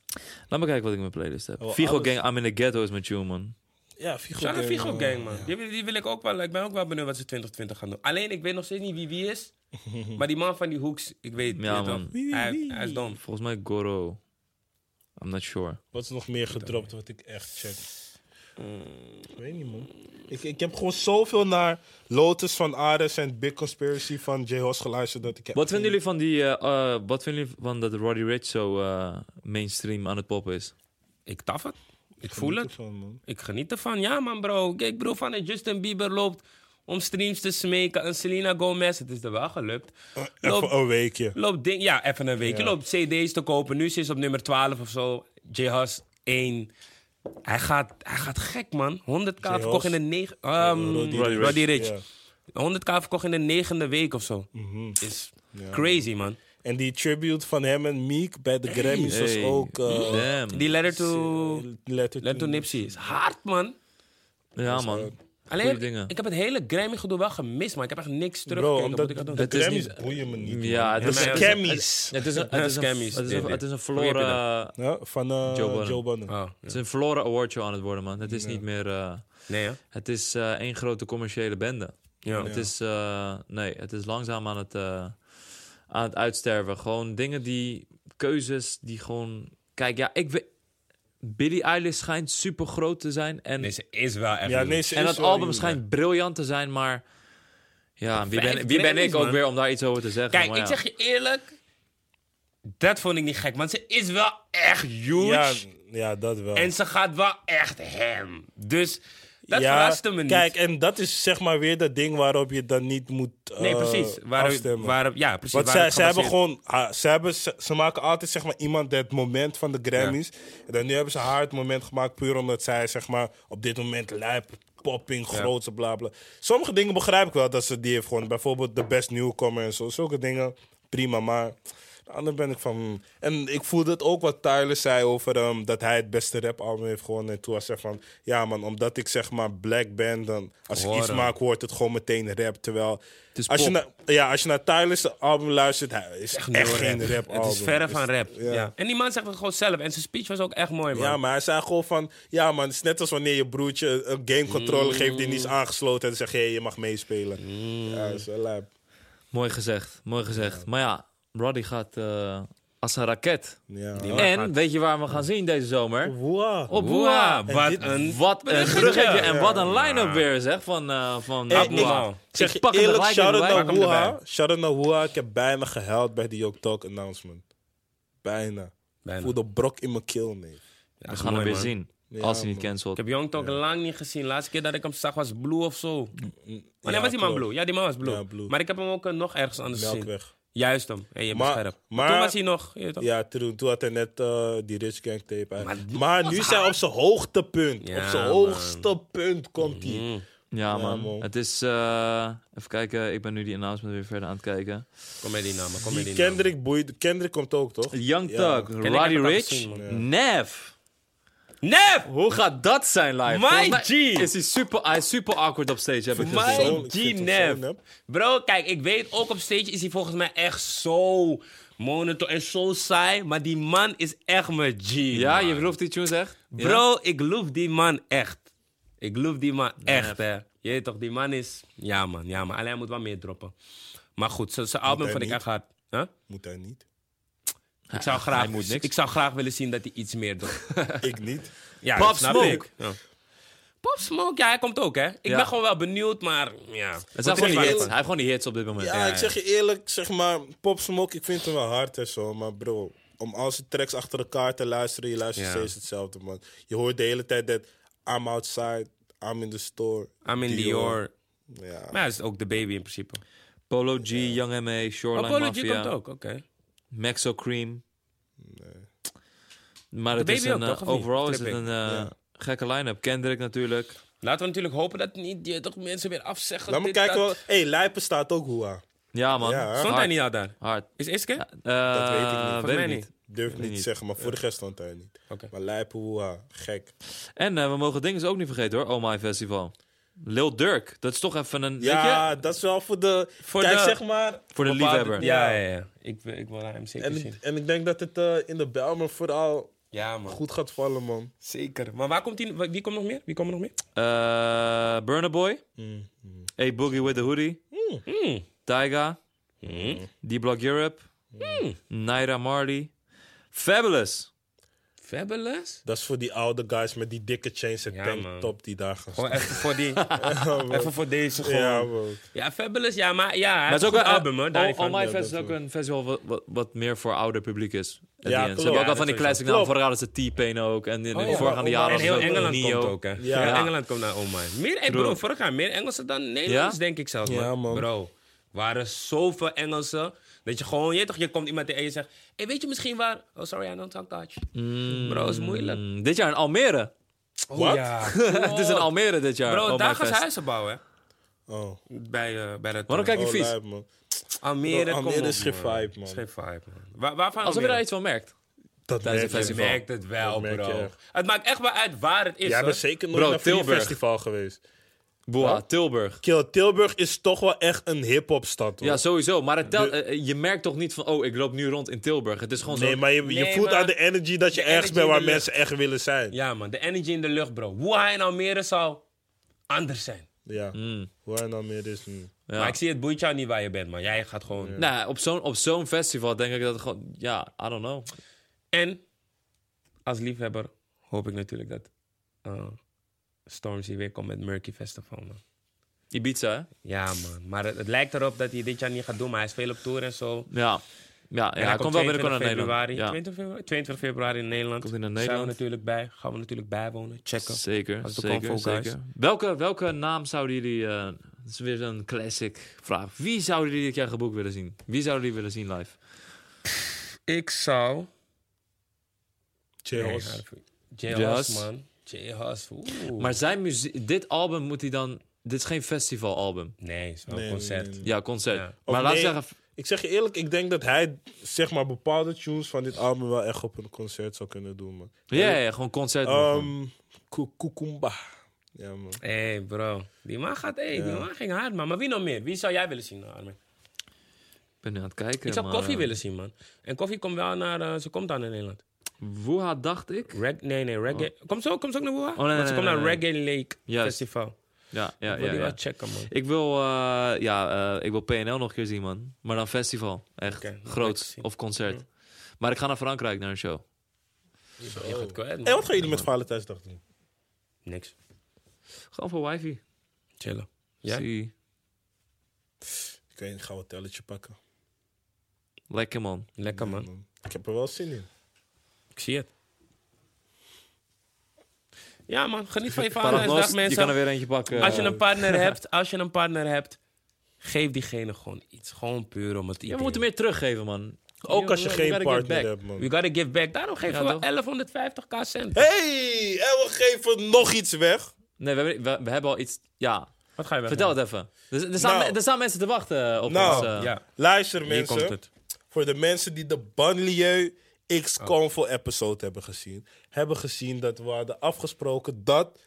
S3: Laat me kijken wat ik in mijn playlist heb.
S1: Oh,
S3: Figo
S1: alles.
S3: Gang, I'm in the Ghetto is mijn tune, man.
S1: Ja, Figo
S2: Shout out
S1: Gang,
S2: Figo Gang, man. Die, wil- die wil ik ook wel. Ik ben ook wel benieuwd wat ze 2020 gaan doen. Alleen, ik weet nog steeds niet wie wie is. maar die man van die hoeks, ik weet
S3: Ja,
S2: weet
S3: man.
S2: toch? Hij, hij is dom.
S3: Volgens mij Goro. I'm not sure.
S1: Wat is nog meer gedropt wat ik echt check? Ik weet niet, man. Ik, ik heb gewoon zoveel naar Lotus van Ares en Big Conspiracy van J. Hos geluisterd dat ik heb...
S3: Wat vinden jullie van die? eh, eh, wat vinden jullie van dat Roddy Rich zo eh, mainstream aan het poppen is?
S2: Ik taf het. Ik voel het.
S1: Ervan, man.
S2: Ik geniet ervan. Ja, man, bro. Kijk, bro, van dat Justin Bieber loopt om streams te smeken. En Selena Gomez, het is er wel gelukt.
S3: Oh.
S1: Even
S2: Loopt,
S1: een weekje.
S2: loopt ding, ja, even een weekje. Loopt CD's te kopen. Nu is ze op nummer 12 of zo. J-Hus 1. Hij gaat, hij gaat gek, man. 100k
S1: J-Hus.
S2: verkocht in de 9.
S1: Roddy
S2: Roddy
S1: Ricch,
S2: Rich.
S1: ja. Mhm.
S2: 100k verkocht in de negende week of zo. Is crazy, man.
S1: En die tribute van hem en Meek bij de Grammys
S3: Hey.
S1: was ook... eh,
S3: Damn.
S2: Die letter to,
S1: letter
S2: letter to Nipsey is hard, man.
S3: Ja, man.
S2: Alleen,
S3: Goeie dingen.
S2: ik heb het hele Grammy-gedoe wel gemist, maar ik heb echt niks
S1: Bro,
S2: teruggekeken.
S1: omdat
S2: Moet ik dat doen?
S1: de
S3: Het is
S1: Grammys
S3: niet-
S1: boeien me niet.
S3: Ja,
S1: man.
S3: het
S1: de
S3: is-
S1: scammies.
S3: Het is een- het is een-
S2: Scammies,
S3: het is
S2: dit,
S3: een-
S2: dit.
S3: het is een
S2: Hoe heb je
S3: verloren... eh,
S1: Ja, van eh,
S3: Joe Budden. Ah.
S1: Joe Budden.
S2: Oh,
S3: Het is een verloren awardshow aan het worden, man. Het is niet meer... eh,
S2: nee, hè?
S3: het is eh, één grote commerciële bende.
S2: Ja.
S3: Het is... eh, nee, het is langzaam aan het, eh, aan het uitsterven. Gewoon dingen die... Keuzes die gewoon... Kijk, ja, ik weet... Billie Eilish schijnt super groot te zijn. En,
S2: Nee, ze is wel echt.
S1: Ja,
S2: een-
S1: nee, ze
S3: en
S1: is
S3: dat
S1: wel
S3: album
S1: huge.
S3: schijnt briljant te zijn, maar... Ja, wie
S2: Vijf
S3: ben, wie ben
S2: Grammys,
S3: ik ook
S2: man.
S3: weer om daar iets over te zeggen?
S2: Kijk,
S3: maar
S2: ik
S3: ja.
S2: zeg je eerlijk. Dat vond ik niet gek, want ze is wel echt huge.
S1: Ja, ja, dat wel.
S2: En ze gaat wel echt hem. Dus dat
S1: ja,
S2: verraste me niet.
S1: Kijk, en dat is zeg maar weer dat ding waarop je dan niet moet eh,
S2: nee, precies. Waar,
S1: afstemmen.
S2: waar, ja, precies.
S1: Want
S2: waar
S1: zij,
S2: het
S1: zij hebben
S2: gebaseerd-
S1: gewoon, ah, ze, hebben, ze, ze maken altijd zeg maar iemand het moment van de Grammys. En dan nu hebben ze haar het moment gemaakt puur omdat zij zeg maar op dit moment lijp, popping, grootse bla bla. Sommige dingen begrijp ik wel dat ze die heeft gewonnen. Bijvoorbeeld de best newcomer en zo. Zulke dingen, prima, maar... de Andere ben ik van. hmm. En ik voelde het ook wat Tyler zei over ehm, dat hij het beste rapalbum heeft gewonnen. En toen was hij van. Ja, man, omdat ik zeg maar black ben, dan. Als ik iets
S2: Horen.
S1: maak, wordt het gewoon meteen rap. Terwijl.
S3: is
S1: als je
S3: pop.
S1: na- ja, als je naar Tyler's album luistert, hij is echt,
S2: nieuwe
S1: geen rap.
S2: Het is verre van rap.
S1: ja.
S2: Ja. En die man zegt het gewoon zelf. En zijn speech was ook echt mooi, man.
S1: Ja, maar hij zei gewoon van... Ja, man, het is net als wanneer je broertje een gamecontroller geeft die niet is aangesloten. En dan zeg je, hey, je mag meespelen.
S3: Mm.
S1: Ja, dat is wel lijp.
S3: Mooi gezegd, mooi gezegd. Maar ja, Roddy gaat eh, als een raket.
S1: Ja.
S2: man-
S3: en
S2: gaat-
S3: weet je waar we hem gaan zien deze zomer?
S1: Wow.
S3: Op Boa.
S2: Boa, wat
S1: dit-
S2: een...
S3: Wat een
S2: Bruggetje.
S3: bruggetje en wat een line-up weer, zeg, van, eh van
S1: Hey,
S3: eh,
S1: ik-
S3: Boa.
S2: ik
S1: Zeg je
S3: pak hem
S1: eerlijk,
S3: er gelijk
S1: shout-out
S3: in,
S1: naar
S3: pak hem
S1: Woeha.
S2: erbij.
S1: Shout-out naar Woeha. Ik heb bijna gehuild bij die Yoke Talk announcement. Bijna. Ik
S2: Bijna.
S1: voelde brok in mijn keel, nee.
S2: Ja,
S3: We
S2: is
S3: gaan hem
S2: mooi,
S3: weer
S2: man.
S3: zien,
S1: Ja,
S3: als hij niet
S1: man.
S2: Ik
S3: cancelt.
S2: heb Young Talk lang niet gezien. Laatste keer dat ik hem zag was Blue of zo. Wanneer was die man
S1: klopt.
S2: Blue? Ja, die man was Blue.
S1: Ja, Blue.
S2: Maar ik heb hem ook eh, nog ergens anders gezien.
S1: Melkweg.
S2: Juist hem. Hey, je bent
S1: Maar-
S2: scherp.
S1: maar-
S2: toen was hij nog. je weet toch?
S1: Ja, toen, toen had hij net eh, die Rich Gang tape uit. Maar,
S2: Maar die
S1: nu is hij op zijn hoogtepunt.
S2: Ja,
S1: op zijn
S2: man. Mhm.
S1: hoogste punt komt hij.
S3: Ja, man.
S1: man.
S3: Het is... eh, even kijken, ik ben nu die announcement weer verder aan het kijken.
S2: Kom met die namen. Kom met
S1: Die
S2: die namen.
S1: Kendrick, boeit, Kendrick komt ook, toch?
S3: Young
S1: Ja.
S3: Thug,
S2: ik
S3: Roddy
S2: heb het al
S3: Rich,
S2: gezien,
S3: Nev.
S2: Nef!
S3: Hoe gaat dat zijn live?
S2: My
S3: Volgens mij
S2: G.
S3: Is hij super, hij is super awkward op stage, heb ik
S2: My
S3: gezien.
S1: Persoonlijk
S2: G
S1: vind ik hem
S2: Nef.
S1: zo nep.
S2: Bro, kijk, ik weet ook op stage is hij volgens mij echt zo monitor en zo saai. Maar die man is echt mijn G.
S3: Ja,
S2: man.
S3: je gelooft die tunes echt? Ja?
S2: Bro, ik loof die man echt. Ik loof die man echt, hè. Je weet toch, die man is... Ja, man. Ja, man. Alleen hij moet wat meer droppen. Maar goed, zijn- zijn album
S1: hij
S2: vond ik
S1: niet?
S2: echt hard. Huh?
S1: Moet hij niet.
S2: Ik, zou graag,
S3: moet niks.
S2: ik zou graag willen zien dat hij iets meer dropt.
S1: Ik niet.
S2: Ja,
S3: Pop
S2: dat snap
S3: Smoke.
S2: ik. Ja. Pop Smoke, ja, hij komt ook, hè. Ik
S3: Ja.
S2: ben gewoon wel benieuwd, maar ja.
S3: Het zijn gewoon die
S2: Wat-
S3: hits. Hij heeft gewoon die hits op dit moment.
S1: Ja, ik zeg je eerlijk, zeg maar, Pop Smoke, ik vind hem wel hard en zo. Maar bro, om al zijn tracks achter elkaar te luisteren, je luistert
S2: Ja.
S1: steeds hetzelfde, man. Je hoort de hele tijd dat I'm outside, I'm in the store.
S2: I'm in Dior.
S1: Ja.
S2: Maar hij is ook de baby in principe.
S3: Polo G, Young M.A., Shoreline
S2: Apology
S3: Mafia,
S2: komt ook, oké.
S3: Maxo Cream. Maar het
S2: Baby
S3: is een,
S2: ook, toch,
S3: eh,
S2: of niet?
S3: overal is het
S2: Flip
S3: een eh, gekke line-up. Kendrick natuurlijk.
S2: Laten we natuurlijk hopen dat niet je, toch mensen weer afzeggen.
S1: Laat me
S2: dit,
S1: kijken,
S2: dat.
S1: wel- hey, Lijpen staat ook hoe aan.
S3: Ja, man.
S1: Ja, hè?
S2: Stond hij
S3: Hard.
S2: niet al daar?
S3: Hard.
S2: Is Iske?
S3: Eh,
S1: Dat weet ik niet.
S2: Volgens
S3: weet
S2: mij
S3: ik
S2: niet.
S3: niet.
S1: Durf ik niet te
S3: niet.
S1: zeggen, maar voor de rest stond hij niet.
S2: Oké.
S1: Maar Lijpen, hoe aan. Gek.
S3: En eh, we mogen dingen ook niet vergeten hoor. Oh My Festival. Lil Durk. Dat is toch even een...
S1: Ja,
S3: weet
S1: dat is wel voor de.
S2: Voor
S1: kijk,
S2: de-
S1: zeg maar.
S3: je? Voor de
S2: Bepaalde-
S3: liefhebber.
S2: Ja, ja, ja. Ik, wil- ik wil hem zeker zien.
S1: En, en ik denk dat het eh, in de Belmer vooral
S2: Ja, man.
S1: goed gaat vallen, man.
S2: Zeker. Maar waar komt hij? Wie komt nog meer? Wie komt er nog meer?
S3: Eh, Burna Boy.
S1: Mm,
S3: A Boogie with the Hoodie.
S2: Mm.
S3: Tyga. D-Block Europe.
S1: Mm.
S3: Naira Marley. Fabulous.
S2: Fabulous?
S1: Dat is voor die oude guys met die dikke chains en
S2: Ja, man.
S1: tanktop die daar gaan
S2: Gewoon even voor die...
S1: staan. man.
S2: even voor deze gewoon.
S1: Ja,
S2: Ja,
S1: man.
S2: Fabulous. Ja, maar ja, hij
S3: Maar het
S2: heeft
S3: is ook
S2: een
S3: een
S2: goed album, hoor.
S3: All,
S2: daarvan.
S3: My
S1: ja,
S3: Fest is
S1: dat
S3: ook een festival wat, wat, wat meer voor ouder publiek is.
S1: Ja,
S3: At the end.
S1: klopt.
S3: Ze hebben ook
S2: Ja,
S3: al van die
S2: dat sowieso.
S3: classic namen.
S1: Klopt.
S3: Vorig jaar hadden ze T-Pain ook. En in de
S1: ja,
S3: voorgaande
S1: Oh
S3: jaren
S1: My-
S2: En heel
S3: was het ook
S2: Engeland
S3: Neo.
S2: komt ook, hè.
S1: Ja.
S2: Heel
S1: Ja.
S2: Engeland komt naar Oh My. Meer, eh, bro,
S3: True.
S2: vorig jaar meer Engelsen dan Nederlands,
S3: Ja?
S2: denk ik zelfs. man.
S1: Ja, man.
S2: Bro, waren zoveel Engelsen. Dat je gewoon, je, weet toch, je komt iemand tegen en je zegt... Hey, weet je misschien waar... Oh, sorry, I don't talk Dutch. Bro, is moeilijk.
S3: Mm, dit jaar in Almere.
S1: Wat?
S2: Ja.
S3: het is in Almere dit jaar.
S2: Bro,
S3: Oh My
S2: daar gaan ze
S3: Fest.
S2: huizen bouwen. hè.
S1: Oh,
S2: bij, eh, bij dat...
S3: Waarom kijk je
S1: oh,
S3: vies?
S1: lijp, man.
S2: Almere,
S1: Bro,
S2: kom
S1: Almere
S2: op,
S1: is geen vibe, man.
S2: Is geen vibe, man. Waar, waarvan
S3: Alsof je
S2: Almere?
S3: daar iets van merkt.
S1: Dat
S3: Tijdens
S1: merk je
S3: een
S2: Je
S3: festival.
S1: wel.
S2: merkt het wel,
S1: Dat merk je
S2: bro.
S1: echt.
S2: Het maakt echt wel uit waar het is,
S1: Jij
S2: hoor.
S1: bent zeker nooit
S3: Bro,
S1: naar een
S3: Tilburg.
S1: festival geweest.
S3: Boa, Tilburg.
S1: Kill, Tilburg is toch wel echt een hip-hop stad.
S3: Ja, sowieso. Maar het telt, eh, eh, je merkt toch niet van, oh, ik loop nu rond in Tilburg. Het is gewoon
S1: nee,
S3: zo...
S1: maar je, je
S2: Nee,
S1: voelt
S2: maar-
S1: aan de energy dat je
S2: De
S1: ergens
S2: energy
S1: bent
S2: in
S1: waar
S2: de lucht.
S1: mensen echt willen zijn. Ja.
S2: Ja, man. De energy in de lucht, bro. Hoe hij in Almere zou anders zijn. Mm.
S1: Hoe hij nou meer is. mm.
S3: Ja.
S2: Maar ik zie het boeit jou niet waar je bent, man. Jij gaat gewoon...
S3: Nou, op zo'n op zo'n festival denk ik dat het gewoon... Ja, I don't know.
S2: En als liefhebber hoop ik natuurlijk dat eh, Stormzy weer komt met Murky Festival, man.
S3: Ibiza, hè?
S2: Ja, man. Maar het, het lijkt erop dat hij dit jaar niet gaat doen, maar hij is veel op tour en zo.
S3: Ja. Ja, ja,
S2: En
S3: hij komt wel
S2: 22
S3: binnenkort naar Nederland.
S2: februari,
S3: Ja.
S2: 20 februari, 22 februari in Nederland.
S3: Komt hij naar
S2: Zijn
S3: Nederland?
S2: we natuurlijk bij. Gaan we natuurlijk bijwonen. Checken.
S3: Zeker,
S2: Als de
S3: zeker,
S2: Convo Guys.
S3: zeker. Welke, welke naam zouden jullie... eh, dat is weer zo'n classic vraag. Wie zouden jullie dit jaar geboekt willen zien? Wie zouden jullie willen zien live?
S2: Ik zou...
S1: Chills.
S2: J-Hos,
S3: J-Hos.
S2: man. J-Hos. oeh.
S3: Maar zijn muziek... Dit album moet hij dan... Dit is geen festivalalbum.
S2: Nee, het is wel
S1: Nee,
S2: een concert.
S1: nee, nee.
S3: Ja, concert.
S2: Ja.
S1: Of
S3: Maar laat
S1: nee,
S3: zeggen...
S1: Ik zeg je eerlijk, ik denk dat hij zeg maar, bepaalde tunes van dit album wel echt op een concert zou kunnen doen. Man.
S3: Ja, ja, gewoon concert. doen, gewoon.
S1: Ehm, Ku- Kukumba. Ja, man.
S2: Hé, hey, bro. Die man gaat... Hey, Die man ging hard, man. Maar wie nog meer? Wie zou jij willen zien, Armin?
S3: Ik ben nu aan het kijken.
S2: Ik zou
S3: maar,
S2: koffie
S3: eh,
S2: willen zien, man. En koffie komt wel naar... eh, ze komt dan in Nederland.
S3: Woeha dacht ik.
S2: Reg nee, nee, reggae. Kom zo, kom zo ook naar Woeha.
S3: Oh. nee,
S2: Want
S3: nee,
S2: ze komt
S3: nee,
S2: naar
S3: nee.
S2: Reggae Lake
S3: Juist.
S2: Festival.
S3: Ja, ja,
S2: Ik wil
S3: ja.
S2: die
S3: ja.
S2: wel checken, man.
S3: Ik wil, eh, ja, eh, ik wil PNL nog een keer zien, man. Maar dan festival. Echt.
S2: Oké, dat wil ik
S3: Groot.
S2: zien. Mm.
S3: Of concert. Maar ik ga naar Frankrijk naar een show.
S2: Je gaat kwijt, man.
S1: En wat gaan jullie met Valentijnsdag doen?
S2: Niks.
S3: Gewoon voor wifi.
S2: Chillen. Ja?
S3: Ja?
S1: Ik weet niet, ik ga wat telletje pakken.
S3: Lekker, man.
S2: Lekker, man.
S1: Ik heb er wel zin in.
S2: Ik zie het. Ja, man. Geniet van je
S3: Paragnost,
S2: Valentijnsdag,
S3: je kan er
S2: mensen.
S3: weer eentje pakken.
S2: Als je een partner hebt, als je een partner hebt, geef diegene gewoon iets. Gewoon puur om het idee.
S3: Ja, we moeten meer teruggeven, man.
S1: Ook als je
S3: we
S1: geen
S3: gotta
S1: partner
S3: get back.
S1: hebt, man.
S2: We gotta give back. Daarom geven
S3: Ja,
S2: we
S3: toch?
S2: 1150k cent.
S1: Hey, en we geven nog iets weg.
S3: Nee, we hebben, we, we hebben al iets... Ja,
S2: Wat ga je weg?
S3: vertel het even. Er, er, staan,
S1: Nou.
S3: er staan mensen te wachten op
S1: Nou.
S3: ons. eh.
S2: Ja,
S1: Luister
S2: hier komt
S1: mensen,
S2: het.
S1: voor de mensen die de Banlieu X Convo episode hebben gezien, hebben gezien dat we hadden afgesproken dat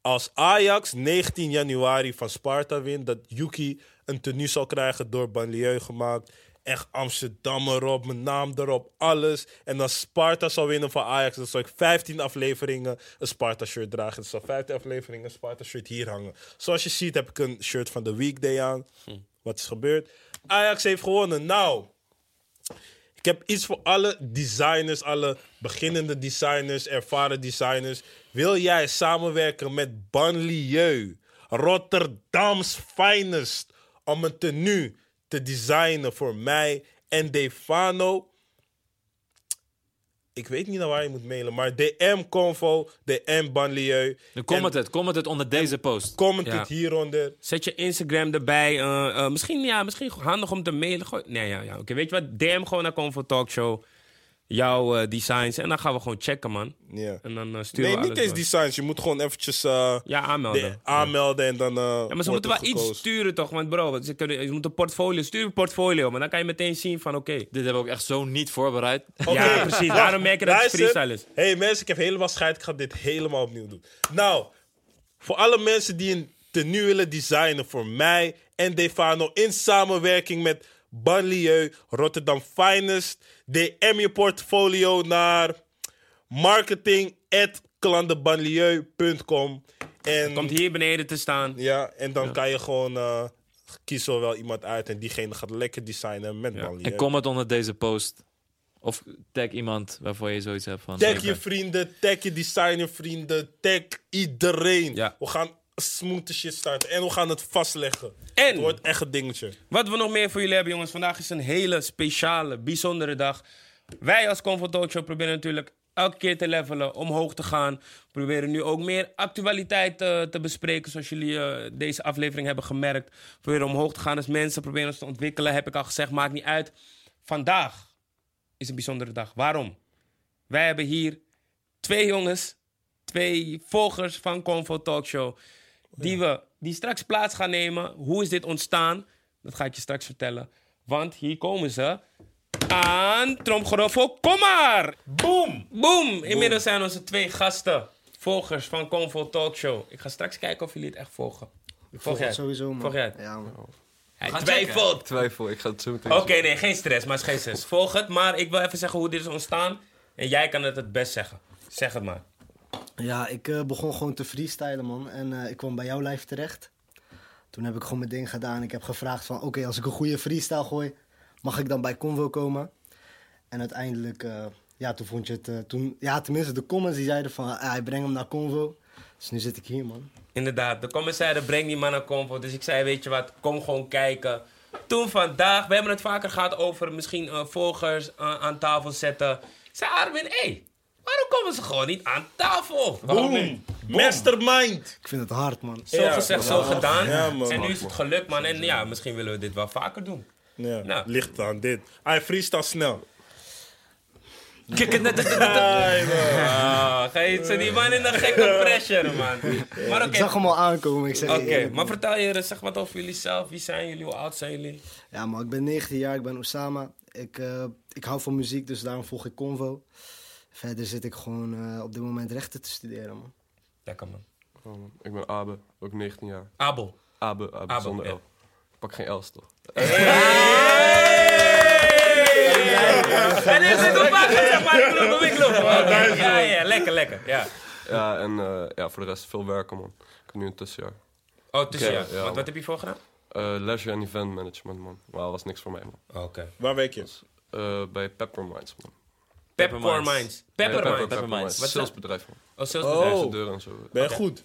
S1: als Ajax 19 januari van Sparta wint, dat Yuki een tenue zal krijgen door Banlieu gemaakt. Echt Amsterdam erop, mijn naam erop, alles. En als Sparta zal winnen van Ajax, dan zal ik 15 afleveringen een Sparta-shirt dragen. Er zal 15 afleveringen een Sparta-shirt hier hangen. Zoals je ziet heb ik een shirt van de weekday aan. Wat is gebeurd? Ajax heeft gewonnen. Nou, ik heb iets voor alle designers, alle beginnende designers, ervaren designers. Wil jij samenwerken met Banlieue, Rotterdams finest, om een tenue te designen voor mij en Defano? Ik weet niet naar waar je moet mailen, maar DM Convo, DM Banlieue.
S3: Dan comment het. Comment het onder deze post.
S1: Comment
S2: Ja.
S1: het hieronder.
S2: Zet je Instagram erbij. eh, eh, misschien, ja, misschien handig om te mailen. Gooi- nee, ja, ja. Oké, weet je wat? DM gewoon naar Comfort Talk Show. Jouw eh, designs. En dan gaan we gewoon checken, man.
S1: Ja.
S2: En dan eh, sturen
S1: Nee,
S2: we
S1: niet
S2: alles
S1: eens
S2: door.
S1: designs. Je moet gewoon eventjes eh,
S2: Ja, aanmelden.
S1: de- aanmelden en dan. eh,
S2: Ja, maar ze
S1: wordt
S2: moeten
S1: er
S2: wel iets
S1: gekozen.
S2: sturen, toch? Want bro, ze, kunnen, ze moeten een portfolio... Stuur een portfolio, maar dan kan je meteen zien van, oké.
S3: Dit hebben we ook echt zo niet voorbereid.
S2: Ja,
S1: Oké,
S2: precies.
S1: wacht,
S2: Daarom merk je dat het
S1: luister.
S2: freestyle is.
S1: hey, mensen, ik heb helemaal scheid. Ik ga dit helemaal opnieuw doen. Nou, voor alle mensen die een tenue willen designen voor mij en Defano in samenwerking met Banlieue Rotterdam Finest, DM je portfolio naar marketing@klandenbanlieue.com en
S2: Komt hier beneden te staan.
S1: ja, en dan kan je gewoon eh kiezen er wel iemand uit en diegene gaat lekker designen met Banlieue.
S3: En comment onder deze post. Of tag iemand waarvoor je zoiets hebt van... eh,
S1: Tag je vrienden, tag je designervrienden, tag iedereen.
S2: Ja.
S1: We gaan smooth shit starten en we gaan het vastleggen.
S2: En-
S1: Het wordt echt een dingetje.
S2: Wat we nog meer voor jullie hebben, jongens. Vandaag is een hele speciale, bijzondere dag. Wij als Comfort Talk Show proberen natuurlijk elke keer te levelen, omhoog te gaan. We proberen nu ook meer actualiteit eh, te bespreken, zoals jullie eh, deze aflevering hebben gemerkt. We proberen omhoog te gaan als mensen, proberen ons te ontwikkelen, heb ik al gezegd, maakt niet uit. Vandaag is een bijzondere dag. Waarom? Wij hebben hier twee jongens, twee volgers van Comfort Talk Show, die we die straks plaats gaan nemen. Hoe is dit ontstaan? Dat ga ik je straks vertellen. Want hier komen ze aan Tromgeroffel. Kom maar!
S1: Boom!
S2: Boom! Inmiddels zijn onze twee gasten volgers van Convo Talkshow. Ik ga straks kijken of jullie het echt volgen.
S4: Ik
S2: Volg
S4: volg
S2: jij?
S4: het sowieso, man.
S2: Volg jij het?
S4: Ja, man.
S2: Hij
S3: Ga
S2: twijfelt!
S5: Twijfel, ik ga het zo meteen
S2: Oké, nee, geen stress, maar het is geen stress. Volg het, maar ik wil even zeggen hoe dit is ontstaan. En jij kan het het best zeggen. Zeg het maar.
S4: Ja, ik eh, begon gewoon te freestylen, man. En eh, ik kwam bij jouw lijf terecht. Toen heb ik gewoon mijn ding gedaan. Ik heb gevraagd van, oké, als ik een goede freestyle gooi, mag ik dan bij Convo komen? En uiteindelijk, eh, ja, toen vond je het... eh, toen, ja, tenminste, de comments die zeiden van, ah, ik breng hem naar Convo. Dus nu zit ik hier, man.
S2: Inderdaad, de comments zeiden, breng die man naar Convo. Dus ik zei, weet je wat, kom gewoon kijken. Toen vandaag, we hebben het vaker gehad over misschien eh, volgers eh, aan tafel zetten. Ik zei Armin, hé, waarom komen ze gewoon niet aan tafel?
S1: Boom! Mastermind!
S4: Ik vind het hard, man.
S2: Zo
S1: Ja,
S2: gezegd, zo gedaan.
S1: Ja, man.
S2: en nu is het gelukt, man. En ja, misschien willen we dit wel vaker doen.
S1: Ja,
S2: Nou.
S1: ligt aan dit. Hij freestyle snel.
S3: Kijk het net.
S2: Ah, ga je ze die man in een gekke pressure, man. Maar oké,
S4: Ik zag hem al aankomen, ik zeg je
S2: Oké,
S4: eerlijk, man.
S2: maar vertel je zeg wat over jullie zelf. Wie zijn jullie? Hoe oud zijn jullie?
S4: Ja, maar ik ben 19 jaar, ik ben Osama. Ik, eh, ik hou van muziek, dus daarom volg ik Convo. Verder zit ik gewoon eh, op dit moment rechten te studeren, man.
S2: Lekker man.
S5: Oh, man. Ik ben Abe, ook 19 jaar.
S2: Abel.
S5: Abe, Abe,
S2: Abe,
S5: zonder
S2: ja.
S5: L. Ik pak geen L's toch?
S2: En is dit op wacht, zeg maar. Ik loop, ik loop. Oké, Ja, ja, lekker, lekker. Ja.
S5: Ja, en eh, ja, voor de rest veel werken, man. Ik heb nu een tussenjaar.
S2: Oh, tussen
S5: Oké,
S2: ja.
S5: ja,
S2: Wat,
S5: man.
S2: wat heb je voor gedaan?
S5: Eh leisure en event management, man. Wauw, was niks voor mij, man.
S2: Oké.
S1: Waar werk je?
S5: Eh, bij Pepperminds, man.
S2: Peppermint.
S3: Pepperminds.
S5: Pepperminds.
S2: Peppermint.
S3: Pepperminds.
S5: Wat salesbedrijf, man.
S2: Oh, sales
S1: Oh.
S5: Bedrijf deuren en zo.
S1: Ben je goed?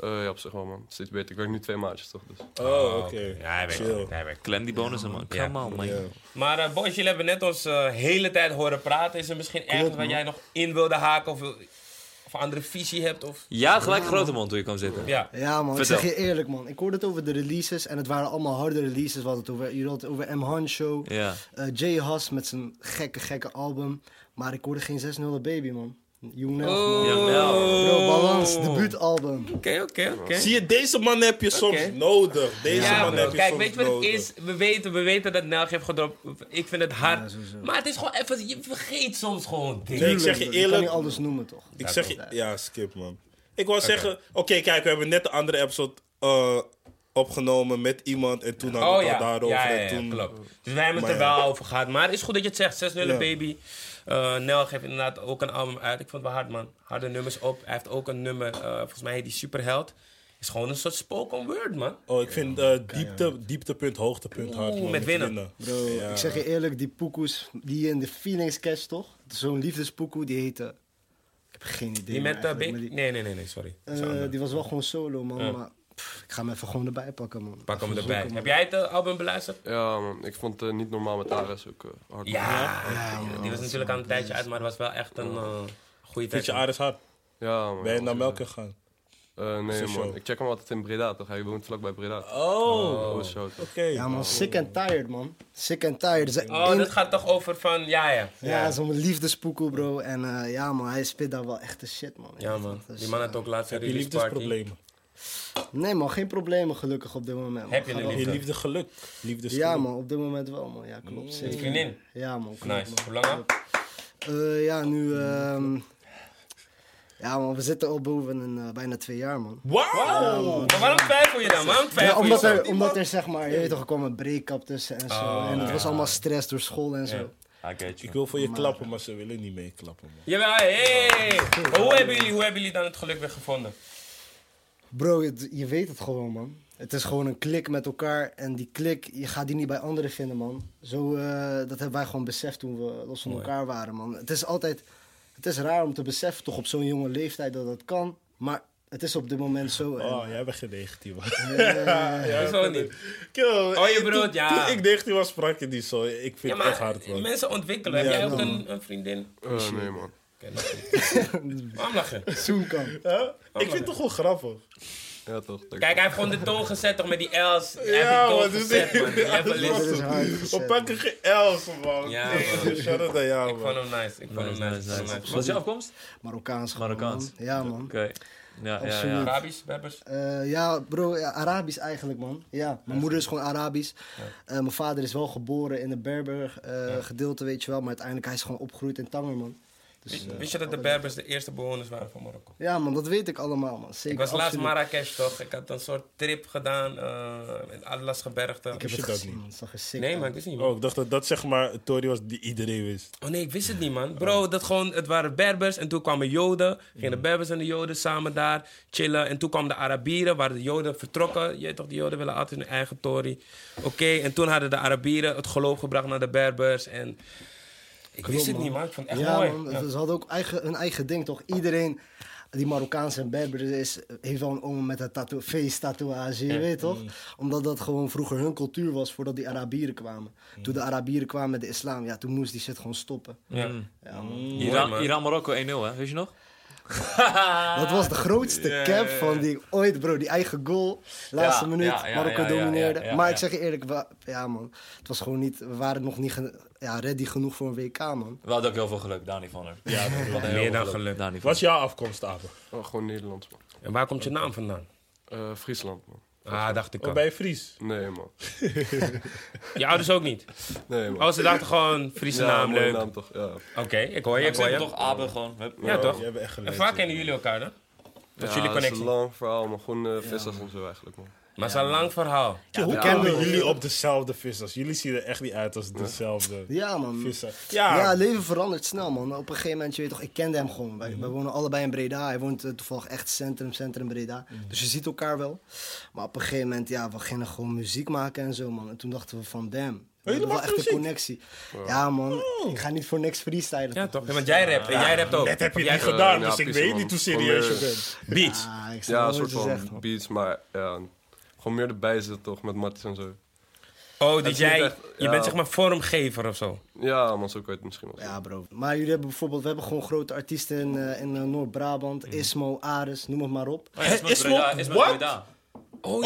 S5: Eh, ja, op zich wel, man. Steeds beter. Ik werk nu twee maandjes, toch? Dus.
S1: Oh, oké.
S2: Ja, hij werkt.
S1: Chill.
S2: Hij werkt.
S3: Klem die bonussen, man.
S2: Ja.
S3: Come on, man.
S1: Ja.
S2: Maar eh, boys, jullie hebben net ons eh hele tijd horen praten. Is er misschien ergens waar jij nog in wilde haken of, wil- of een andere visie hebt? Of...
S3: Ja, gelijk grote mond hoe je kan zitten.
S2: Ja.
S4: Ja, man,
S3: Vertel.
S4: ik zeg je eerlijk, man. Ik hoorde het over de releases en het waren allemaal harde releases. We hadden het over, jullie hadden het over M. Han Show,
S3: Ja.
S4: eh, Jay Haas met zijn gekke, gekke album. Maar ik hoorde geen 6-0 Baby, man. Young Nelf, man.
S2: Oh.
S3: Jawel.
S4: Bro, Balans, debuutalbum.
S2: Oké, oké, oké.
S1: Zie je, deze man heb je soms
S2: Oké.
S1: nodig. Deze
S2: Ja,
S1: man
S2: bro.
S1: heb je
S2: Kijk,
S1: soms
S2: weet je wat het
S1: nodig.
S2: is? We weten, we weten dat Nelg heeft gedropt. Ik vind het hard. maar het is gewoon even... Je vergeet soms gewoon dingen.
S1: Nee, ik zeg je
S4: Ik kan niet
S1: eerlijk.
S4: alles noemen, toch?
S1: Ik zeg je, ja, skip man. Ik wou zeggen, oké, kijk, we hebben net de andere episode eh, opgenomen met iemand en toen hadden
S2: Oh
S1: we het
S2: ja,
S1: al daarover.
S2: ja, ja,
S1: en
S2: ja,
S1: toen,
S2: klopt. Dus wij hebben het er
S1: Maar ja.
S2: wel over gehad. Maar het is goed dat je het zegt. 6 0
S1: Ja.
S2: baby. Eh Nel geeft inderdaad ook een album uit. Ik vond het wel hard, man. Harde nummers op. Hij heeft ook een nummer, eh, volgens mij heet die Superheld. Is gewoon een soort spoken word, man.
S1: Oh, ik vind eh, diepte, dieptepunt, hoogtepunt hard.
S2: Oeh,
S1: man,
S2: met winnen.
S4: Bro, ik zeg je eerlijk, die poekoes die je in de Phoenix catch, toch? Zo'n liefdespoekoe, die heette... Ik heb geen idee.
S2: Die
S4: man,
S2: met eh,
S4: eigenlijk,
S2: Big...
S4: maar die-
S2: Nee, nee, nee, nee, sorry. Dat is een
S4: Eh,
S2: ander.
S4: die was wel gewoon solo, man. Maar pff, ik ga hem even gewoon erbij pakken, man.
S2: Pak hem
S4: Even
S2: erbij.
S4: zoeken,
S2: Heb jij het eh, album beluisterd?
S5: Ja, man. Ik vond het niet normaal met Ares ook eh, hard. man.
S2: Ja, die- die was natuurlijk aan een tijdje uit, maar het was wel echt een eh, goede
S1: Vind
S2: tijd.
S1: je Ares hard?
S5: Ja, man.
S1: Ben je naar
S5: man.
S1: Melken gegaan?
S5: Eh, nee,
S1: Zijn show.
S5: man. Ik check hem altijd in Breda, toch? Hij woont vlakbij Breda. Oh,
S1: Oh,
S5: dat
S1: oké.
S5: was show, toch?
S4: Ja, man, sick and tired, man. Sick and tired. Ze-
S2: Oh,
S4: één-
S2: dat gaat toch over van, ja, ja.
S4: Ja, zo'n liefdespoekoe, bro. En eh, ja, man, hij spit daar wel echte shit, man.
S2: Ja, man.
S4: Dus,
S2: Die man had ook laatst een
S1: Heb je
S2: release party.
S1: liefdesproblemen?
S4: Nee, man, geen problemen gelukkig op dit moment. man.
S2: Heb je
S4: Ga
S2: een
S4: wel-
S1: Je
S2: Liefde.
S1: liefde geluk. Liefdes
S4: Ja, man, op dit moment wel, man. Ja, klopt.
S2: Die
S4: Zeker.
S2: vriendin.
S4: Ja, man. klopt,
S2: Nice.
S4: man.
S2: Hoe lang al?
S4: Eh, ja, nu... ehm, ja, man, we zitten al boven een, eh, bijna twee jaar, man.
S2: Wauw! Maar waarom twijfel je dan? Waarom
S4: Ja,
S2: twijfel je
S4: omdat,
S2: dan?
S4: er, omdat er, zeg maar, je weet toch, er kwam een break-up tussen en zo. en het was allemaal stress door school en zo.
S1: Ik wil voor je klappen, maar ze willen niet meeklappen, man.
S2: Jawel, hey! Maar Hoe hebben jullie, hoe hebben jullie dan het geluk weer gevonden?
S4: Bro, het- je weet het gewoon, man. Het is gewoon een klik met elkaar. En die klik, je gaat die niet bij anderen vinden, man. Zo, eh, dat hebben wij gewoon beseft toen we los van
S2: Mooi.
S4: elkaar waren, man. Het is altijd... Het is raar om te beseffen, toch op zo'n jonge leeftijd, dat dat kan. Maar het is op dit moment zo. en-
S1: Oh, jij bent geen 19, man.
S2: Ja, zo niet.
S1: Yo,
S2: Oh, je
S1: Eh, toen-
S2: bedoelt, ja.
S1: Toen ik 19 was, sprak je niet zo. Ik vind
S2: Ja,
S1: het echt
S2: maar
S1: hard, man.
S2: mensen ontwikkelen. Heb
S1: Ja,
S2: jij ook
S4: man.
S2: een, een vriendin?
S5: Eh, nee, man.
S2: Oké, dat is niet. Waarom lach je?
S4: Zoen kan.
S2: Oh,
S1: Huh? Ik vind het toch wel grappig.
S5: Ja, toch? Dank je.
S2: Kijk, hij heeft gewoon de toon gezet toch met die L's. Hij heeft
S1: Ja,
S2: die toon
S1: man, dus
S2: gezet, man. Die
S1: alles
S2: level
S1: was
S2: is-
S4: Dit is hard.
S1: We pakken geen L's, man.
S2: Ja, man.
S1: Shout-out aan jou,
S2: Ik
S1: man.
S2: vond hem nice. Ik vond hem
S3: Nice,
S2: nice.
S3: nice,
S2: Ik vond hem
S3: nice.
S2: nice.
S3: Wat is je afkomst?
S4: Marokkaans. gewoon,
S3: Marokkaans.
S4: man. Ja, man.
S3: Oké. Ja, ja,
S4: Absoluut.
S3: ja.
S2: Arabisch, Berbers.
S4: Eh, ja, bro, ja, Arabisch eigenlijk, man. Ja, mijn moeder is gewoon Arabisch. Eh, mijn vader is wel geboren in een Berber eh, gedeelte, weet je wel. Maar uiteindelijk hij is gewoon opgegroeid in Tanger, man. Dus,
S2: Wist-
S4: eh,
S2: Wist je dat de Berbers de eerste bewoners waren van Marokko?
S4: ja, man, dat weet ik allemaal, man. Zeker,
S2: Ik was laatst
S4: absoluut.
S2: Marrakesh toch? Ik had een soort trip gedaan eh in Atlasgebergte.
S4: Ik heb
S1: Wist
S4: het
S1: je dat
S4: gezien,
S1: niet?
S4: man. Het zag er sick
S2: Nee
S4: uit.
S2: man, ik wist niet man.
S1: Oh, ik dacht dat dat zeg maar een Tory was die iedereen wist.
S2: Oh nee, ik wist het niet, man. Bro, dat gewoon, het waren Berbers en toen kwamen Joden. Gingen de Berbers en de Joden samen daar chillen. En toen kwamen de Arabieren, waren de Joden vertrokken. Je weet toch, de Joden willen altijd hun eigen tory. Oké, en toen hadden de Arabieren het geloof gebracht naar de Berbers. En ik wist het
S4: man.
S2: niet, man. Ik vond het echt
S4: ja,
S2: mooi.
S4: Man,
S2: Ja.
S4: Ze hadden ook eigen, hun eigen ding, toch? Iedereen die Marokkaans en Berber is, heeft wel een oom met een tattoo, face-tatoeage, je weet
S2: Mm.
S4: toch? Omdat dat gewoon vroeger hun cultuur was voordat die Arabieren kwamen.
S2: Mm.
S4: Toen de Arabieren kwamen met de islam, ja, toen moest die shit gewoon stoppen.
S2: Ja.
S4: Ja, man.
S2: Mooi,
S3: Iran,
S2: man.
S3: Iran Marokko 1-0, hè? Weet je nog?
S4: Dat was de grootste cap van die ooit, bro. Die eigen goal, laatste
S3: Ja,
S4: minuut,
S3: ja, ja,
S4: Marokko
S3: ja, ja,
S4: domineerde.
S3: ja, ja,
S4: maar
S3: ja.
S4: ik zeg je eerlijk, wa- ja man, het was gewoon niet, we waren nog niet ge- ja, ready genoeg voor een WK, man.
S3: We hadden ook heel veel geluk, Dani van er. Ja,
S2: Meer dan geluk.
S3: Dani van
S1: Wat is jouw afkomst, Abe?
S5: Oh, gewoon Nederlands, man.
S2: En waar komt je naam vandaan?
S5: Eh, Friesland, man.
S2: Ah, dacht ik
S1: Oh,
S2: al.
S1: bij Fries.
S5: Nee, man.
S2: Je ouders ook niet?
S5: Nee, man.
S2: Oh, ze dachten gewoon Friese
S5: Ja,
S2: naam,
S5: mooie
S2: leuk.
S5: naam toch? Ja.
S2: Oké, ik hoor je,
S3: Ik
S2: ik hoor
S3: zeg
S2: je.
S3: toch Abe gewoon. Hup.
S2: Ja, toch?
S1: Jij bent echt
S2: En
S1: gelezen.
S2: vaak kennen jullie elkaar, hè? Dat is
S5: Ja,
S2: jullie
S5: Dat is
S2: connectie.
S5: een lang verhaal, maar gewoon eh, vissers en zo eigenlijk, man.
S2: Maar het is een lang verhaal.
S4: Ja, hoe
S1: Kennen jullie op dezelfde vissers? Jullie zien er echt niet uit als dezelfde
S4: Ja man.
S1: visser.
S4: Ja.
S1: Ja,
S4: leven verandert snel, man. Op een gegeven moment, je weet toch, ik kende hem gewoon.
S3: Mhm.
S4: Wij, wij wonen allebei in Breda. Hij woont eh, toevallig echt centrum, centrum Breda.
S3: Mhm.
S4: Dus je ziet elkaar wel. Maar op een gegeven moment, ja, we gingen gewoon muziek maken en zo, man. En toen dachten we van, damn. We
S3: Oh,
S1: jullie
S4: hebben wel
S1: maken
S4: echt een
S1: muziek?
S4: connectie. Ja, man. Ik ga niet voor niks freestylen. Dus
S2: Ja, toch? Ja, want jij rapt en jij rapt ook.
S1: dat heb je
S2: Jij
S1: niet
S2: ge-
S1: gedaan,
S5: ja,
S1: dus ik
S5: precies,
S1: weet
S5: man.
S1: niet hoe serieus je
S5: Gewoon, eh,
S1: bent.
S2: Beats.
S4: Ah, ik snap
S5: Ja,
S4: wel
S5: een
S4: wat
S5: soort
S4: je
S5: van
S4: zegt, man.
S5: beats, maar ja, gewoon meer erbij zitten toch, met matjes en zo.
S2: Oh,
S5: Het
S2: dat
S5: is
S2: jij,
S5: niet echt-
S2: je
S5: ja.
S2: bent zeg maar vormgever of zo.
S5: Ja, man, zo kan je het misschien wel zeggen.
S4: Ja, bro. Maar jullie hebben bijvoorbeeld, we hebben gewoon grote artiesten in, eh, in eh, Noord-Brabant.
S3: Mhm.
S4: Ismo, Ares, noem het maar op.
S3: Oh, ja, is met
S1: Is
S3: Breda,
S1: nog-
S3: is met
S1: what?
S3: Breda.
S2: Oh,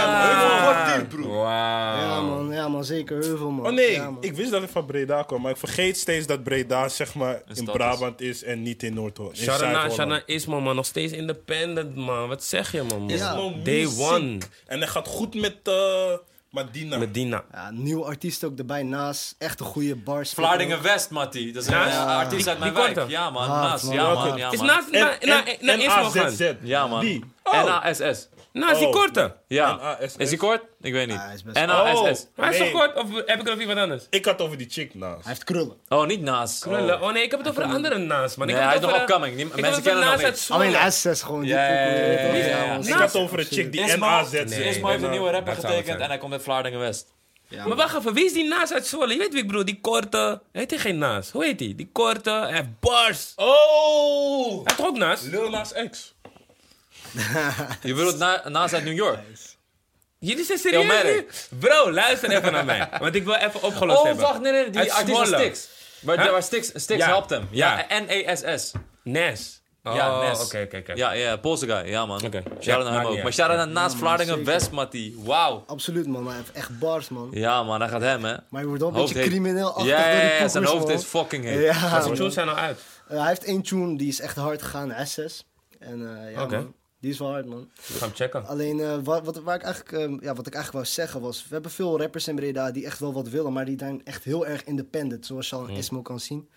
S2: ja.
S1: Wat diep, broer.
S4: Ja,
S2: Wauw.
S4: man. Ja, man. Zeker Heuvel, man.
S1: Oh nee,
S4: Ja, man.
S1: ik wist dat ik van Breda kwam, maar ik vergeet steeds dat Breda zeg maar in
S3: stad is.
S1: Brabant is en niet in Noord-Holland. in
S2: Sharana,
S1: Zuid-Holland.
S2: Sharana Ismo, man. Nog steeds independent, man. Wat zeg je, man?
S4: Ja.
S1: Ismo
S2: Day
S1: music.
S2: one.
S1: En hij gaat goed met eh Madina.
S2: Medina.
S4: Ja, nieuwe artiest ook erbij naast. Echt een goede bars.
S3: Vlaardingen West, Mattie. Dat is een
S2: Naast?
S3: eh, artiest
S2: Die-
S3: uit mijn
S2: die
S3: wijk.
S2: korte?
S3: Ja, man.
S4: Ah,
S3: Naast. Ja,
S1: Vlaardingen.
S3: man. Ja,
S2: Is
S3: man.
S2: naast
S1: En-
S2: na, na,
S1: en-
S2: na
S1: en
S2: Ismo
S1: AZZ.
S2: gaan.
S3: Ja, man.
S1: Die.
S3: NASS.
S2: Naast die
S1: Oh.
S2: korte.
S3: Ja.
S1: NASS.
S3: Is die kort? Ik weet niet.
S4: Ah, hij is best-
S3: NASS.
S2: Maar is
S1: Nee. Oh.
S2: toch kort? Of heb ik er nog iemand anders?
S1: Ik had over die chick naast.
S4: Hij heeft krullen.
S3: Oh, niet naast.
S2: Krullen. Oh nee, ik heb het over een andere naast, man. Ik
S3: Nee,
S2: heb het
S3: hij is nog
S2: over- eh,
S3: upcoming. Die-
S2: ik heb
S3: mensen
S2: het over
S3: kennen hem
S2: naast
S3: nog
S2: uit Zwolle.
S4: Alleen S6 gewoon. die
S3: Ja, ja,
S4: pokoe, je
S3: ja,
S4: weet toch?
S3: ja, ja.
S4: man,
S1: Ik
S4: zeker.
S1: had over een chick die NAZ zit.
S2: Nee,
S3: Ismo heeft een
S2: nou,
S3: nieuwe rapper
S2: dat zou het
S3: getekend
S2: zijn.
S3: en hij komt uit Vlaardingen West.
S2: Maar wacht even, wie is die naast uit Zwolle? Je weet wie ik bedoel, die korte. Heet hij geen naast? Hoe heet hij? Die korte, hij heeft bars.
S1: Oh!
S2: Hij had ook naast.
S1: Lil Nas X.
S3: Je bedoelt na, naast uit New York?
S2: Jullie zijn
S3: Heel
S2: serieus nu?
S3: merk.
S2: Bro, luister even naar mij. Want ik wil even opgelost
S3: Oh,
S2: hebben.
S3: wacht, nee, nee,
S2: Uit
S3: die artiest van
S2: Zwolle.
S3: Stix. Waar,
S2: Huh?
S3: waar Stix, Stix
S2: Ja.
S3: helpt hem. Ja,
S2: Ja.
S3: N-E-S-S.
S2: Nes. Oh,
S3: Ja, Nes.
S2: Oké, oké, oké.
S3: Ja, ja, Poolse guy, ja man.
S2: Oké.
S3: Shout-out
S2: Ja,
S3: naar
S2: maakt
S3: hem
S2: niet
S3: ook.
S2: uit.
S3: Maar shout-out naar naast Vlaardingen
S4: zeker.
S3: West, Mattie. Wauw.
S4: Absoluut, man. Hij heeft echt bars, man.
S3: Ja man, daar gaat hem hè.
S4: Maar je wordt wel een
S3: Hoofd
S4: beetje
S3: heet-
S4: crimineel achter
S3: Ja,
S4: door die
S3: ja, ja, zijn
S4: pokoes,
S3: hoofd
S4: man.
S3: is fucking heet.
S4: Ja,
S2: Zijn
S4: man.
S2: tunes zijn al uit.
S4: Eh, hij heeft één tune die is echt hard gegaan. S6. En eh, ja,
S2: Oké.
S4: man. Die is wel hard, man.
S2: Ik ga hem checken.
S4: Alleen eh, wa- wat, waar ik eigenlijk, eh, ja, wat ik eigenlijk wou zeggen was... We hebben veel rappers in Breda die echt wel wat willen... maar die zijn echt heel erg independent, zoals je al in Ismo kan zien.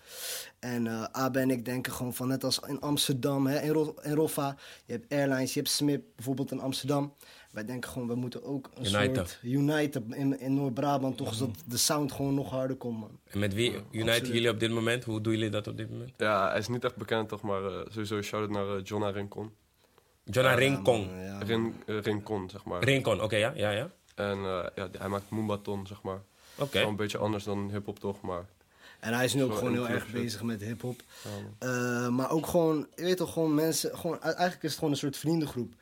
S4: En eh Abe en ik denken gewoon van net als in Amsterdam hè, en, Ro- en Roffa. Je hebt airlines, je hebt Smip bijvoorbeeld in Amsterdam. Wij denken gewoon, we moeten ook een
S2: United.
S4: soort United in, in Noord-Brabant... toch zodat de sound gewoon nog harder komt, man.
S2: En met wie uniten jullie op dit moment? Hoe doen jullie dat op dit moment?
S5: Ja, hij is niet echt bekend toch, maar eh, sowieso shout-out naar eh, Jonna Rincon.
S2: Jonah Rincon.
S4: Ja,
S5: Rin, eh, Rincon, zeg maar.
S2: Rincon, oké, ja, ja, ja.
S5: En eh, ja, die- hij maakt Moombaton, zeg maar.
S2: Oké.
S5: Wel een beetje anders dan hip-hop toch, maar
S4: En hij is nu ook
S5: Zo
S4: gewoon heel
S5: invloed,
S4: erg
S5: ja.
S4: bezig met hip-hop. Eh, maar ook gewoon, je weet toch, gewoon mensen. Gewoon, u- eigenlijk is het gewoon een soort vriendengroep.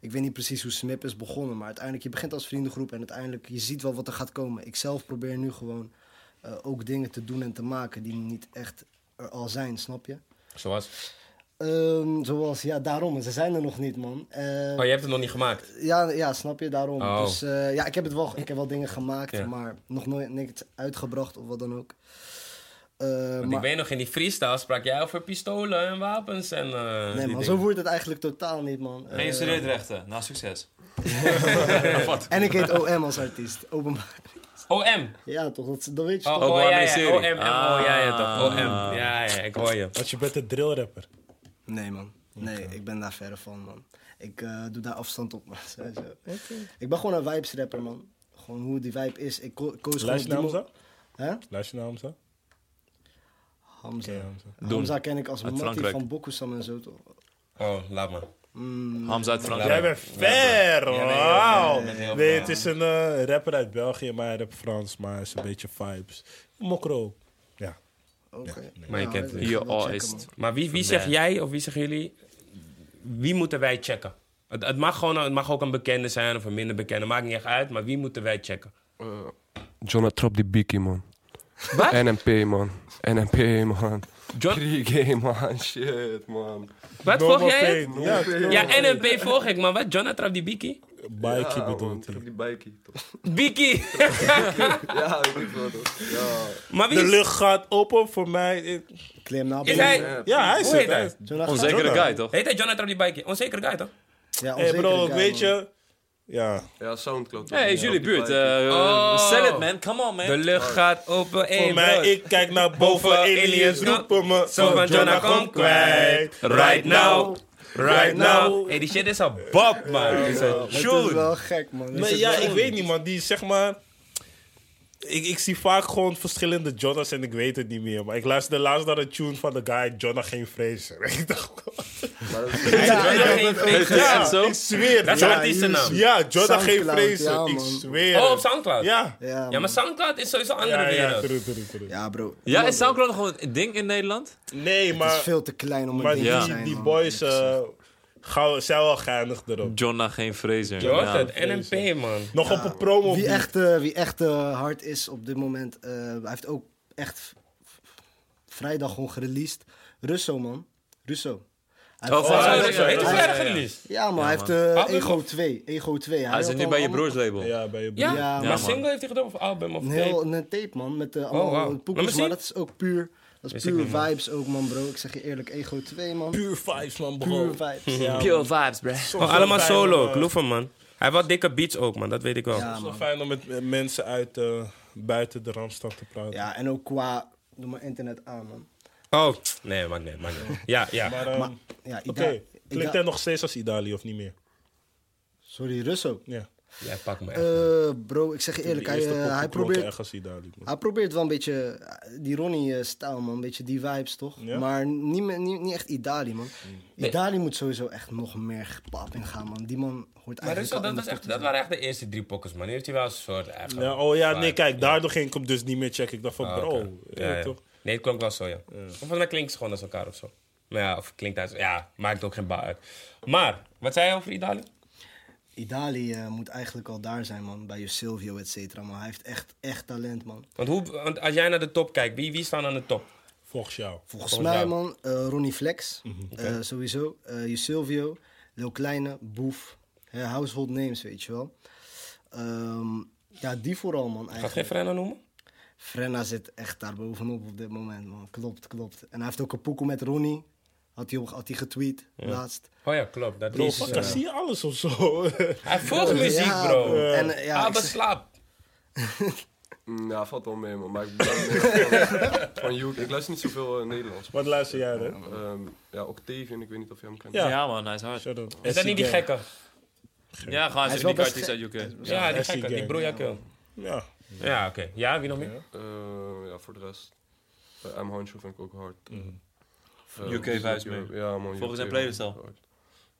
S4: Ik weet niet precies hoe Smip is begonnen, maar uiteindelijk, je begint als vriendengroep en uiteindelijk, je ziet wel wat er gaat komen. Ik zelf probeer nu gewoon eh, ook dingen te doen en te maken die niet echt er al zijn, snap je?
S2: Zoals.
S4: Ehm, zoals, ja, daarom. Ze zijn er nog niet, man. Eh,
S2: Oh, je hebt het nog niet gemaakt.
S4: ja, ja, snap je, daarom.
S2: Oh.
S4: Dus eh, ja, ik heb, het wel, ik heb wel dingen gemaakt,
S2: Ja.
S4: maar nog nooit niks uitgebracht of wat dan ook. Eh, Eh,
S2: Want
S4: maar,
S2: ik weet nog, in die freestyle sprak jij over pistolen en wapens en... eh, die
S4: nee, man, zo
S2: dingen.
S4: wordt het eigenlijk totaal niet, man. Eh,
S3: Geen studeerrechten. Nou, succes. Wat?
S4: en ik heet OM als artiest. Openbaar.
S2: OM.
S4: Ja, toch? Dat, dat weet je
S2: Oh, oh,
S4: toch?
S2: ja,
S3: Openbare
S2: ja,
S3: serie.
S2: OM,
S3: Ah.
S2: oh, ja, ja, toch. OM. Ja, ja, ik hoor je.
S1: Want je bent een drillrapper.
S4: Nee, man. Nee, ik ben daar verre van, man. Ik eh, doe daar afstand op, man. Sowieso. Ik ben gewoon een vibes rapper, man. Gewoon hoe die vibe is. Ik ko- koos gewoon...
S1: Luister naar
S4: die mo-
S1: Hamza?
S4: Hè?
S1: Luister naar Hamza?
S4: Hamza.
S1: Ken je Hamza?
S4: Hamza ken ik als
S3: Uit
S4: Matty
S3: Frankrijk.
S4: van Bokusam en zo, toch?
S2: Oh, laat maar.
S4: Mm,
S3: Hamza uit
S2: Ja,
S1: Jij
S3: Frankrijk.
S1: bent ver,
S2: Ja, nee,
S1: wauw.
S2: ik ben heel
S1: Nee,
S2: ver.
S1: het is een eh, rapper uit België, maar hij rapt Frans, maar hij is een beetje vibes. Mokro. Ja.
S4: oké.
S2: Maar je kent
S4: Nou, dat
S2: het.
S4: ga ik wel
S3: Je
S4: checken,
S3: oist.
S4: man.
S2: Maar wie, wie zeg jij of wie zeggen jullie, wie moeten wij checken? Het, het, mag gewoon, het mag ook een bekende zijn of een minder bekende, maakt niet echt uit, maar wie moeten wij checken?
S5: John Trap die Biki, man.
S2: Wat?
S5: NMP, man. NMP, man.
S2: John-
S5: 3G, man. Shit, man.
S2: Wat
S1: Normal
S2: volg jij? het?
S1: Pain. Ja,
S2: Ja, NNP volg ik, maar wat? Jonathan die Biki?
S1: Bikey
S5: Ja, man,
S1: bedoelt hij.
S5: Trap die Biki, toch?
S2: Biki!
S5: Ja, ik weet wel, toch? Ja.
S2: maar wie
S1: De
S2: is-
S1: lucht gaat open voor mij. Ik-
S4: Klim naar
S2: is
S4: boven.
S2: hij?
S1: Ja, hij
S2: Hoe
S1: zit
S2: heet hij?
S1: uit.
S4: Zullen we gaan?
S3: Onzekere
S1: Jonah.
S3: guy, toch?
S2: Heet hij Jonathan die Biki? Onzeker guy toch?
S4: Ja,
S1: Hé hey
S4: onzekere
S1: bro,
S4: guy,
S1: weet
S4: man.
S1: je... Ja,
S5: Ja, Soundcloud.
S3: Hey, is jullie buurt. eh,
S2: Oh.
S3: Sell it, man. Come on,
S2: De
S3: man.
S2: lucht gaat open, hey,
S1: voor mij,
S2: bro.
S1: ik kijk naar boven,
S2: Boven aliens,
S1: aliens roepen me. Oh,
S2: Zo van Jonah, kom kwijt. Right now. Right
S1: Nou.
S2: now. Nou, Hey, die shit is een bab, man. Die is een
S4: Het is
S2: tune.
S4: wel gek, man.
S1: Nee, ja, ik weet niet, man. Die zeg maar. Ik, ik zie vaak gewoon verschillende Jonas en ik weet het niet meer. Maar ik luisterde laatst naar een tune van de guy Jonah Geen Fraser. Ik dacht,
S4: Ja,
S2: Jonah geen
S3: Is
S2: vrees.
S3: dit echt zo?
S1: ik zweer.
S2: Dat is
S1: ja,
S2: een artiestennaam.
S1: ja, Jonah Geen
S4: Soundcloud,
S1: Fraser.
S4: ja,
S1: ik
S4: man.
S1: zweer.
S2: Oh, op
S1: het.
S2: Soundcloud?
S1: Ja.
S4: Ja,
S2: Ja, maar
S4: man.
S2: Soundcloud is sowieso een andere
S1: Ja, ja,
S2: wereld.
S1: true, true, true.
S4: Ja, bro.
S3: Ja, is Soundcloud nog gewoon een ding in Nederland?
S1: Nee,
S4: Het is
S1: maar,
S4: veel te klein om
S1: maar
S4: een ding
S3: Ja.
S4: te
S1: die,
S4: zijn,
S1: die
S4: man.
S1: boys eh, gauw- zijn wel geinig erop.
S3: Jonna geen Fraser.
S2: Je hoort
S3: Ja.
S2: het, NMP, man.
S1: Nog op een promo.
S4: Wie echt, eh, wie echt eh, hard is op dit moment, eh, hij heeft ook echt v- v- vrijdag gewoon gereleased. Russo, man. Russo. Hij
S3: Oh,
S4: heeft-
S3: van-
S2: Zo,
S3: ja,
S2: dat is-
S3: ja,
S2: Heet
S3: ja,
S2: het
S3: ja,
S2: verder
S3: ja.
S2: geleased?
S4: Ja, maar hij heeft
S1: Ah,
S2: Album
S4: eh, Ego
S2: nog?
S4: 2. Ego 2.
S3: Hij
S4: had
S3: zit nu
S4: al
S3: bij je
S4: allemaal-
S3: broers label.
S1: Ja, bij je
S2: Ja, Oh,
S1: broer.
S4: Ja,
S2: maar
S4: man.
S2: single heeft hij gedaan of album of
S4: Een
S2: tape?
S4: heel een tape, man. Met eh, allemaal
S2: wauw.
S4: poekjes,
S2: Laat me zien.
S4: Maar dat is ook puur, dat is
S2: Wist ik
S4: puur
S2: niet, man.
S4: vibes ook, man, bro. Ik zeg je eerlijk, Ego 2, man.
S1: Puur vibes, man. bro.
S4: Puur vibes.
S1: Ja, man.
S3: Pure vibes, bruh.
S1: Soms
S2: Oh, allemaal
S1: wel fijn om,
S2: solo,
S1: eh,
S2: ik loef hem, man. Hij heeft wel dikke beats ook, man, dat weet ik wel.
S4: Ja,
S1: Het is
S4: man.
S1: wel fijn om met eh, mensen uit eh, buiten de Randstad te praten.
S4: Ja, en ook qua, doe maar internet aan, man.
S2: Oh, eh, nee, maakt niet, maakt niet. Ja, ja.
S1: Maar, ehm,
S4: Maar, ja, Ida-
S1: oké,
S4: Ida-
S1: klinkt hij nog steeds als Idali of niet meer?
S4: Sorry, Russo.
S1: Ja.
S2: Jij pakt me echt.
S4: Eh, bro, ik zeg je eerlijk,
S1: De
S4: hij,
S1: eerste
S4: eh,
S1: poppen
S4: hij,
S1: klonken
S4: probeert,
S1: echt als Idali. man.
S4: hij probeert wel een beetje eh, die Ronnie-stijl, man. Een beetje die vibes, toch?
S1: Ja.
S4: Maar niet, meer- niet, niet echt Idali, man. Idali moet sowieso echt nog meer pap in gaan, man. Die man hoort
S2: Maar
S4: eigenlijk
S2: Russo,
S4: al
S2: dat,
S4: in
S2: was
S4: de
S2: echt,
S4: top te
S2: dat waren echt de eerste drie pokkers, man. Nu heeft hij wel een soort eigen...
S4: Ah.
S1: Ja, oh ja, nee,
S2: vibe.
S1: kijk, daardoor ging ik hem dus niet meer checken. Ik dacht van,
S2: Ah,
S1: bro,
S2: oké.
S1: ja,
S2: Ja, ja.
S1: toch?
S2: Nee, het klonk wel zo, ja. Of volgens mij klinkt ze gewoon als elkaar of zo. Maar ja, of klinkt uit. Ja, maakt ook geen baal uit. Maar, wat zei je over Idali?
S4: zien. Idali eh, moet eigenlijk al daar zijn, man. Bij je Silvio, et cetera. Maar hij heeft echt, echt talent, man.
S2: Want, hoe, want als jij naar de top kijkt, wie, wie staan aan de top?
S1: Volgens jou.
S4: Volgens
S2: Volgens
S4: mij,
S2: jou.
S4: man, eh, Ronnie Flex.
S1: Mhm.
S4: eh, sowieso. Eh je Silvio, Lil Kleine, Boef. hè, household names, weet je wel. Ehm, ja, die vooral, man.
S2: Gaat
S4: Eigenlijk.
S2: geen Frenna noemen?
S4: Frenna zit echt daar bovenop op dit moment, man. Klopt, klopt. En hij heeft ook een poeko met Ronnie. Had hij, op- had hij getweet laatst.
S2: Oh ja, klopt. Dat
S1: Bro,
S2: is,
S1: fuck,
S2: eh,
S1: dan zie je alles of zo.
S2: Hij volgt muziek,
S4: Ja,
S2: bro.
S4: bro. En, eh, ja,
S3: Ah,
S2: Ja,
S4: ik zeg-
S2: slaap.
S5: Mm, Ja, valt wel mee, man. Maar ik ben van, van UK. Ik luister niet zoveel eh, Nederlands.
S1: Wat luister jij, hè?
S5: Ehm, ja, Octavian, ik weet niet of je hem kent.
S1: Ja.
S3: Ja, man, hij is hard.
S1: Shout out.
S2: Is dat niet die
S1: SC Gang.
S2: gekke?
S3: Ja, gewoon, hij is
S4: wel
S3: een
S4: best
S3: artiest uit UK.
S2: Ja, die
S1: SC
S2: gekke, die
S1: Gang.
S2: broeiakkel.
S1: Ja.
S2: Ja, oké. Ja, wie nog meer?
S5: Eh, ja, voor de rest. Eh, M. Hancho vind ik ook hard. Eh, eh,
S3: UK
S5: dus
S3: Mhm. vibes
S5: dat-
S3: mee.
S5: Ja, man.
S3: Volgens
S5: UK
S3: zijn playlist
S5: man,
S3: al.
S5: hard.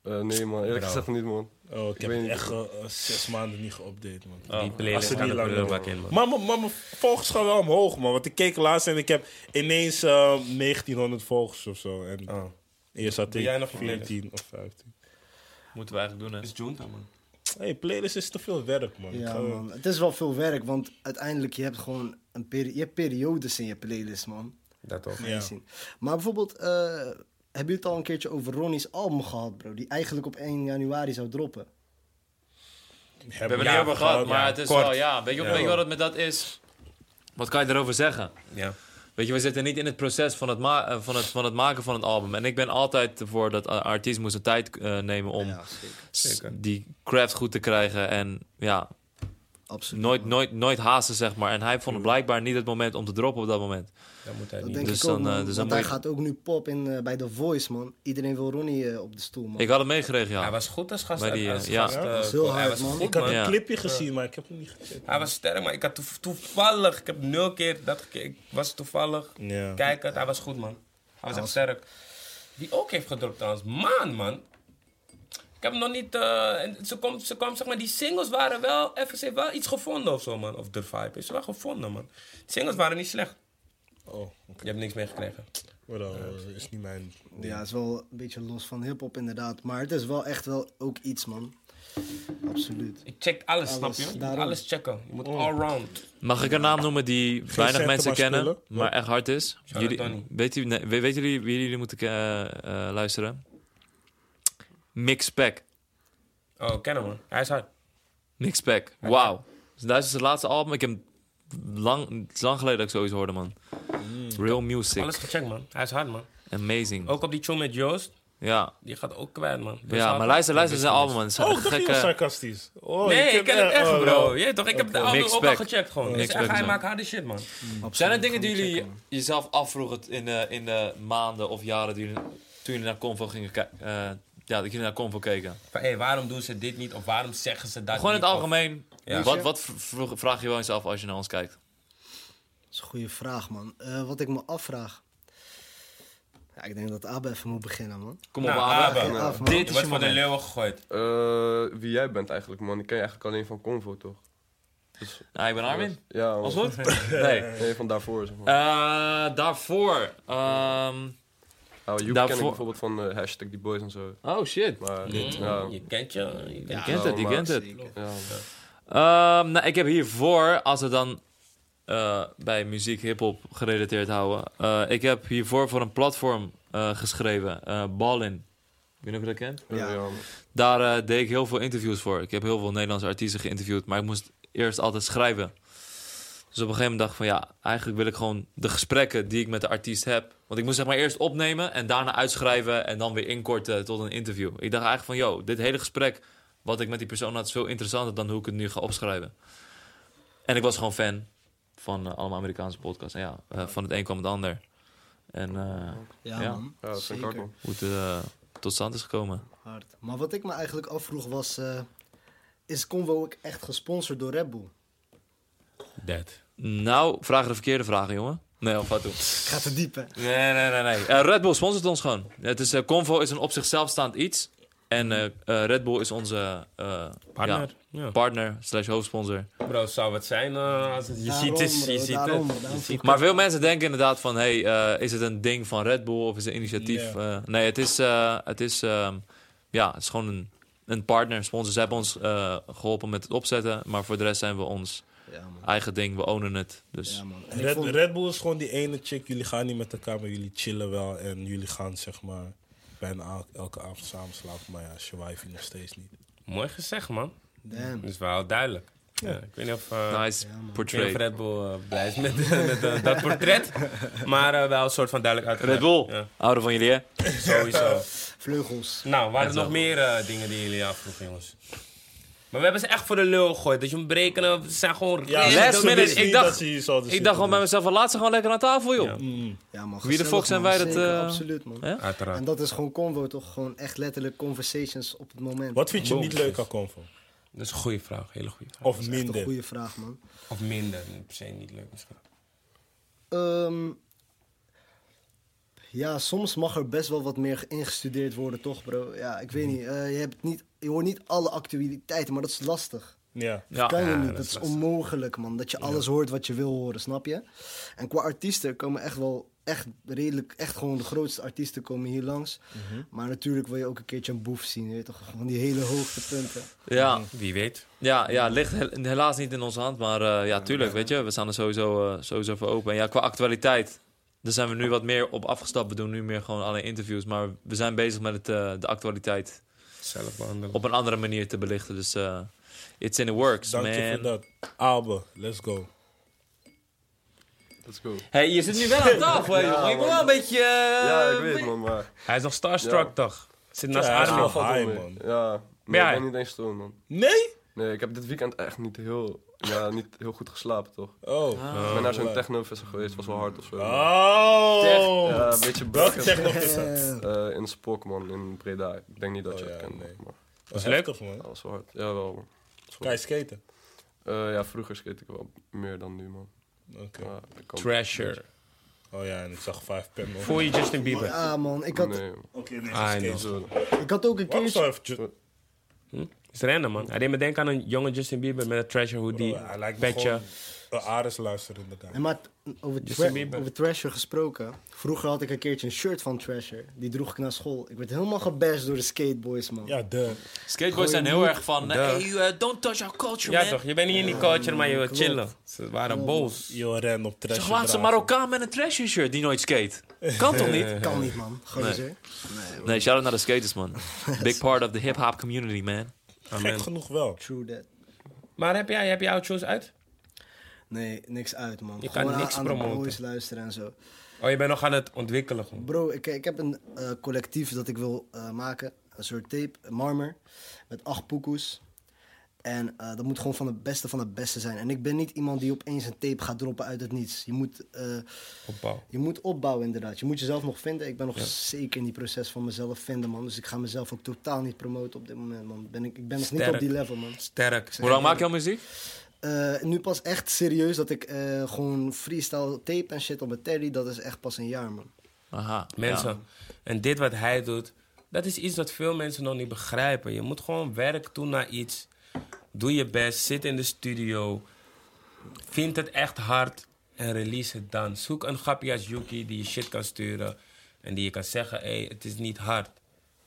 S5: Eh, nee, man. Eerlijk gezegd niet, man.
S1: Oh, ik heb
S5: weet
S1: het
S5: niet.
S1: echt eh, eh, zes maanden niet geüpdate, man.
S2: Die
S1: Als
S2: playlist
S1: het
S2: gaat
S1: niet
S2: er
S1: lang
S2: wel bak in, man.
S1: Maar mijn- maar mijn volgers gaan wel omhoog, man. Want ik keek laatst en ik heb ineens eh, 1900 volgers of zo. En Eerst had
S2: Doe
S1: ik
S2: Oh. jij nog een
S1: 14 of 15.
S3: Moeten we eigenlijk doen, hè?
S2: Junta, man.
S1: hey, playlist is te veel werk, man. Ik
S4: Ja,
S1: ga-
S4: man. Het is wel veel werk, want uiteindelijk je hebt gewoon een peri- je hebt periodes in je playlist, man.
S2: Dat toch.
S4: Ga je
S1: Ja.
S4: zien. Maar bijvoorbeeld, eh, hebben jullie het al een keertje over Ronnie's album gehad, bro? Die eigenlijk op 1 januari zou droppen.
S1: Hebben
S3: We hebben
S2: Ja,
S3: het niet over gehad,
S2: gehad,
S3: maar
S2: ja.
S3: het is
S2: Kort.
S3: wel, ja. Weet je,
S2: Ja.
S3: weet je wat het met dat is? Wat kan je erover zeggen?
S2: Ja.
S3: Weet je, we zitten niet in het proces van het, ma- eh, van het, van het maken van het album. En ik ben altijd ervoor dat een artiest moet zijn tijd eh, nemen om
S4: Ja, zeker.
S3: s-
S2: zeker.
S3: die craft goed te krijgen. En ja,
S4: Absoluut.
S3: nooit, nooit, nooit haasten, zeg maar. En hij vond het blijkbaar niet het moment om te droppen op dat moment.
S2: Dat moet hij
S4: Dat
S2: niet.
S4: denk
S3: Dus
S4: ik ook,
S3: dan,
S4: man.
S3: eh, dus dan
S4: Want
S3: moet
S4: hij
S3: je-
S4: gaat ook nu pop in eh, bij The Voice, man. Iedereen wil Ronnie eh, op de stoel, man.
S3: Ik had het meegekregen, ja.
S2: Hij was goed als gast.
S3: Maar die,
S2: als
S3: eh, ja.
S2: gast,
S1: Ja,
S2: eh,
S4: dat is heel
S2: hij
S4: hard,
S2: was
S4: man.
S2: goed,
S1: Ik had
S2: man.
S3: Ja.
S1: een clipje gezien, maar ik heb hem niet gezien.
S2: Hij was sterk, maar ik had toev- toevallig... Ik heb nul keer dat gekeken. Ik was toevallig
S1: Ja.
S2: kijkend. Hij was goed, man. Hij was echt sterk. Die ook heeft gedropt trouwens. Maan, man. Ik heb hem nog niet... eh, en ze kwam, ze kwam, zeg maar, die singles waren wel... FSC heeft wel iets gevonden of zo, man. Of The Vibe. Is wel gevonden, man. Die singles waren niet slecht.
S1: Oh,
S2: Je hebt niks meegekregen.
S1: maar dat eh, is niet mijn ding.
S4: Ja, het is wel een beetje los van hip-hop, inderdaad. Maar het is wel echt wel ook iets, man.
S5: Mm.
S4: Absoluut.
S2: Ik check alles,
S4: Alles,
S2: snap je? Je moet
S4: daarom.
S2: alles checken. Je moet all round.
S3: Mag ik een naam noemen die weinig
S1: centen,
S3: mensen
S1: maar
S3: kennen,
S1: spullen?
S3: maar echt hard is?
S2: Shout-out
S3: Jullie,
S2: Tony.
S3: weet, u, nee, we- weten jullie wie jullie moeten ke- eh, eh, luisteren? Mixpack.
S2: Oh, ken hem, man. Hij is hard.
S3: Mixpack. Wauw. Dus Dat is het laatste album. Ik heb hem lang, het is lang geleden dat ik zoiets hoorde, man. Real music.
S2: Alles gecheckt, man. Hij is hard, man.
S3: Amazing.
S2: Ook op die tune met Joost.
S3: Ja,
S2: Die gaat ook kwijt, man. Dus
S3: ja
S2: hard,
S3: maar
S2: man.
S3: luister, luister
S2: Dus
S3: zijn
S2: alles.
S3: album, man. Het is
S1: Oh,
S3: een
S1: ik dacht je was
S3: gekke...
S1: sarcastisch. Oh,
S2: Nee, ik ken het echt,
S1: oh,
S2: bro.
S1: oh.
S2: Ja, toch? Ik heb de
S3: Oké.
S2: album ook al
S3: Mixpack.
S2: gecheckt, gewoon.
S3: Oh,
S2: Dus echt,
S3: Mixpack
S2: hij
S3: is
S2: maakt harde shit, man.
S3: Zijn er
S4: Absoluut.
S3: dingen die
S4: Gewoon
S3: jullie
S4: checken, man.
S3: jezelf afvroegen in de, in de maanden of jaren die jullie, toen jullie naar Convo gingen kijken? ja, dat jullie naar Convo keken.
S2: Van, hé, waarom doen ze dit niet? Of waarom zeggen ze dat
S3: Gewoon in
S2: niet?
S3: het algemeen.
S2: Ja.
S3: Wat, wat v- vroeg- vraag je wel eens af als je naar ons kijkt?
S4: Dat is een goede vraag, man. Eh, wat ik me afvraag. Ja, ik denk dat Abe even moet beginnen, man.
S3: Kom
S2: Of,
S3: op,
S2: nou,
S3: Abe.
S2: Abe,
S4: Ja, Abe, man.
S2: dit
S4: Dit
S2: is je van de leeuwen gegooid.
S5: Eh, wie jij bent eigenlijk, man. Ik ken je eigenlijk alleen van Convo, toch?
S3: Nou, ik ben Armin.
S5: Ja, man.
S3: Was goed? Nee.
S5: Nee, van daarvoor, zeg maar.
S3: Eh, daarvoor. ehm,
S5: nou, Joep ken ik
S3: daarvoor-
S5: bijvoorbeeld van eh, hashtag die boys en zo.
S3: oh shit.
S5: Maar, ja,
S2: Mm, Je kent je. Je
S3: Je
S2: kent je.
S3: kent het, je
S5: maar-
S3: kent het.
S5: ja, man.
S3: Ehm, nou, ik heb hiervoor, als we dan eh, bij muziek hip-hop gerelateerd houden. eh, ik heb hiervoor voor een platform eh, geschreven, eh Ballin. Ik weet niet of je dat kent.
S5: Ja,
S4: Ja.
S5: ja, man.
S3: Daar eh, deed ik heel veel interviews voor. Ik heb heel veel Nederlandse artiesten geïnterviewd, maar ik moest eerst altijd schrijven. Dus op een gegeven moment dacht ik van ja, eigenlijk wil ik gewoon de gesprekken die ik met de artiest heb. Want ik moest zeg maar eerst opnemen en daarna uitschrijven en dan weer inkorten tot een interview. Ik dacht eigenlijk van yo, dit hele gesprek wat ik met die persoon had is veel interessanter dan hoe ik het nu ga opschrijven. En ik was gewoon fan van eh, allemaal Amerikaanse podcasts. En ja, eh, van het een kwam het ander. En eh,
S4: Ja,
S3: Ja.
S4: man.
S5: Ja, dat vind ik
S4: Zeker.
S5: hard, man.
S3: hoe het eh, tot stand is gekomen.
S4: Hard. Maar wat ik me eigenlijk afvroeg was... eh, is Convo ook echt gesponsord door Red Bull?
S2: Dat.
S3: Nou, vragen de verkeerde vragen, jongen. Nee, of wat doen.
S4: Gaat te diep, hè?
S3: Nee, nee, nee, nee. Eh, Red Bull sponsort ons gewoon. Het is, eh, Convo is een op zichzelf staand iets. En eh, eh, Red Bull is onze eh,
S2: Partner.
S3: ja,
S2: Ja.
S3: partner slash hoofdsponsor.
S2: Bro, zou het zijn eh, als het... Je
S4: Daarom,
S2: ziet het,
S4: bro,
S2: je ziet
S4: daarom,
S2: het. Je
S4: daarom.
S2: ziet
S3: Maar veel mensen denken inderdaad van... Hey, eh, is het een ding van Red Bull of is het een initiatief? eh, nee, het is, eh, het is, ehm, ja, het is gewoon een, een partner, sponsor. Ze hebben ons eh, geholpen met het opzetten. Maar voor de rest zijn we ons
S4: Ja, man.
S3: eigen ding. We ownen het. Dus
S4: Ja, man. En ik
S1: Red,
S4: vond-
S1: Red Bull is gewoon die ene chick. Jullie gaan niet met elkaar, maar jullie chillen wel. En jullie gaan zeg maar bijna el- elke avond samen slapen. Maar ja, je wife nog steeds niet.
S2: Mooi gezegd, man.
S4: Damn.
S2: Dat is wel duidelijk. Ja, ik weet niet of... eh,
S3: nice
S4: Ja, man.
S2: Ik weet niet of
S3: Nou, portray.
S2: Red Bull eh, blij is met, met eh, dat portret. Maar eh, wel een soort van duidelijk
S3: Red
S2: uitgelegd.
S3: Bull,
S2: Ja,
S3: houden van jullie hè?
S2: sowieso.
S4: Vleugels.
S2: Nou, waren er nog meer eh, dingen die jullie afvroegen, jongens? Maar we hebben ze echt voor de lul gegooid. Dat je hem berekenen, ze zijn gewoon...
S3: last
S1: ze wisten
S3: minute, ik
S1: niet
S3: dacht-
S1: dat ze hier zouden
S3: Ik
S1: zitten,
S3: dacht gewoon bij
S1: dus.
S3: mezelf, laat ze gewoon lekker aan tafel, joh.
S4: Ja, man.
S3: de
S4: gezellig,
S3: fuck zijn
S4: man.
S3: wij dat,
S4: Zeker,
S3: eh,
S4: Absoluut, man.
S3: hè?
S2: Uiteraard.
S4: En dat is gewoon Convo, toch? Gewoon echt letterlijk conversations op het moment.
S1: Wat vind je niet leuk aan Convo?
S2: Dat is een goede vraag, hele goede vraag.
S1: Of
S4: Dat is echt een
S1: minder?
S4: goede vraag, man.
S2: Of minder, per se niet leuk misschien.
S4: Ehm, ja, soms mag er best wel wat meer ingestudeerd worden, toch, bro? Ja, ik weet niet. eh, je, hebt niet je hoort niet alle actualiteiten, maar dat is lastig.
S1: Ja.
S4: Dat kan je
S2: ja,
S4: niet.
S2: dat
S4: Dat,
S2: is
S4: is
S2: lastig.
S4: onmogelijk, man. Dat je alles hoort wat je wil horen, snap je? En qua artiesten komen echt wel echt redelijk, echt gewoon de grootste artiesten komen hier langs.
S2: Mhm.
S4: Maar natuurlijk wil je ook een keertje een boef zien, weet je toch? Van die hele hoogtepunten.
S3: Ja,
S2: Wie weet.
S3: ja, ja, ligt hel- helaas niet in onze hand, maar eh, ja, tuurlijk, weet je, we staan er sowieso, eh, sowieso voor open. En ja, qua actualiteit, daar zijn we nu wat meer op afgestapt. We doen nu meer gewoon alleen interviews, maar we zijn bezig met het, eh, de actualiteit
S2: Zelf behandelen.
S3: op een andere manier te belichten. Dus eh, it's in the works,
S1: Dank je voor
S3: man.
S1: dat. Albe, let's go.
S5: Let's go.
S3: hey, je zit nu wel aan tafel, hè,
S5: Ja,
S3: jongen. Je moet
S5: man.
S3: wel een beetje... eh,
S5: Ja, ik weet het, man, maar...
S2: Hij is nog starstruck,
S5: Ja.
S2: toch? Zit naast
S1: Ja, hij is
S2: Armin.
S1: wel
S5: valt
S1: high,
S5: wel mee.
S1: man.
S5: Ja. Nee,
S2: Ja.
S5: ik ben niet eens stom, man.
S1: Nee?
S5: Nee, ik heb dit weekend echt niet heel, ja, niet heel goed geslapen, toch?
S1: Oh.
S3: Ah.
S5: ik ben naar zo'n technofestival geweest, was wel hard of zo.
S1: Oh.
S5: Ja, een beetje
S1: Welke
S5: brokken.
S1: techno is dat?
S5: Eh, in Spok, man, in Breda. Ik denk niet dat
S1: Oh,
S5: je het
S1: ja,
S5: kent,
S1: nee.
S5: man. maar
S1: Dat is
S2: leuk.
S1: leuk,
S5: dat
S1: man?
S5: was wel hard. Jawel, man.
S1: Kan je skaten?
S5: Eh, ja, vroeger skate ik wel meer dan nu, man.
S1: Oké.
S3: Ah.
S5: Ja, ik kan-
S2: Treasure.
S1: Oh ja, en ik zag 5 pen, man.
S2: Voor je Justin Bieber.
S4: Ja, man. Ik had,
S5: Nee, man.
S1: Oké, nee,
S2: Ah,
S1: skaten.
S2: joh.
S5: Zo.
S4: ik had ook een
S1: Waarom
S4: keertje...
S1: zou even... ju-
S2: is random, man. Hij deed me denken aan een jonge Justin Bieber met een Treasure hoodie.
S1: Hij lijkt me
S2: petje.
S1: gewoon een Ares luisteren in de kamer.
S4: Nee, maar t- over,
S2: Justin
S4: tra-
S2: Bieber.
S4: over Thrasher gesproken. Vroeger had ik een keertje een shirt van Thrasher. Die droeg ik naar school. Ik werd helemaal gebashed door de skateboys, man.
S1: Ja, de.
S3: Skateboys zijn heel erg van... eh, hey, eh, don't touch our culture,
S2: Ja,
S3: man.
S2: toch? Je bent niet in die culture, maar je wil chillen. Ze waren boos.
S1: Yo, ren op trash.
S3: Toch laatste Marokkaan met een trashy shirt die nooit skate. Kan toch niet?
S4: Kan niet, man. Gozer.
S3: Nee, shout-out naar de skaters, man. Big part of the hip-hop community, man.
S1: Gek genoeg wel.
S4: True that.
S2: Maar heb jij, heb je shows uit?
S4: Nee, niks uit, man.
S2: Je kan
S4: Gewoon aan-
S2: niks
S4: aan
S2: promoten.
S4: de boys luisteren en zo.
S2: Oh, je bent nog aan het ontwikkelen. gewoon.
S4: Bro, ik, ik heb een eh, collectief dat ik wil eh, maken. Een soort tape, een marmer. Met acht poekoes. En eh, dat moet gewoon van de beste van de beste zijn. En ik ben niet iemand die opeens een tape gaat droppen uit het niets. Je moet, eh,
S2: Opbouw.
S4: je moet opbouwen, inderdaad. Je moet jezelf nog vinden. Ik ben nog zeker in die proces van mezelf vinden, man. Dus ik ga mezelf ook totaal niet promoten op dit moment, man. Ben ik, ik ben nog niet
S2: Sterk.
S4: op die level, man.
S2: Sterk.
S3: Hoe lang maak je al muziek?
S4: Eh, nu pas echt serieus dat ik eh, gewoon freestyle tape en shit op mijn teddy. Dat is echt pas een jaar, man.
S3: Aha.
S2: Mensen. En dit wat hij doet, dat is iets wat veel mensen nog niet begrijpen. Je moet gewoon werk doen naar iets. Doe je best, zit in de studio. Vind het echt hard en release het dan. Zoek een grappie als Yuki die je shit kan sturen. En die je kan zeggen, hé, hey, het is niet hard.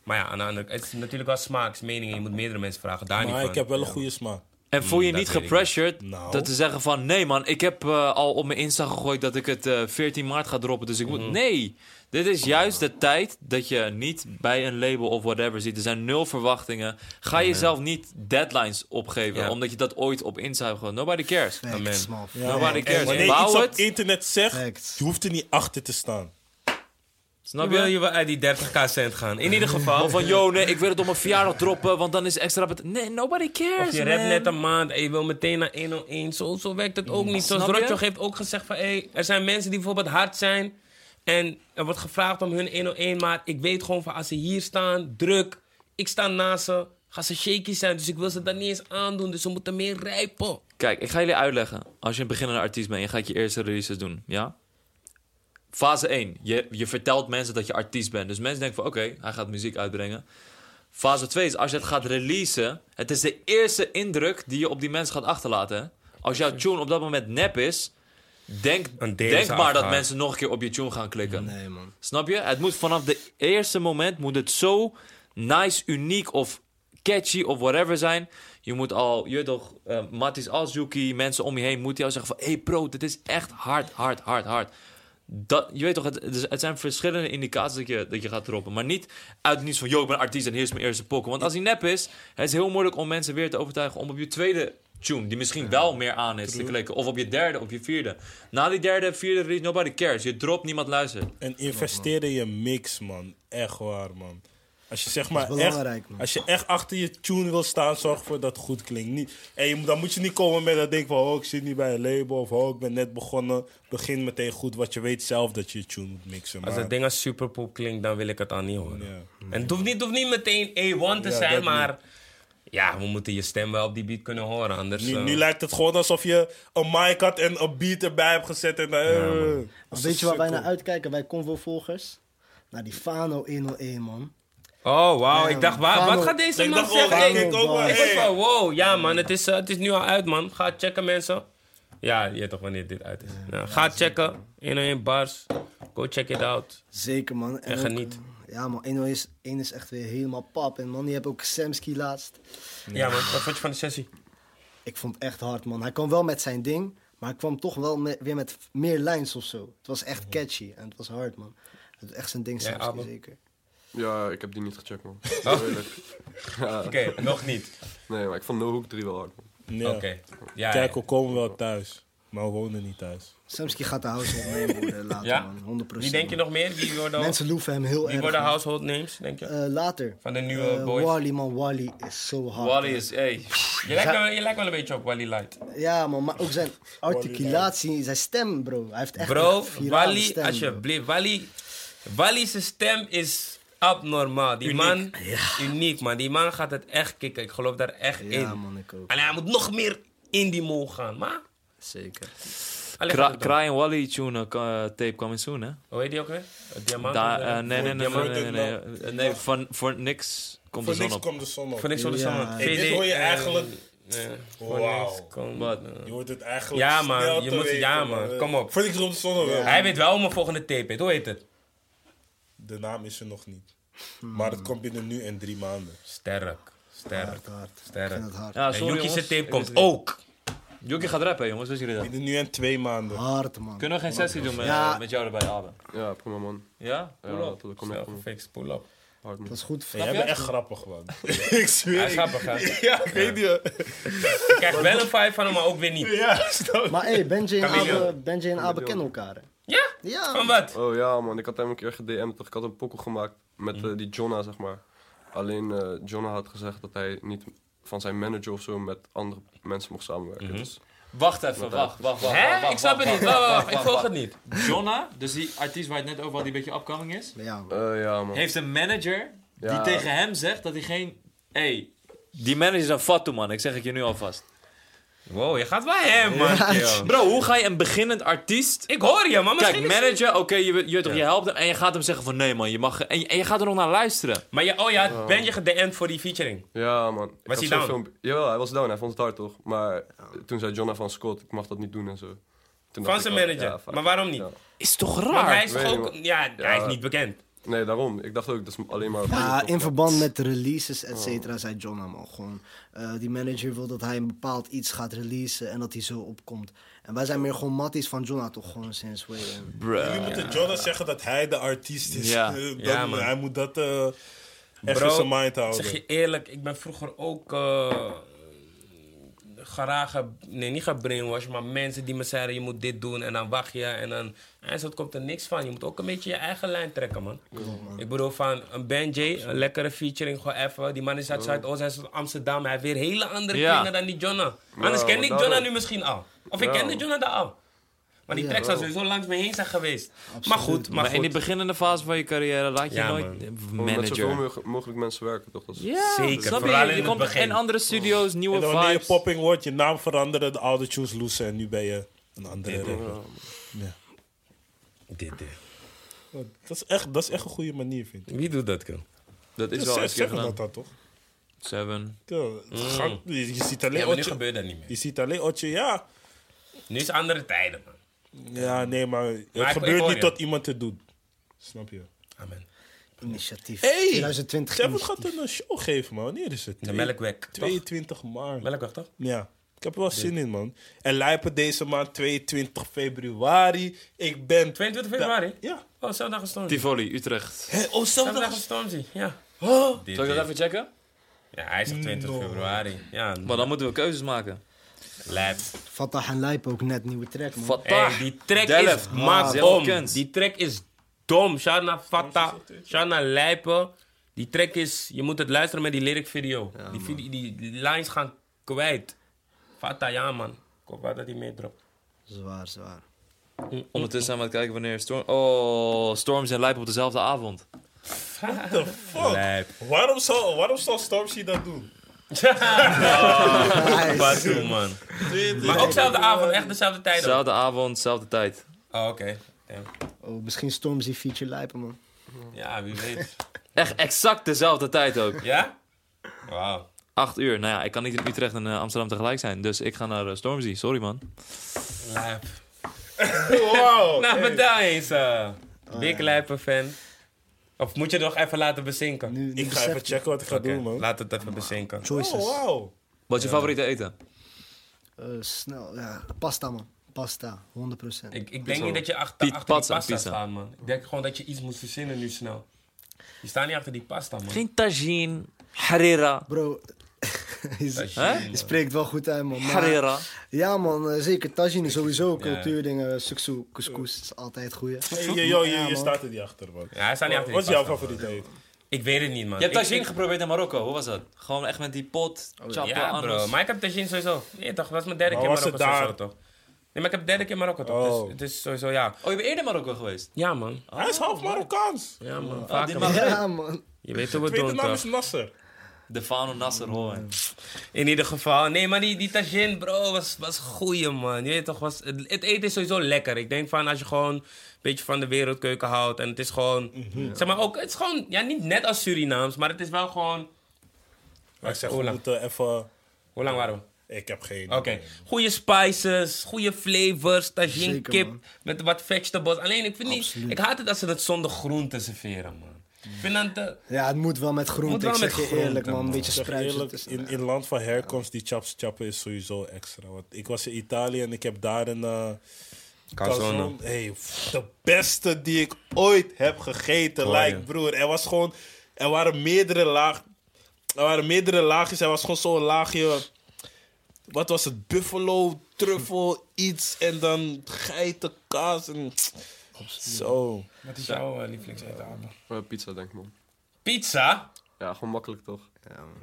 S2: Maar ja, aan de andere kant, het is natuurlijk wel smaaksmening. Je moet meerdere mensen vragen, daar niet
S1: Maar
S2: van.
S1: ik heb wel een goede smaak.
S3: En voel je
S2: Mm,
S3: niet
S2: dat weet ik
S3: gepressured
S1: niet. Nou.
S3: dat te zeggen van... Nee, man, ik heb eh, al op mijn Insta gegooid dat ik het eh, 14 maart ga droppen, dus ik
S2: Mm.
S3: moet... Nee, dit is juist de tijd dat je niet bij een label of whatever zit. Er zijn nul verwachtingen. Ga jezelf niet deadlines opgeven,
S2: Ja.
S3: omdat je dat ooit op Insta hebt gegooid. Nobody cares.
S4: Facts,
S2: Amen.
S4: man.
S3: Ja, maar
S4: Facts.
S3: ik- Kerst,
S1: wanneer je
S3: bouw
S1: iets op
S3: het.
S1: internet zegt,
S4: Facts.
S1: je hoeft er niet achter te staan.
S2: Dan
S3: Snap
S2: wil
S3: je?
S2: je wel uit die 30k cent gaan. In ieder geval.
S3: Of van, yo, nee, ik wil het op mijn verjaardag droppen, want dan is extra... bet- Nee, nobody cares,
S2: Of je rapt
S3: man.
S2: net een maand en je wil meteen naar 101. Zo, zo werkt het ook niet. Zoals
S3: Snap je?
S2: Rotjoch heeft ook gezegd van... Hey, er zijn mensen die bijvoorbeeld hard zijn... en er wordt gevraagd om hun 101... maar ik weet gewoon van als ze hier staan, druk... ik sta naast ze, gaan ze shaky zijn... dus ik wil ze dat niet eens aandoen. Dus ze moeten meer rijpen.
S3: Kijk, ik ga jullie uitleggen. Als je een beginnende artiest bent, je gaat je eerste releases doen, ja? Fase 1. Je, je vertelt mensen dat je artiest bent. Dus mensen denken van, oké, hij gaat muziek uitbrengen. Fase 2 is als je het gaat releasen. Het is de eerste indruk die je op die mensen gaat achterlaten. hè? Als jouw tune op dat moment nep is, denk,
S2: Een deel
S3: denk
S2: is
S3: maar dat
S2: afgehaakt.
S3: mensen nog een keer op je tune gaan klikken.
S4: Nee, man.
S3: Snap je? Het moet vanaf de eerste moment moet het zo nice, uniek of catchy of whatever zijn. Je moet al, je weet toch, eh Matties als Yuki, mensen om je heen moeten jou zeggen van... Hé hey bro, dit is echt hard, hard, hard, hard. Dat, je weet toch, het, het is- het zijn verschillende indicaties dat je, dat je gaat droppen. Maar niet uit niets van, yo, ik ben artiest en hier is mijn eerste pokken. Want als die nep is, het is heel moeilijk om mensen weer te overtuigen om op je tweede tune, die misschien wel meer aan is, te klikken. Of op je derde, op je vierde. Na die derde, vierde release, nobody cares. Je dropt, niemand luistert.
S1: En investeer in je mix, man. Echt waar, man. Als je, zeg maar
S4: Dat is belangrijk,
S1: echt,
S4: man.
S1: als je echt achter je tune wil staan, zorg ervoor dat het goed klinkt. Niet, en je, moet- dan moet je niet komen met dat ding van... oh, ik zit niet bij een label of oh, ik ben net begonnen. Begin meteen goed, want je weet zelf dat je je tune moet mixen.
S2: Als
S1: Maar,
S2: dat ding als superpoep klinkt, dan wil ik het al niet horen.
S1: Ja.
S2: En het hoeft niet, het hoeft niet meteen A1 te
S1: Ja,
S2: zijn,
S1: dat
S2: maar... Ja, we moeten je stem wel op die beat kunnen horen, anders...
S1: nu,
S2: eh,
S1: nu lijkt het gewoon alsof je een mic had en een beat erbij hebt gezet. En, eh,
S4: Maar weet je waar wij naar uitkijken, wij Convo-volgers? Naar die Fano 101, man.
S2: Oh, wauw.
S4: Ja,
S2: Ik dacht,
S4: man.
S2: wa- wat
S4: Fano-
S2: gaat deze
S1: Ik
S2: man
S1: dacht, oh,
S2: zeggen?
S1: Fano,
S2: Ik-
S1: ik ook wel,
S2: Ik was
S1: hey.
S2: van, wow, ja man, het is, eh, het is nu al uit man. Ga checken mensen. Ja, je weet toch wanneer dit uit is. Ja, ga checken. 101 bars. Go check it out.
S4: Zeker, man.
S2: En
S4: ook-
S2: geniet.
S4: Ja, man. 101 is, 1 is echt weer helemaal pap. En man, je hebt ook Samsky laatst.
S2: Ja man, wat vond je van de sessie?
S4: Ik vond het echt hard, man. Hij kwam wel met zijn ding, maar hij kwam toch wel me- weer met meer lijns of zo. Het was echt catchy en het was hard, man. Het is echt zijn ding,
S2: Ja,
S4: Samsky,
S2: Abel.
S4: zeker.
S5: Ja, ik heb die niet gecheckt, man.
S2: Oh.
S5: Eerlijk. Ja,
S2: Oké, nog niet.
S5: nee, maar ik vond No Hook 3 wel hard, man.
S1: ja.
S2: Oké. Ja,
S1: Kijk, we komen wel thuis. maar we wonen niet thuis.
S4: Samsky gaat de household name worden eh, later,
S2: Ja?
S4: man. 100%.
S2: Wie denk je nog meer? Wie worden,
S4: Mensen loeven hem heel
S2: wie
S4: erg.
S2: worden
S4: man.
S2: household names, denk je?
S4: Eh, later.
S2: Van de nieuwe
S4: Eh,
S2: boys.
S4: Wally, man. Wally is zo hard.
S3: Wally is, hey.
S2: Je lijkt, wel, je lijkt wel een beetje op Wally Light.
S4: Ja, man. Maar ook zijn articulatie, zijn stem, bro. Hij heeft echt
S2: Bro,
S4: een virale
S2: Wally,
S4: stem, bro.
S2: alsjeblieft. Wally, Wally zijn stem is abnormaal. Die man, uniek man. Die man gaat het echt kicken. Ik geloof daar echt in.
S4: Ja, man. Ik ook.
S2: Alleen hij moet nog meer in die mol gaan. Maar,
S4: Zeker.
S2: alleen gaat
S3: Cry
S2: het
S3: Cry and Wally tune eh, ka- eh, tape coming soon, hè?
S2: wel. Hoe heet die ook weer? Het Diamant?
S3: Da-
S2: of,
S3: eh,
S2: eh,
S3: nee, nee, nee,
S2: Diamant?
S3: nee, nee, nee, nee. Nee, van, voor niks komt de
S1: Voor
S3: zon
S1: niks
S3: op.
S1: komt de zon op.
S2: Voor niks worden ze
S4: Ja.
S2: allemaal.
S1: Hey, dit
S2: VD,
S1: hoor je
S2: eh,
S1: eigenlijk-
S2: eh, voor
S1: Wauw.
S2: niks eh. komen.
S1: Je hoort het eigenlijk
S2: Ja, man,
S1: snel
S2: je
S1: te
S2: moet-
S1: weten, eh,
S2: ja, man, kom op.
S1: Voor niks komt de zon op. wel.
S2: Hij weet wel om een volgende tape heet. Hoe heet het?
S1: De naam is er nog niet. Maar het komt binnen nu en drie maanden.
S2: Sterk. Sterk.
S4: Hard, hard. Ik vind
S2: Sterk.
S4: het hard.
S3: Ja,
S2: En
S3: sorry,
S2: Yuki's
S3: jongens.
S2: tape
S3: Ik
S2: komt
S3: wist het niet.
S2: ook.
S3: Yuki gaat rappen, jongens. Wist jullie dat?
S1: Binnen nu en twee
S2: Ah.
S1: maanden.
S4: Hard, man.
S3: Kunnen we geen sessie doen met,
S4: Ja.
S3: met jou erbij, Abe?
S5: Ja, prima man.
S3: Ja?
S5: Ja, dat dat kom ik
S2: Snel
S5: kom ik
S2: gefixt, pull up.
S5: hard man.
S4: Dat is goed.
S1: Hey, jij bent echt grappig, man. ik zweer.
S2: Hij is
S1: ik-
S2: grappig, hè? Ik
S1: Ja, ik weet niet. hoor.
S2: krijg wel een vibe van hem, maar ook weer niet.
S1: Ja, snap je?
S4: Maar hey, Benji en
S2: Chameleon.
S4: Abe, Benji en Abe kennen elkaar. hè?
S2: Ja?
S4: Ja.
S2: Van wat?
S5: Oh ja man, ik had hem een keer gedm'd toch? Ik had een pokkel gemaakt met
S2: Mm.
S5: eh, die Jonna zeg maar. Alleen eh Jonna had gezegd dat hij niet van zijn manager of zo met andere mensen mocht samenwerken.
S2: Mhm.
S5: Dus
S3: Wacht even, wacht, wacht, wacht. wacht,
S2: Hè?
S3: wacht,
S2: Ik snap het
S3: wacht,
S2: niet. Wacht, wacht, wacht.
S3: wacht,
S2: Ik
S3: wacht,
S2: volg het niet.
S3: wacht. Jonna, dus die artiest waar het net over had, die een beetje upcoming is,
S4: Ja, man.
S5: eh, ja man.
S3: heeft een manager die
S5: Ja.
S3: tegen hem zegt dat hij geen... Hey, die manager is een fatu man, ik zeg het je nu alvast.
S2: Wow, je gaat wel hem, man. Yo.
S3: Bro, hoe ga je een beginnend artiest... Oh,
S2: Ik hoor je, man.
S3: Kijk,
S2: Misschien is-
S3: manager, oké, je, weet- je, weet toch, je helpt hem en je gaat hem zeggen van nee man, je mag... En, je- en je gaat er nog naar luisteren.
S2: Maar je, oh ja, ben je gedm'd voor die featuring?
S5: Ja man. Ik
S2: Was hij
S5: had zo'n
S2: down?
S5: filmpje- Jawel, hij was down, hij vond het hard toch? Maar toen zei Jonna van Scott, ik mag dat niet doen en zo. Toen dacht
S2: Van
S5: ik,
S2: zijn
S5: oh,
S2: manager.
S5: ja, fuck.
S2: maar waarom niet?
S5: Ja.
S3: Is toch
S2: Want
S3: raar?
S2: hij is toch
S5: Weet je
S2: ook...
S5: wel.
S2: Ja, hij is
S5: Ja.
S2: niet bekend.
S5: Nee, daarom. Ik dacht ook, dat is alleen maar...
S4: Ja,
S5: toch?
S4: in verband met de releases, et cetera, zei John hem al gewoon. eh, die manager wil dat hij een bepaald iets gaat releasen en dat hij zo opkomt. En wij zijn meer gewoon matties van John, toch gewoon sinds way. in.
S1: Jullie moeten Jonas zeggen dat hij de artiest is.
S3: Ja.
S1: Eh, dan-
S2: Ja, man.
S1: Hij moet dat eh echt
S2: Bro,
S1: in zijn mind
S2: Ik
S1: houden.
S2: zeg je eerlijk, ik ben vroeger ook eh graag, ge- nee niet gebrainwashed, maar mensen die me zeiden je moet dit doen en dan wacht je en dan, en zo komt er niks van. Je moet ook een beetje je eigen lijn trekken man. Ik bedoel van een Benjay, een lekkere featuring gewoon even, die man is uit Zuidoost, hij is uit Amsterdam, hij heeft weer hele andere
S3: Ja.
S2: dingen dan die Jonna. Anders
S5: Ja,
S2: ken ik
S5: daarom.
S2: Jonna nu misschien al. Of ik
S5: Ja.
S2: kende Jonna daar al. Maar die
S4: Ja.
S2: tracks zou sowieso langs me heen zijn geweest. Maar goed, maar,
S3: Maar in
S2: goed.
S3: die beginnende fase van je carrière laat je
S2: Ja,
S3: nooit
S5: Gewoon Met zoveel
S3: manager.
S5: mo- mogelijk mensen werken toch? Dat is...
S3: Ja,
S2: Zeker,
S3: snap je?
S2: vooral in
S3: je
S2: het
S3: komt
S2: begin.
S3: in andere studio's, nieuwe
S1: En dan wanneer je
S3: vibes.
S1: popping wordt, je naam veranderen, de oude tunes loesen en nu ben je een andere rapper.
S2: Dit, dit.
S1: Dat is echt, dat is echt een goede manier, vind ik.
S2: Wie doet dat, Kil?
S3: Dat is
S1: Ze
S3: wel
S1: zeggen
S3: eens een keer gedaan.
S1: dat dan toch?
S3: Seven.
S1: Ja, het gaat- je, je ziet alleen
S2: Mm. Ja, maar nu
S1: Otje.
S2: gebeurt dat niet meer.
S1: Je ziet alleen Otje, ja.
S2: Nu is andere tijden, man.
S1: Ja, nee, maar het
S2: ik- ik
S1: gebeurt
S2: hoor
S1: niet
S2: je.
S1: tot iemand het doet. Snap je?
S2: Amen.
S4: Initiatief.
S1: Hey!
S4: 2020
S1: Kevin
S4: initiatief.
S1: gaat een show geven, man. Wanneer is het?
S2: De melkweg, toch?
S1: 22 maart.
S2: Melkweg, toch?
S1: Ja, ik heb er wel zin in, man. En lijpen deze maand 22 februari. Ik ben...
S2: 22 februari?
S1: Ja.
S2: Oh, zondag is Stormzy.
S3: Tivoli, Utrecht.
S1: Hé, oh,
S2: Zondag
S1: zondag.
S2: is Stormzy, ja.
S1: Oh,
S2: Dit,
S3: Zal ik dat
S2: dit.
S3: even checken?
S2: Ja, hij is op 20 februari. Ja,
S3: Maar dan moeten we keuzes maken.
S2: lijp.
S4: Fatah en Lijp ook net nieuwe track, man.
S2: Hey, die track is
S3: Eh, Delft,
S2: maak
S3: Delft
S2: dom.
S3: Kens.
S2: Die track is dom. Shana Fata, Shana Lijpen. Die track is, je moet het luisteren met die lyric video. die, vide- die lines gaan kwijt. Fata, ja man. Ik hoop wel dat hij meedropt.
S4: Zwaar, zwaar.
S3: Ondertussen zijn we aan het kijken wanneer Storm... Oh, Storms en Lijp op dezelfde avond.
S1: what the fuck?
S2: Lijp.
S1: Waarom zou, waarom zou Stormzy dat doen?
S2: Wat doen, man. Maar Dus ook dezelfde avond, echt dezelfde tijd. ook.
S3: Dezelfde avond, dezelfde tijd.
S2: Oh, oké. Damn.
S4: Oh, misschien Stormzy feature Lijpen, man.
S2: Ja, wie weet.
S3: Echt exact dezelfde tijd ook.
S2: ja? Wauw.
S3: Acht uur. Nou ja, ik kan niet in Utrecht en eh, Amsterdam tegelijk zijn. Dus ik ga naar eh, Stormzy. Sorry, man.
S2: Lijp.
S1: Wow.
S2: Nou, vertel eens. eh Dik lijpen fan. Of moet je het nog even laten bezinken?
S4: Nu, nu
S1: Ik ga
S4: besef
S1: even checken wat ik ga
S2: Oké,
S1: doen, man.
S2: Laat het even bezinken.
S4: Choices.
S1: Oh, wow.
S3: Wat is je favoriete eten?
S4: Eh, snel, ja. Pasta, man. Pasta, 100%.
S2: Ik, ik denk niet dat je achter,
S3: Piet-
S2: achter
S3: pasta,
S2: die pasta
S3: pizza.
S2: staat, man. Ik denk gewoon dat je iets moet verzinnen nu snel. Je staat niet achter die pasta, man.
S3: Geen tagine, harira.
S4: Bro, Hij
S3: Hè?
S4: hij spreekt wel goed uit, man. Maar-
S3: Herrera.
S4: ja, man, eh, zeker. Tajine sowieso, cultuurdingen, suksu, couscous is altijd goeie.
S1: Hey, je, je,
S4: Ja,
S1: je, je
S4: man.
S1: staat er niet achter, man.
S2: Ja, hij staat niet achter die
S1: Wat is jouw
S2: pasta.
S1: favoriete eten?
S2: Ik weet het niet, man.
S3: Je hebt
S2: Ik-
S3: tagine
S2: ik-
S3: geprobeerd in Marokko, hoe was dat? Gewoon echt met die pot, chapo,
S2: Oh, Ja,
S3: anders.
S2: bro. Maar ik heb tagine sowieso. Nee, toch? Dat was mijn derde
S1: Maar
S2: keer
S1: was het
S2: Marokko sowieso,
S1: daar?
S2: toch? Nee, maar ik heb derde keer Marokko, toch?
S1: Oh.
S2: Dus het is sowieso, ja.
S3: Oh, je bent eerder in Marokko geweest?
S2: Ja, man.
S1: Hij is
S2: Oh.
S1: half Marokkaans.
S2: Ja, man.
S3: Oh, die
S2: Vaker,
S3: mag-
S2: man.
S4: Ja, man.
S2: Je weet hoe we het
S1: Tweede
S2: doen,
S1: naam is
S2: toch?
S1: Nasser.
S3: De Fano Nasser Hoorn.
S2: In ieder geval. Nee, maar die, die tagine, bro, was, was goeie, man. Je weet toch, was, het, het eten is sowieso lekker. Ik denk van, als je gewoon een beetje van de wereldkeuken houdt. En het is gewoon,
S1: Mhm.
S2: zeg maar ook, het is gewoon, ja, niet net als Surinaams. Maar het is wel gewoon,
S1: Maar ik zeg, we
S2: Ola.
S1: moeten even...
S2: hoe lang waren we?
S1: Ik heb geen...
S2: Oh, Oké. Goede spices, goede flavors, tagine
S4: Zeker,
S2: kip
S4: man.
S2: met wat vegetables. Alleen ik vind
S4: Absoluut.
S2: niet, ik haat het als ze dat zonder groenten serveren, man. Ik vind dat te-
S4: Ja, het moet wel met
S2: Moet
S4: groente,
S2: wel
S4: ik zeg
S2: met
S4: je
S2: groente,
S4: eerlijk, man. Een
S2: man.
S4: beetje
S1: Ik zeg
S4: spruitje
S1: eerlijk,
S4: tussen.
S1: in, in land van herkomst, die chaps chappen is sowieso extra. Want ik was in Italië en ik heb daar een... eh, Calzone. Hey, pff, de beste die ik ooit heb gegeten.
S2: Klaar,
S1: like,
S2: ja.
S1: broer. Er was gewoon... Er waren meerdere laag... Er waren meerdere laagjes. Er was gewoon zo'n laagje... Wat was het? Buffalo, truffel, iets. En dan geitenkaas. En... Zo.
S2: Wat is jouw uh, lievelingseten,
S5: Eh, pizza, denk ik, man.
S2: Pizza?
S5: Ja, gewoon makkelijk, toch?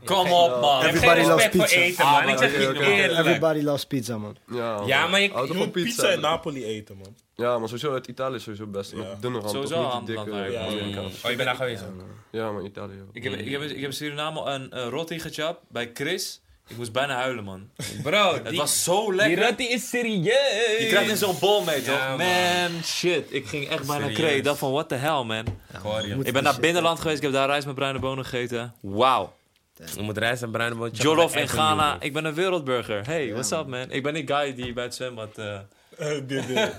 S3: Kom op, man.
S2: Ik heb
S4: Everybody
S2: geen
S4: loves
S2: respect voor
S4: pizza.
S2: eten,
S3: Ah,
S2: man. Ik
S5: maar
S2: zeg
S5: oké,
S2: je
S5: oké.
S2: eerlijk.
S4: Everybody loves pizza, man.
S5: Ja,
S2: Ja, maar je-
S5: Hou
S1: Je
S5: toch van
S1: moet pizza in
S5: bro.
S1: Napoli eten, man.
S5: Ja, maar sowieso uit Italië is sowieso best.
S1: Ja.
S5: Nog dunner hand,
S3: Sowieso
S5: toch?
S3: hand,
S5: Niet die dikke
S3: dat lijkt me.
S5: Amerikaanse.
S2: Oh, je bent daar geweest, hè?
S5: Ja, maar Italië. joh.
S3: Ik heb, ik, heb, ik heb in Suriname een eh, roti gechapt bij Chris. Ik moest bijna huilen, man.
S2: Bro, die,
S3: Het was zo
S2: die
S3: lekker.
S2: rotti is serieus.
S3: Je krijgt in zo'n bol mee, toch?
S2: Ja,
S3: man. shit. Ik ging echt bijna
S2: Serieus.
S3: kreeg. Ik dacht van, what the hell, man.
S2: Hoor je.
S4: Moet
S3: Ik ben
S4: die
S3: naar
S4: shit-
S3: binnenland geweest. Ik heb daar rijst met bruine bonen gegeten. Wauw.
S2: Je moet reizen en bruine boot.
S3: Jollof in Ghana. Ik ben een wereldburger. Hey, what's up, man? Ik ben die guy die bij het zwembad... eh,
S1: Eh, dit, dit.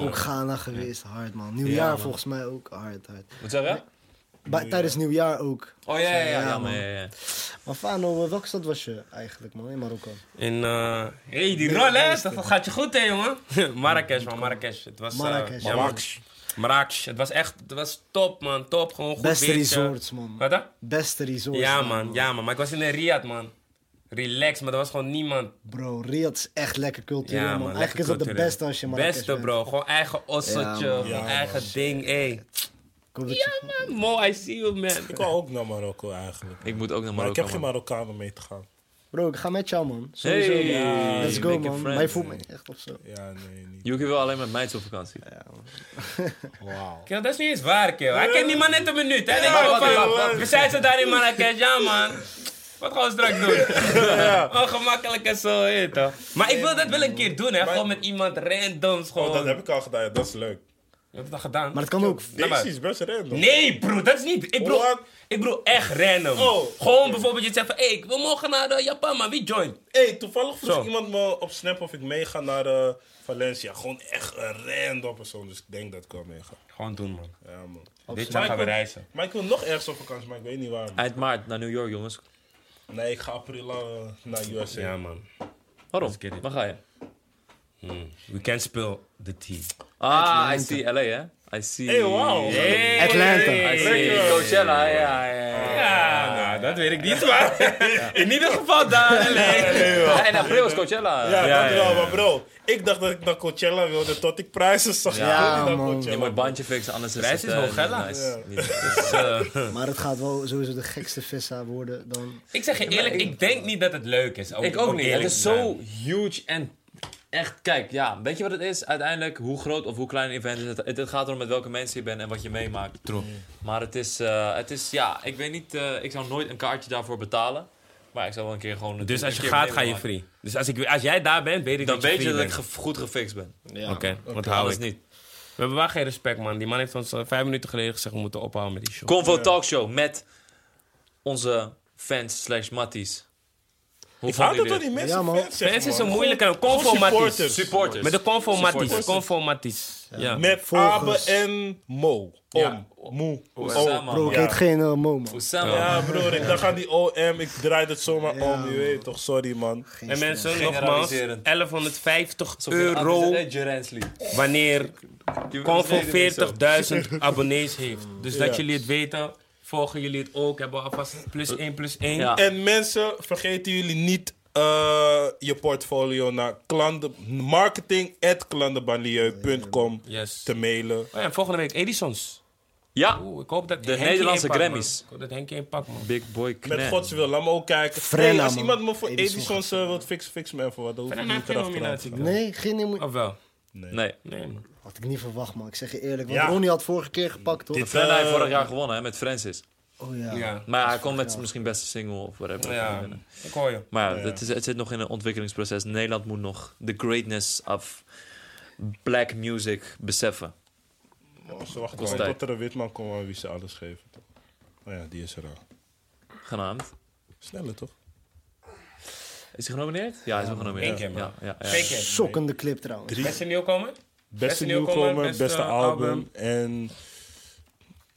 S4: Ook Ghana geweest, hard, man. Nieuwjaar volgens mij ook, hard, hard.
S3: Wat zeg je?
S4: Bij, tijdens nieuwjaar ook.
S3: Oh, ja, ja, ja.
S4: Ja,
S3: ja,
S4: man.
S3: man. ja, ja.
S4: Maar Fano, eh, welke stad was je eigenlijk, man, in Marokko?
S2: In, eh hey, die rol, hè? Dat, dat gaat je goed, hè, jongen? Marrakesh, man, Marrakesh. Het was, eh,
S4: Marrakesh.
S2: ja, man. Marrakesh. Het was echt, het was top, man. Top, gewoon goed
S4: Beste
S2: weertje.
S4: resorts, man.
S2: Wat, hè?
S4: Beste resorts.
S2: Ja, man. Ja, man. Maar ik was in een Riyadh, man. Relax, maar er was gewoon niemand.
S4: Bro, Riyadh is echt lekker cultureel,
S2: Ja, man.
S4: man.
S2: lekker
S4: Eigenlijk is dat de
S2: cultureel.
S4: beste als je Marrakesh
S2: Beste,
S4: bent.
S2: bro. Gewoon eigen osseltje.
S4: Ja, man.
S2: gewoon
S1: Ja, man.
S2: eigen ding, hé.
S4: Ik hoop dat je-
S2: Mo, I see you, man.
S1: Ik wou ook naar Marokko eigenlijk.
S3: Ik moet ook naar
S1: Maar ik
S3: Marokko,
S1: heb geen
S3: man.
S1: Marokkaan om mee te gaan.
S4: Bro, ik ga met jou, man. Sowieso.
S3: Hey,
S1: Ja,
S4: Let's go,
S3: make a
S4: man.
S3: friend.
S4: Maar je voelt me niet echt of zo.
S1: Ja, nee, niet.
S3: Yuki wil alleen met mij op vakantie.
S1: Wauw.
S2: Kill, nou, dat is niet eens waar, kill. Hij kent die man net een minuut, hè? Denk
S3: wacht,
S2: maar van,
S3: wacht, wacht, wacht.
S2: We zijn zo daar in Marrakesh, ja, man. Wat gaan we straks doen? Ongemakkelijk en zo, hé, toch? Maar ik wil dat wel een keer doen, hè? Gewoon met iemand randoms, gewoon.
S1: Oh, dat heb ik al gedaan. Dat is leuk.
S2: Je hebt dat gedaan? Nou,
S4: Maar het kan ook.
S1: Deze is best random.
S2: Nee, bro, dat is niet. Ik bedoel,
S1: What?
S2: ik bedoel echt random.
S1: Oh.
S2: Gewoon bijvoorbeeld, je zegt van, hé, we mogen naar eh, Japan, maar wie joint?
S1: Hey, toevallig vroeg
S2: Zo.
S1: iemand me op Snap of ik meega naar eh, Valencia. Gewoon echt een random persoon. Dus ik denk dat ik wel meega.
S2: Gewoon doen, man.
S1: Ja, man.
S2: Dit
S1: Maar
S2: jaar
S1: ik
S2: gaan we
S1: wil-
S2: reizen.
S1: Maar ik wil nog ergens op vakantie, maar ik weet niet waar. man.
S3: Eind maart naar New York, jongens.
S1: Nee, ik ga april eh, naar USA.
S2: Ja, man.
S3: Waarom?
S2: Let's get it.
S3: Waar ga je?
S2: We can spill the tea.
S3: Ah, I see. LA, hè? I see.
S1: Hey, wauw.
S2: Hey.
S4: Atlanta.
S3: I see.
S1: Lekker.
S3: Coachella, ja, ja, ja.
S2: Ja, nou, dat weet ik niet, maar in ieder geval daar. Nee.
S3: Ja, in april nou, is Coachella.
S1: Ja,
S2: Ja,
S1: dat wel,
S2: ja, ja.
S1: maar bro. Ik dacht dat ik naar Coachella wilde tot ik prijzen zag.
S4: Ja,
S1: Ik wil niet naar
S4: man.
S1: Coachella.
S3: Je moet bandje fixen, anders is
S2: Reis
S3: het...
S2: is
S3: eh,
S2: Hogella.
S3: niet nice.
S1: Ja.
S3: Niet- dus, eh,
S4: Maar het gaat wel sowieso de gekste vissa worden dan.
S2: Ik zeg je eerlijk, ik denk niet dat het leuk is. om-
S3: Ik ook
S2: om
S3: niet. Het
S2: eerlijk
S3: is
S2: te zijn.
S3: zo huge en echt, kijk, ja, weet je wat het is? Uiteindelijk, hoe groot of hoe klein een event is, het, het, het gaat erom met welke mensen je bent en wat je meemaakt. Maar het is, eh, het is, ja, ik weet niet, eh, ik zou nooit een kaartje daarvoor betalen. Maar ik zou wel een keer gewoon...
S2: Dus
S3: een
S2: als je
S3: keer
S2: gaat, ga
S3: meemaken.
S2: je free. Dus als, ik, als jij daar bent, weet ik
S3: Dan
S2: dat je
S3: weet je
S2: free
S3: dat ik
S2: bent.
S3: ge- goed gefixt ben.
S4: Ja.
S2: Oké, wat hou
S3: Alles
S2: ik.
S3: niet.
S2: We hebben wel geen respect, man. Die man heeft ons eh, vijf minuten geleden gezegd we moeten ophouden met die show.
S3: Convo Talkshow met onze fans slash matties. Hoe
S1: Ik hou dat
S3: vonden jullie
S1: toch
S3: dit?
S1: niet mensen
S4: Ja, man.
S1: fans zeggen,
S2: Mensen
S1: man.
S2: zijn
S1: Gewoon-
S2: moeilijk aan
S1: gewoon
S2: conformatisch.
S1: supporters.
S3: Supporters.
S2: Met de conformaties.
S3: Supporters.
S2: Conformaties. Ja.
S1: Met
S4: Volgers.
S1: Abe en Mo. Om.
S3: Ja.
S1: Moe.
S3: Osama.
S4: Bro, ik
S1: Ja.
S4: heet geen eh, Mo, man.
S3: Oussama.
S1: Ja, broer, ik dacht aan die OM, ik draai het zomaar
S4: Ja,
S1: om, je weet toch, sorry man.
S2: En mensen, nogmaals,
S3: Generaliserend.
S2: 1150
S3: Alsof je een
S2: euro
S3: ABCD Gerens lied.
S2: wanneer
S3: Je
S2: Convo
S3: weet het niet zo.
S2: 40.000 abonnees heeft. Dus dat jullie het weten, Volgen jullie het ook? Hebben we alvast plus 1 plus 1?
S3: Ja.
S1: En mensen, vergeten jullie niet eh, je portfolio naar klanten, marketing.klandenbanlieu.com
S2: Yes.
S1: te mailen.
S2: Oh ja, volgende week Edison's.
S3: Ja,
S2: Oeh, ik hoop dat
S3: De
S2: Henkie
S3: Nederlandse
S2: een pakt, man.
S3: Grammys.
S2: Ik hoop dat Henkie een pak, man.
S3: Big Boy
S1: Met
S3: Knet.
S1: gods wil, laat me ook kijken.
S4: Frenna,
S1: Hey, als
S4: man.
S1: iemand me voor
S4: Edison
S1: Edison's eh, wilt fixen, fix me even wat. Dan hoef ik
S2: Frenna
S1: niet
S2: heeft geen
S1: erachteraan te
S2: nominatie.
S1: gaan.
S4: Nee, geen nieuwe-
S2: Of wel?
S3: Nee.
S2: Nee, man.
S4: Had ik niet verwacht, man. Ik zeg je eerlijk. Want
S1: Ja.
S4: Ronnie had vorige keer gepakt, toch?
S1: Dit-
S3: Frenna heeft
S1: Eh,
S3: vorig jaar gewonnen hè, met Francis.
S4: Oh ja.
S2: Ja.
S3: Maar ja, hij komt met misschien beste single of whatever.
S2: Ja, ik hoor je.
S3: Maar ja,
S1: Ja.
S3: Het, is, het zit nog in een ontwikkelingsproces. Nederland moet nog de greatness of black music beseffen.
S1: Oh, Ze wachten
S3: Kost
S1: gewoon
S3: tijd.
S1: tot er een witman komt aan wie ze alles geven. toch? Maar ja, die is er al.
S3: Genaamd.
S1: Sneller toch?
S3: Is hij genomineerd? Ja, hij is wel genomineerd.
S2: Eén keer, man.
S3: Ja, ja, ja.
S2: Twee keer.
S4: Shockende clip trouwens.
S2: Beste nieuwkomer?
S1: Beste
S2: nieuwkomer,
S1: nieuwkomer,
S2: beste
S1: beste, album,
S2: album.
S1: en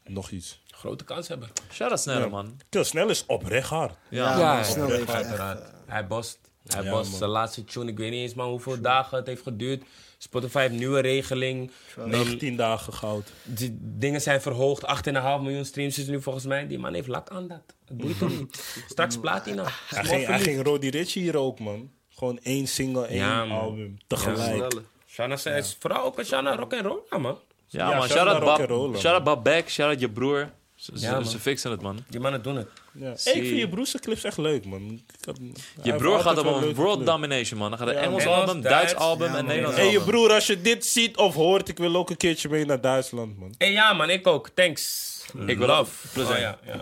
S1: nog iets.
S2: Grote kans hebben.
S3: Shout out sneller, man.
S1: Kill Snel is oprecht hard.
S3: Ja.
S4: man,
S2: ja,
S4: snel
S1: ja,
S4: even, echt,
S2: Uiteraard. Hij bost. Hij
S1: Ja,
S2: bost
S1: man.
S2: zijn laatste tune. Ik weet niet eens maar hoeveel dagen het heeft geduurd. Spotify heeft nieuwe regeling. Ehm,
S1: 19 dagen goud.
S2: die dingen zijn verhoogd. 8,5 miljoen streams is nu volgens mij. Die man heeft lak aan dat. Het boeit hem niet. Straks platina.
S1: Hij ging, hij ging Roddy Ricch hier ook, man. Gewoon één single, één
S2: Ja, man.
S1: album. Tegelijk.
S5: Snelle.
S2: Shanna zei, is vooral ook een Shanna rock en roll, ja, man.
S3: Ja,
S1: Ja,
S3: man.
S1: shout
S3: Shout out
S1: naar
S3: Bab,
S1: Rock'n'Roll, man.
S3: shout out Bab Beck, shout out je broer. Ze, ze-
S2: Ja, man.
S3: ze fixen het, man.
S2: Die mannen doen het.
S1: Ja.
S3: Zie-
S1: Ik vind je broers clips echt leuk, man. Ik had-
S3: Je
S1: hij
S3: broer
S1: heeft
S3: gaat
S1: altijd
S3: op
S1: wel
S3: een
S1: leuke
S3: world
S1: clips.
S3: domination, man. Dan gaat een Engels
S2: Engels,
S3: album,
S2: Duits.
S3: Duits album
S4: Ja,
S3: en
S4: man.
S3: Nederlands
S1: Hé, je
S3: album.
S1: broer, als je dit ziet of hoort, ik wil ook een keertje mee naar Duitsland, man.
S2: En ja, man, ik ook. Thanks.
S1: Mm.
S3: Ik wil af. Plus
S2: Oh,
S3: één.
S2: ja, ja. Ja,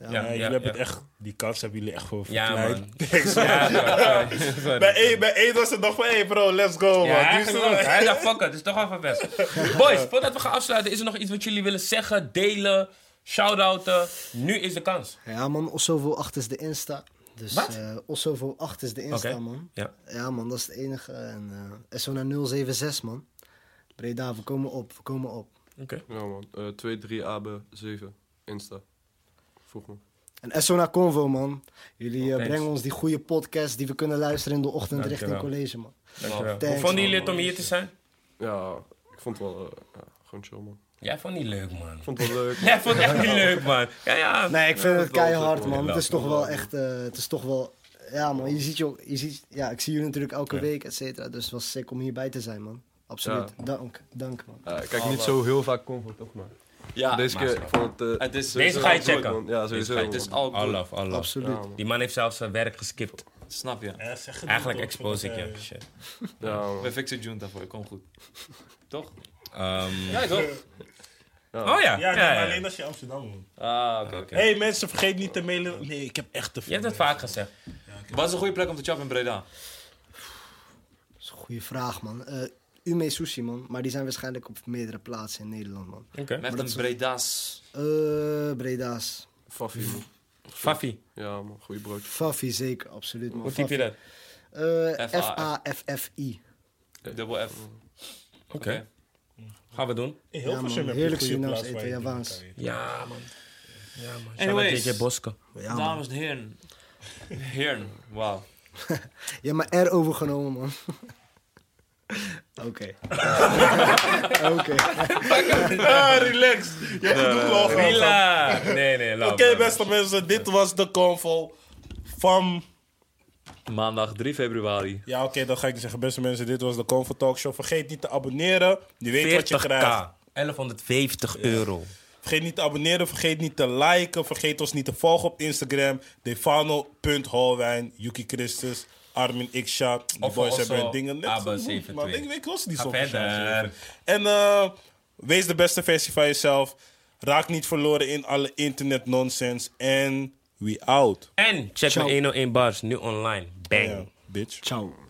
S1: Ja,
S2: ja,
S1: Eh, jullie
S2: ja.
S1: hebben het echt, die kans hebben jullie echt voor
S2: Ja,
S1: verkleind.
S2: man.
S1: Thanks, man.
S2: Ja, sorry, sorry, sorry.
S1: Bij één, bij één was het nog van, hey bro, let's go,
S2: Ja,
S1: man. Die is
S2: eigenlijk
S1: er-
S2: wel. Hij dacht, fuck it, het is toch wel van best. Boys, voordat we gaan afsluiten, is er nog iets wat jullie willen zeggen, delen, shout-outen? Nu is de kans.
S4: Ja, man, Ossovo 8 is de Insta. Dus
S2: Wat?
S4: eh Ossovo 8 is de Insta,
S2: Oké.
S4: man.
S2: Ja.
S4: Ja, man, dat is het enige. En eh SO naar 076, man. Breda, we komen op, we komen op.
S5: Ja, man. Eh, 2-3-AB-7. Insta. Vroeg me.
S4: En SO naar Convo, man. Jullie eh,
S2: thanks.
S4: brengen ons die goede podcast die we kunnen luisteren in de ochtend richting
S2: Dankjewel.
S4: college, man.
S2: Love. Hoe
S4: Thanks,
S2: vonden jullie het
S5: man.
S2: om hier te zijn?
S5: Ja, ik vond het wel... eh, ja, gewoon chill, man.
S2: Jij vond het niet leuk, man.
S5: Ik vond het wel leuk.
S2: Jij vond het echt niet leuk, man. Ja, ja.
S4: Nee, ik vind
S5: dat
S4: het
S5: wel
S4: keihard,
S5: goed, man.
S4: man. Het is
S5: Ja,
S4: toch wel echt, eh, het is toch wel... Ja, man, je ziet je, ook- je ziet, ja, ik zie jullie natuurlijk elke week, et cetera. Dus het was sick om hierbij te zijn, man. Absoluut. Dank, dank, man.
S5: Ja, ik kijk niet zo heel vaak Convo, toch maar.
S3: Ja,
S5: Deze keer, ik vond het... eh,
S3: Het is-
S5: sowieso
S2: Deze ga je
S5: goed,
S2: checken.
S5: man. Ja,
S2: Deze
S5: sowieso.
S2: ga je
S3: het is
S5: man.
S3: al
S2: All
S3: goed.
S2: love, all love.
S4: Absoluut.
S5: Ja, man.
S2: Die man heeft zelfs zijn werk geskipt.
S3: Snap je.
S1: Ja, zeg het
S2: Eigenlijk
S1: niet, hoor.
S2: expose ik je. Shit.
S5: Ja, man.
S3: We fixen June daarvoor, kom goed. Toch?
S2: Ehm,
S3: Ja, toch?
S2: oh
S1: Ja,
S2: ja. ja,
S1: nee,
S2: ja,
S1: maar
S2: ja.
S1: alleen als je Amsterdam woont.
S3: Ah, oké. oké.
S1: Hé hey, mensen, vergeet niet te mailen. Nee, ik heb echt te
S2: Je
S1: veel.
S2: hebt het vaak gezegd.
S3: Wat is een goede plek om te chappen in Breda?
S4: Dat is een goede vraag, man. Eh Ume Sushi, man. Maar die zijn waarschijnlijk op meerdere plaatsen in Nederland, man.
S2: Oké.
S3: Met een Breda's.
S4: Eh Breda's.
S5: Faffie, man.
S2: Fafi,
S5: Ja, man. Goeie broodje.
S4: Fafi zeker, absoluut, man.
S2: hoe typ je dat?
S4: Eh,
S3: F.A.F..
S4: F-A-F-F-I.
S3: Dubbel Eh, F.
S2: Oké. Gaan we doen.
S1: In
S4: Ja, man.
S1: Hilversum heb je
S4: Heerlijk
S1: goede
S4: Surinaams
S1: plaats waar
S4: eten,
S1: je
S4: ja,
S1: dingen
S4: waans.
S1: kan eten.
S2: Ja, man. Ja, man.
S3: Anyways.
S2: Shout-out JJ Boske.
S4: Ja, man.
S3: Dames en heren. Heren, wauw.
S4: Je hebt mijn R overgenomen, man. Oké. Oké.
S1: Ah, relax. Je hebt genoeg al gehad.
S2: Rila! Nee, nee, laat
S1: Oké, beste mensen, dit was de convo van...
S3: Maandag 3 februari.
S1: Ja, oké, dan ga ik zeggen. Beste mensen, dit was de convo talkshow. Vergeet niet te abonneren. Je weet wat je
S2: 40k.
S1: krijgt.
S2: 1150 euro.
S1: Vergeet niet te abonneren. Vergeet niet te liken. Vergeet ons niet te volgen op Instagram. Defano.holwijn. Yuki Christus. Armin Iksha. De
S2: Of
S1: boys
S2: also
S1: hebben hun dingen net
S2: AB
S1: genoemd,
S2: 72.
S1: man. Ik weet ons niet
S2: Ga
S1: zo
S2: verder.
S1: En eh, wees de beste versie van jezelf. Raak niet verloren in alle internet nonsense. En we out.
S2: En check
S4: Ciao.
S2: mijn 101 bars, nu online. Bang.
S1: Ja, bitch.
S4: Ciao.